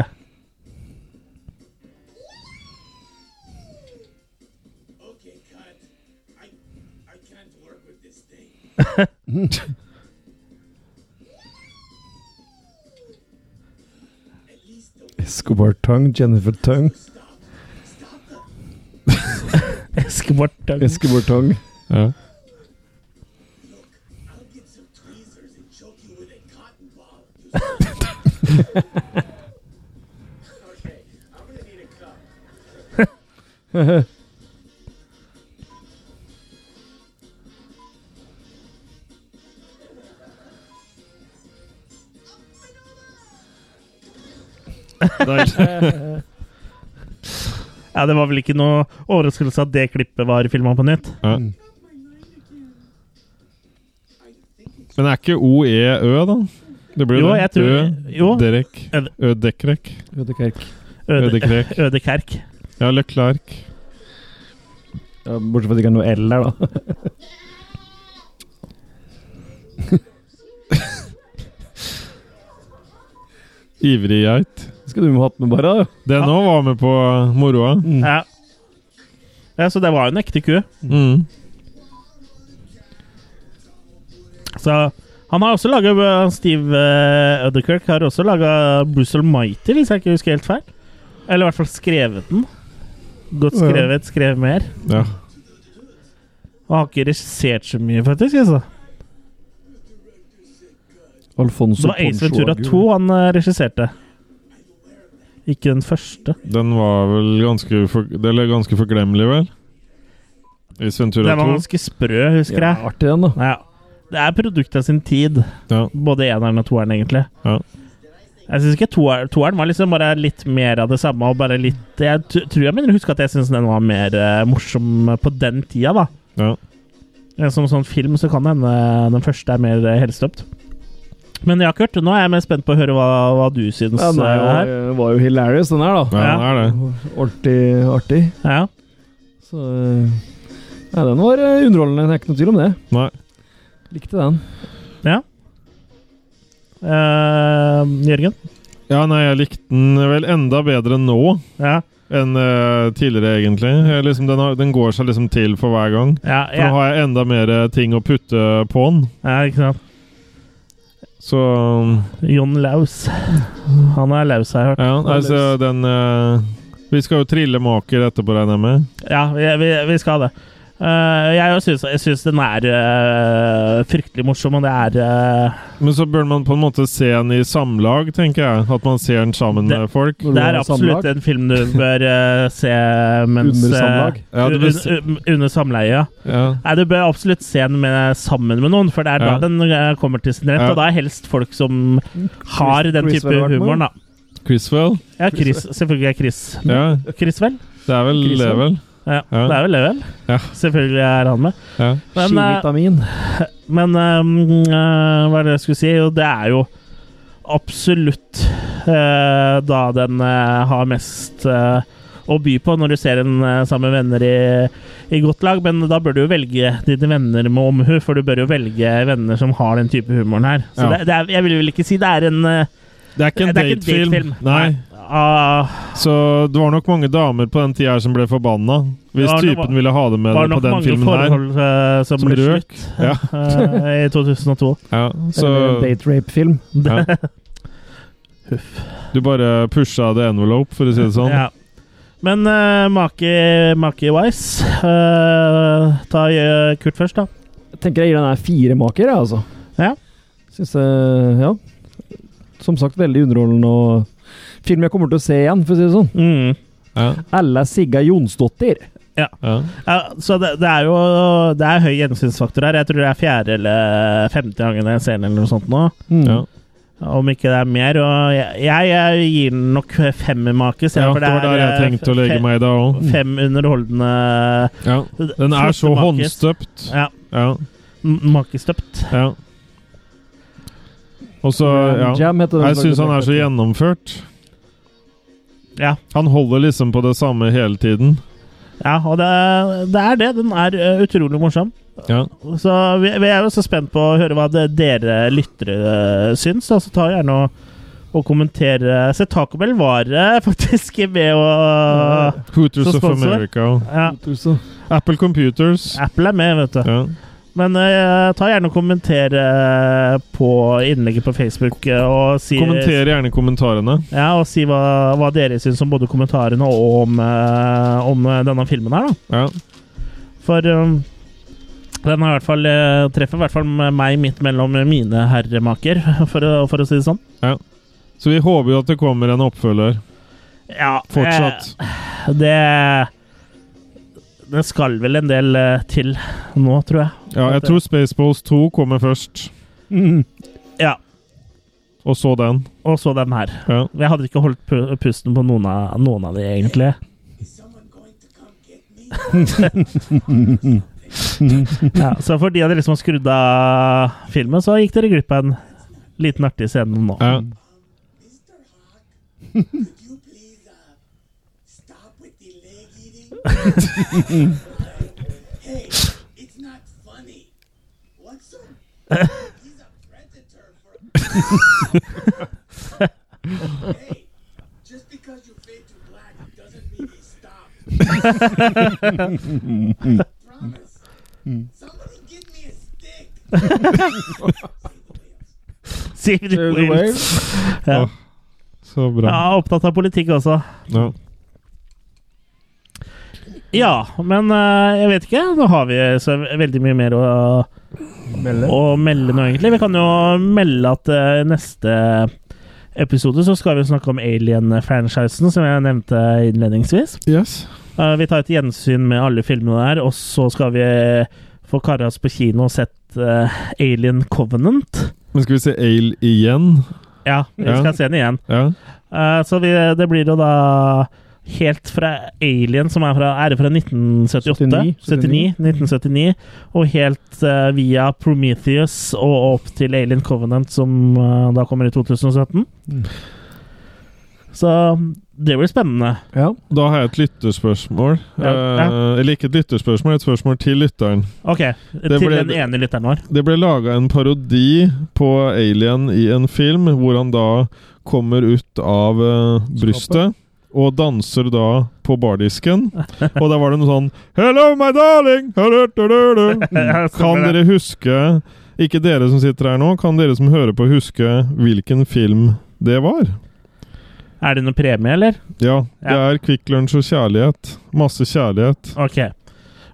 Speaker 5: Okay, cut. I I can't work with this thing. At least the
Speaker 2: Escobar Tongue, Jennifer Tongue.
Speaker 3: Eskebart.
Speaker 2: Escobar Tongue.
Speaker 1: Ja.
Speaker 5: I'll get some tweezers and choke you with a cotton ball. you okay, I'm gonna need a cup.
Speaker 1: Deilig.
Speaker 3: Ja, det var vel ikke noe overraskelse at det klippet var filma på nytt.
Speaker 1: Ja. Men er ikke OEØ, da? Det blir
Speaker 3: Jo,
Speaker 1: det.
Speaker 3: jeg tror- jo.
Speaker 1: Derek.
Speaker 3: Øde-
Speaker 1: Ødekrek.
Speaker 2: Ødekerk.
Speaker 3: Øde,
Speaker 1: Ødekrek.
Speaker 3: Øde Kerk.
Speaker 1: Ja, Leclerc.
Speaker 2: Ja, bortsett fra at det ikke er noe L her, da.
Speaker 1: Ivrig geit.
Speaker 2: Skal du ha hatt med bare, da?
Speaker 1: Den òg var med på moroa.
Speaker 3: Ja. Ja, så det var jo en ekte ku.
Speaker 1: Mm.
Speaker 3: Så han har også laga Steve eh, Udderkirk har også laga Bruce Almighty, hvis jeg ikke husker helt feil. Eller i hvert fall skrevet den. Godt skrevet, skrev mer.
Speaker 1: Ja.
Speaker 3: Og har ikke regissert så mye, faktisk. Altså. Det
Speaker 2: Alfonso
Speaker 3: var Ace Ventura
Speaker 2: Ponchoagu.
Speaker 3: 2 han eh, regisserte. Ikke den første.
Speaker 1: Den var vel ganske, for, det er ganske forglemmelig, vel? I Sventura
Speaker 3: Den
Speaker 1: 2.
Speaker 3: var ganske sprø, husker
Speaker 2: Ja,
Speaker 3: jeg.
Speaker 2: artig, den, da.
Speaker 3: Ja. Det er produktet av sin tid.
Speaker 1: Ja.
Speaker 3: Både eneren og toeren, egentlig.
Speaker 1: Ja.
Speaker 3: Jeg syns ikke toer- toeren var liksom bare litt mer av det samme. Og bare litt Jeg t tror jeg mener å huske at jeg syns den var mer eh, morsom på den tida, da.
Speaker 1: Ja.
Speaker 3: Eh, Som sånn film så kan det hende den første er mer eh, helstøpt. Men ja, Kurt, nå er jeg mer spent på å høre hva, hva du syns
Speaker 2: Ja, den
Speaker 3: eh,
Speaker 2: er
Speaker 3: her.
Speaker 2: jo, var jo hilarious, den her, da.
Speaker 1: ja, den
Speaker 3: Ja.
Speaker 1: er det.
Speaker 2: Artig, artig.
Speaker 3: Ja.
Speaker 2: Så eh, Nei, den var eh, underholdende. Det er ikke noe tvil om det.
Speaker 1: Nei.
Speaker 2: Likte den.
Speaker 3: Eh, Jørgen?
Speaker 1: Ja, nei, jeg likte den vel enda bedre nå
Speaker 3: Ja.
Speaker 1: enn eh, tidligere, egentlig. Jeg, liksom, den, har, den går seg liksom til for hver gang.
Speaker 3: Ja,
Speaker 1: For
Speaker 3: ja,
Speaker 1: nå har jeg enda mer eh, ting å putte på den.
Speaker 3: ja, ikke sant.
Speaker 1: Så
Speaker 3: Jon Laus. Han er laus, har jeg hørt.
Speaker 1: Ja, altså den eh, Vi skal jo trille maker etterpå, regner jeg med.
Speaker 3: Ja, vi, vi, vi skal det. Eh, jeg syns, jeg synes den er eh, fryktelig morsom, og det er eh,
Speaker 1: Men så bør man på en måte se den i samlag, tenker jeg. At man ser den sammen
Speaker 3: Det-
Speaker 1: med folk.
Speaker 2: Når du
Speaker 3: Det er
Speaker 2: var
Speaker 3: absolutt
Speaker 2: samlag.
Speaker 3: en film du bør eh, se mens
Speaker 2: Under
Speaker 3: eh,
Speaker 2: samlag?
Speaker 1: Ja, du bør se-
Speaker 3: un, un, under samleie. ja.
Speaker 1: Ja.
Speaker 3: Nei, du bør absolutt se den med, sammen med noen, for det er
Speaker 1: Ja.
Speaker 3: da den eh, kommer til sin rett.
Speaker 1: Ja.
Speaker 3: Og da er helst folk som har
Speaker 2: Chris-
Speaker 3: den
Speaker 2: Chris
Speaker 3: type
Speaker 2: Vel har vært med.
Speaker 3: humor, da.
Speaker 1: Criswell.
Speaker 3: Ja, Chris, selvfølgelig er Chris
Speaker 1: Ja,
Speaker 3: Chris, vel?
Speaker 1: det er vel
Speaker 2: Criswell?
Speaker 1: det, vel?
Speaker 3: Ja,
Speaker 1: Ja.
Speaker 3: Det er vel det, vel?
Speaker 1: Ja.
Speaker 3: Selvfølgelig er han med.
Speaker 1: Ja.
Speaker 3: Men, eh,
Speaker 2: Skivitamin.
Speaker 3: Men ehm, eh, hva er det jeg skulle si? Jo, det er jo absolutt eh, da den eh, har mest eh, å by på når du ser den eh, sammen med venner i, i godt lag. Men da bør du jo velge dine venner med omhu, for du bør jo velge venner som har den type humoren her. Så
Speaker 1: Ja.
Speaker 3: det, det er, jeg vil vel ikke si det er en eh,
Speaker 1: Det er ikke en
Speaker 3: det er ikke en
Speaker 1: datefilm.
Speaker 3: datefilm.
Speaker 1: Nei.
Speaker 3: ah,
Speaker 1: Så det var nok mange damer på den tida her som ble forbanna. Hvis
Speaker 3: Ja, det var-
Speaker 1: typen ville ha det med
Speaker 3: Var
Speaker 1: deg på
Speaker 3: nok
Speaker 1: den
Speaker 3: mange
Speaker 1: filmen her.
Speaker 3: forhold eh, som,
Speaker 1: Som
Speaker 3: ble
Speaker 1: røk.
Speaker 3: slutt
Speaker 1: Ja.
Speaker 3: eh, i 2002.
Speaker 1: Ja, så
Speaker 2: Eller en date rape-film.
Speaker 1: ja.
Speaker 3: Huff.
Speaker 1: du bare pusha the envelope, for å si det sånn.
Speaker 3: Ja. Men eh, make, make wise eh, Ta eh, Kurt først, da.
Speaker 2: Jeg tenker jeg gir den her fire maker, jeg, altså.
Speaker 3: Ja.
Speaker 2: Synes jeg, ja. Som sagt, veldig underholdende og film jeg kommer til å se igjen, for å si det sånn.
Speaker 3: Mm.
Speaker 1: Ja,
Speaker 2: Ella Sigga Jonsdottir.
Speaker 1: ja.
Speaker 3: Ja, så det, det er jo Det er høy gjensynsfaktor her. Jeg tror det er fjerde eller eh, femte gangen jeg ser den, eller noe sånt nå.
Speaker 1: Ja.
Speaker 3: Om ikke det er mer. Og jeg, jeg, jeg gir den nok fem make.
Speaker 1: ja, det var der jeg tenkte å legge meg i dag òg.
Speaker 3: Fem underholdende
Speaker 1: Ja. Den er så
Speaker 3: flotte makes.
Speaker 1: håndstøpt.
Speaker 3: Ja.
Speaker 1: Ja,
Speaker 3: m- Makestøpt.
Speaker 1: ja. Og så, ja
Speaker 2: Jam heter den.
Speaker 1: Jeg syns han er så gjennomført.
Speaker 3: Ja.
Speaker 1: Han holder liksom på det samme hele tiden.
Speaker 3: ja og det, det er det. Den er eh, utrolig morsom.
Speaker 1: Ja.
Speaker 3: Så vi, vi er jo så spent på å høre hva det, dere lyttere eh, syns. da, Så ta gjerne og, og kommentere. Se, Taco Bell var eh, faktisk med å
Speaker 1: Hooters
Speaker 3: Så
Speaker 1: of
Speaker 3: sponsor.
Speaker 1: America.
Speaker 3: ja,
Speaker 1: Apple Computers.
Speaker 3: Apple er med, vet du.
Speaker 1: Ja.
Speaker 3: Men eh, ta gjerne og kommentere på innlegget på Facebook. eh, Og si,
Speaker 1: Kommenter gjerne kommentarene.
Speaker 3: ja, og si hva, hva dere syns om både kommentarene og om, eh, om eh, denne filmen her, da.
Speaker 1: Ja.
Speaker 3: For um, den har i hvert fall eh, treffer i hvert fall meg midt mellom mine herremaker, for, å- for å si det sånn.
Speaker 1: Så vi håper jo at det kommer en oppfølger
Speaker 3: Ja,
Speaker 1: fortsatt.
Speaker 3: eh, Det Det skal vel en del eh, til nå, tror jeg.
Speaker 1: Ja, jeg tror Spaceballs 2 kommer først,
Speaker 2: Mm.
Speaker 3: Ja,
Speaker 1: og så den.
Speaker 3: og så den her.
Speaker 1: Ja.
Speaker 3: Jeg hadde ikke holdt pu- pusten på noen av, noen av de, egentlig.
Speaker 5: Is someone going to come get me?
Speaker 3: Ja, så for de av dere som har skrudd av filmen, så gikk dere glipp av en liten artig scene nå.
Speaker 1: Ja.
Speaker 5: Mr. Hawk, could you please uh, stop with the leg eating? hey, it's not funny. What's so? He's a predator for. hey, just because you fade to black doesn't mean he's stop.
Speaker 2: Mm.
Speaker 5: Promise. Somebody give me a stick.
Speaker 3: Sigrid
Speaker 2: There's a
Speaker 3: Wills.
Speaker 2: wave.
Speaker 3: Ja.
Speaker 1: Så bra.
Speaker 3: Ja, opptatt av politikk også.
Speaker 1: Ja.
Speaker 3: Ja, men eh, jeg vet ikke. Nå har vi så veldig mye mer å, å melde nå, egentlig. Vi kan jo melde at eh, neste episode så skal vi snakke om Alien-franchisen, som jeg nevnte innledningsvis.
Speaker 1: Yes.
Speaker 3: Eh, vi tar et gjensyn med alle filmene der, og så skal vi eh, få kara oss på kino og sett eh, Alien Covenant.
Speaker 1: Men skal vi se Ale igjen?
Speaker 3: Ja, vi
Speaker 1: Ja.
Speaker 3: skal se den igjen.
Speaker 1: Ja.
Speaker 3: Eh, så vi, det blir jo da helt fra Alien, som er fra, er fra 1978.
Speaker 2: 79,
Speaker 3: 79, 1979. Og helt eh, via Prometheus og opp til Alien Covenant, som eh, da kommer i 2017.
Speaker 2: Mm.
Speaker 3: Så det blir spennende.
Speaker 2: Ja.
Speaker 1: Da har jeg et lytterspørsmål.
Speaker 3: Ja.
Speaker 1: Eh, eller ikke et lytterspørsmål, et spørsmål til lytteren.
Speaker 3: OK, til
Speaker 1: ble-
Speaker 3: den ene lytteren vår.
Speaker 1: Det ble laga en parodi på Alien i en film, hvor han da kommer ut av eh, brystet. Og danser da på bardisken. Og der var det noe sånn Hello, my darling! Hurrurururu!» Mm.
Speaker 3: Ja,
Speaker 1: Kan
Speaker 3: stemmer Eh,
Speaker 1: dere
Speaker 3: det.
Speaker 1: huske Ikke dere som sitter her nå, kan dere som hører på, huske hvilken film det var?
Speaker 3: Er det noen premie, eller?
Speaker 1: Ja, det
Speaker 3: Ja.
Speaker 1: er Kvikk Lunsj og kjærlighet. Masse kjærlighet.
Speaker 3: OK.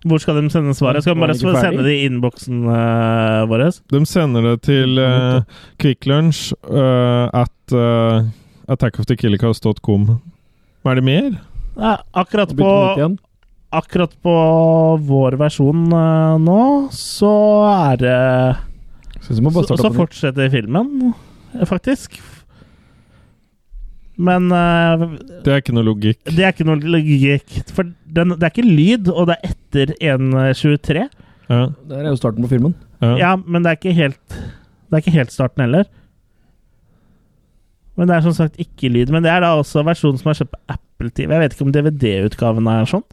Speaker 3: Hvor skal de sende svaret? Skal de
Speaker 2: Var
Speaker 3: bare
Speaker 2: den ikke ferdig?
Speaker 3: sende det i innboksen eh, vår?
Speaker 1: De sender det til uh, Quick Lunch eh, at uh, attackofthekillercast.com. Er det mer?
Speaker 3: Nei, akkurat
Speaker 2: Begynte
Speaker 3: på
Speaker 2: på nytt igjen.
Speaker 3: akkurat på vår versjon eh, nå, så er det
Speaker 2: Synes jeg må bare
Speaker 3: Så,
Speaker 2: starte
Speaker 3: så
Speaker 2: opp på nytt.
Speaker 3: fortsetter filmen, eh, faktisk. Men eh,
Speaker 1: Det er ikke noe logikk.
Speaker 3: det er ikke noe logikk. For den, det er ikke lyd, og det er etter 1.23.
Speaker 1: Ja,
Speaker 2: Der er jo starten på filmen.
Speaker 1: ja.
Speaker 3: Ja, men det er ikke helt Det er ikke helt starten heller. Men det er som sagt ikke lyd. Men det er da også versjonen som er kjøpt på Apple TV. Jeg vet ikke om DVD-utgaven er sånn.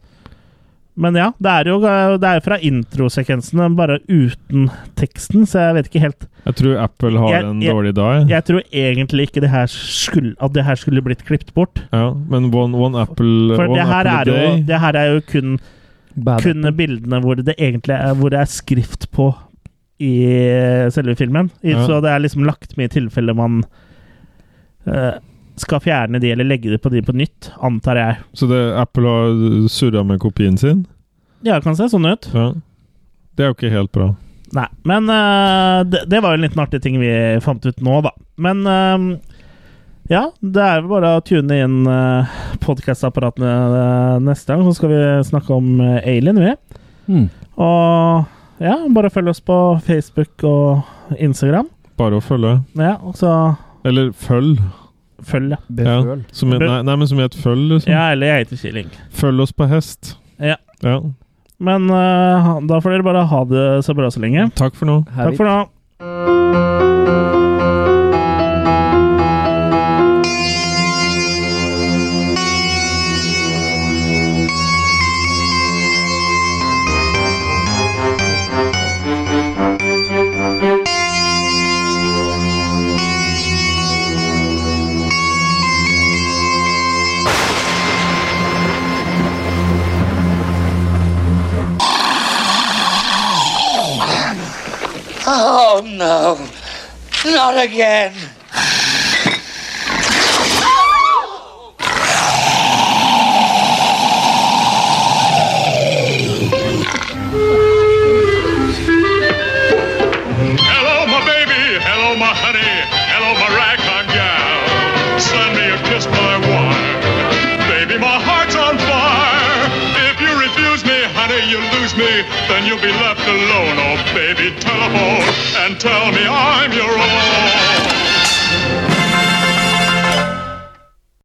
Speaker 3: Men ja, det er jo det er jo fra introsekvensene, bare uten teksten, så jeg vet ikke helt
Speaker 1: Jeg tror Apple har
Speaker 3: Jeg-
Speaker 1: en
Speaker 3: jeg-
Speaker 1: dårlig dag.
Speaker 3: Jeg tror egentlig ikke det her skulle, at det her skulle blitt klippet bort.
Speaker 1: Ja, men one, one Apple,
Speaker 3: For
Speaker 1: one
Speaker 3: det her,
Speaker 1: apple a
Speaker 3: er jo,
Speaker 1: day
Speaker 3: det her er jo kun,
Speaker 2: Bad
Speaker 3: kun bildene hvor det egentlig er, hvor det er skrift på i eh, selve filmen. I,
Speaker 1: Ja.
Speaker 3: Så det er liksom lagt med i tilfelle man eh, skal fjerne de eller legge det på de på nytt, antar jeg.
Speaker 1: Så det, Apple har surra med kopien sin?
Speaker 3: Ja, det kan se sånn ut.
Speaker 1: Ja. Det er jo ikke helt bra.
Speaker 3: Nei, men eh, det, det var jo en liten artig ting vi fant ut nå, da. Men eh, ja, det er jo bare å tune inn uh, podkastapparatene eh, neste gang, så skal vi snakke om eh, Alien, vi.
Speaker 2: Mm.
Speaker 3: Og ja, bare følg oss på Facebook og Instagram.
Speaker 1: Bare å følge.
Speaker 3: Ja, og så
Speaker 1: Eller følg.
Speaker 3: følg, ja.
Speaker 1: Ja.
Speaker 2: Beføl.
Speaker 1: Som i- nei, nei, men som i et følg, liksom.
Speaker 3: Ja, eller jeg heter Killing.
Speaker 1: Følg oss på hest.
Speaker 3: Ja.
Speaker 1: ja.
Speaker 3: Men eh, da får dere bare ha det så bra så lenge.
Speaker 1: Takk for nå.
Speaker 2: Her
Speaker 3: Takk for nå.
Speaker 4: Oh no, not again.
Speaker 9: Hello, my baby. Hello, my honey. Hello, my ragtime gal. Send me a kiss, my wire. Baby, my heart's on fire. If you refuse me, honey, you lose me. Then you'll be left alone. Oh, baby, telephone and tell me I'm your own.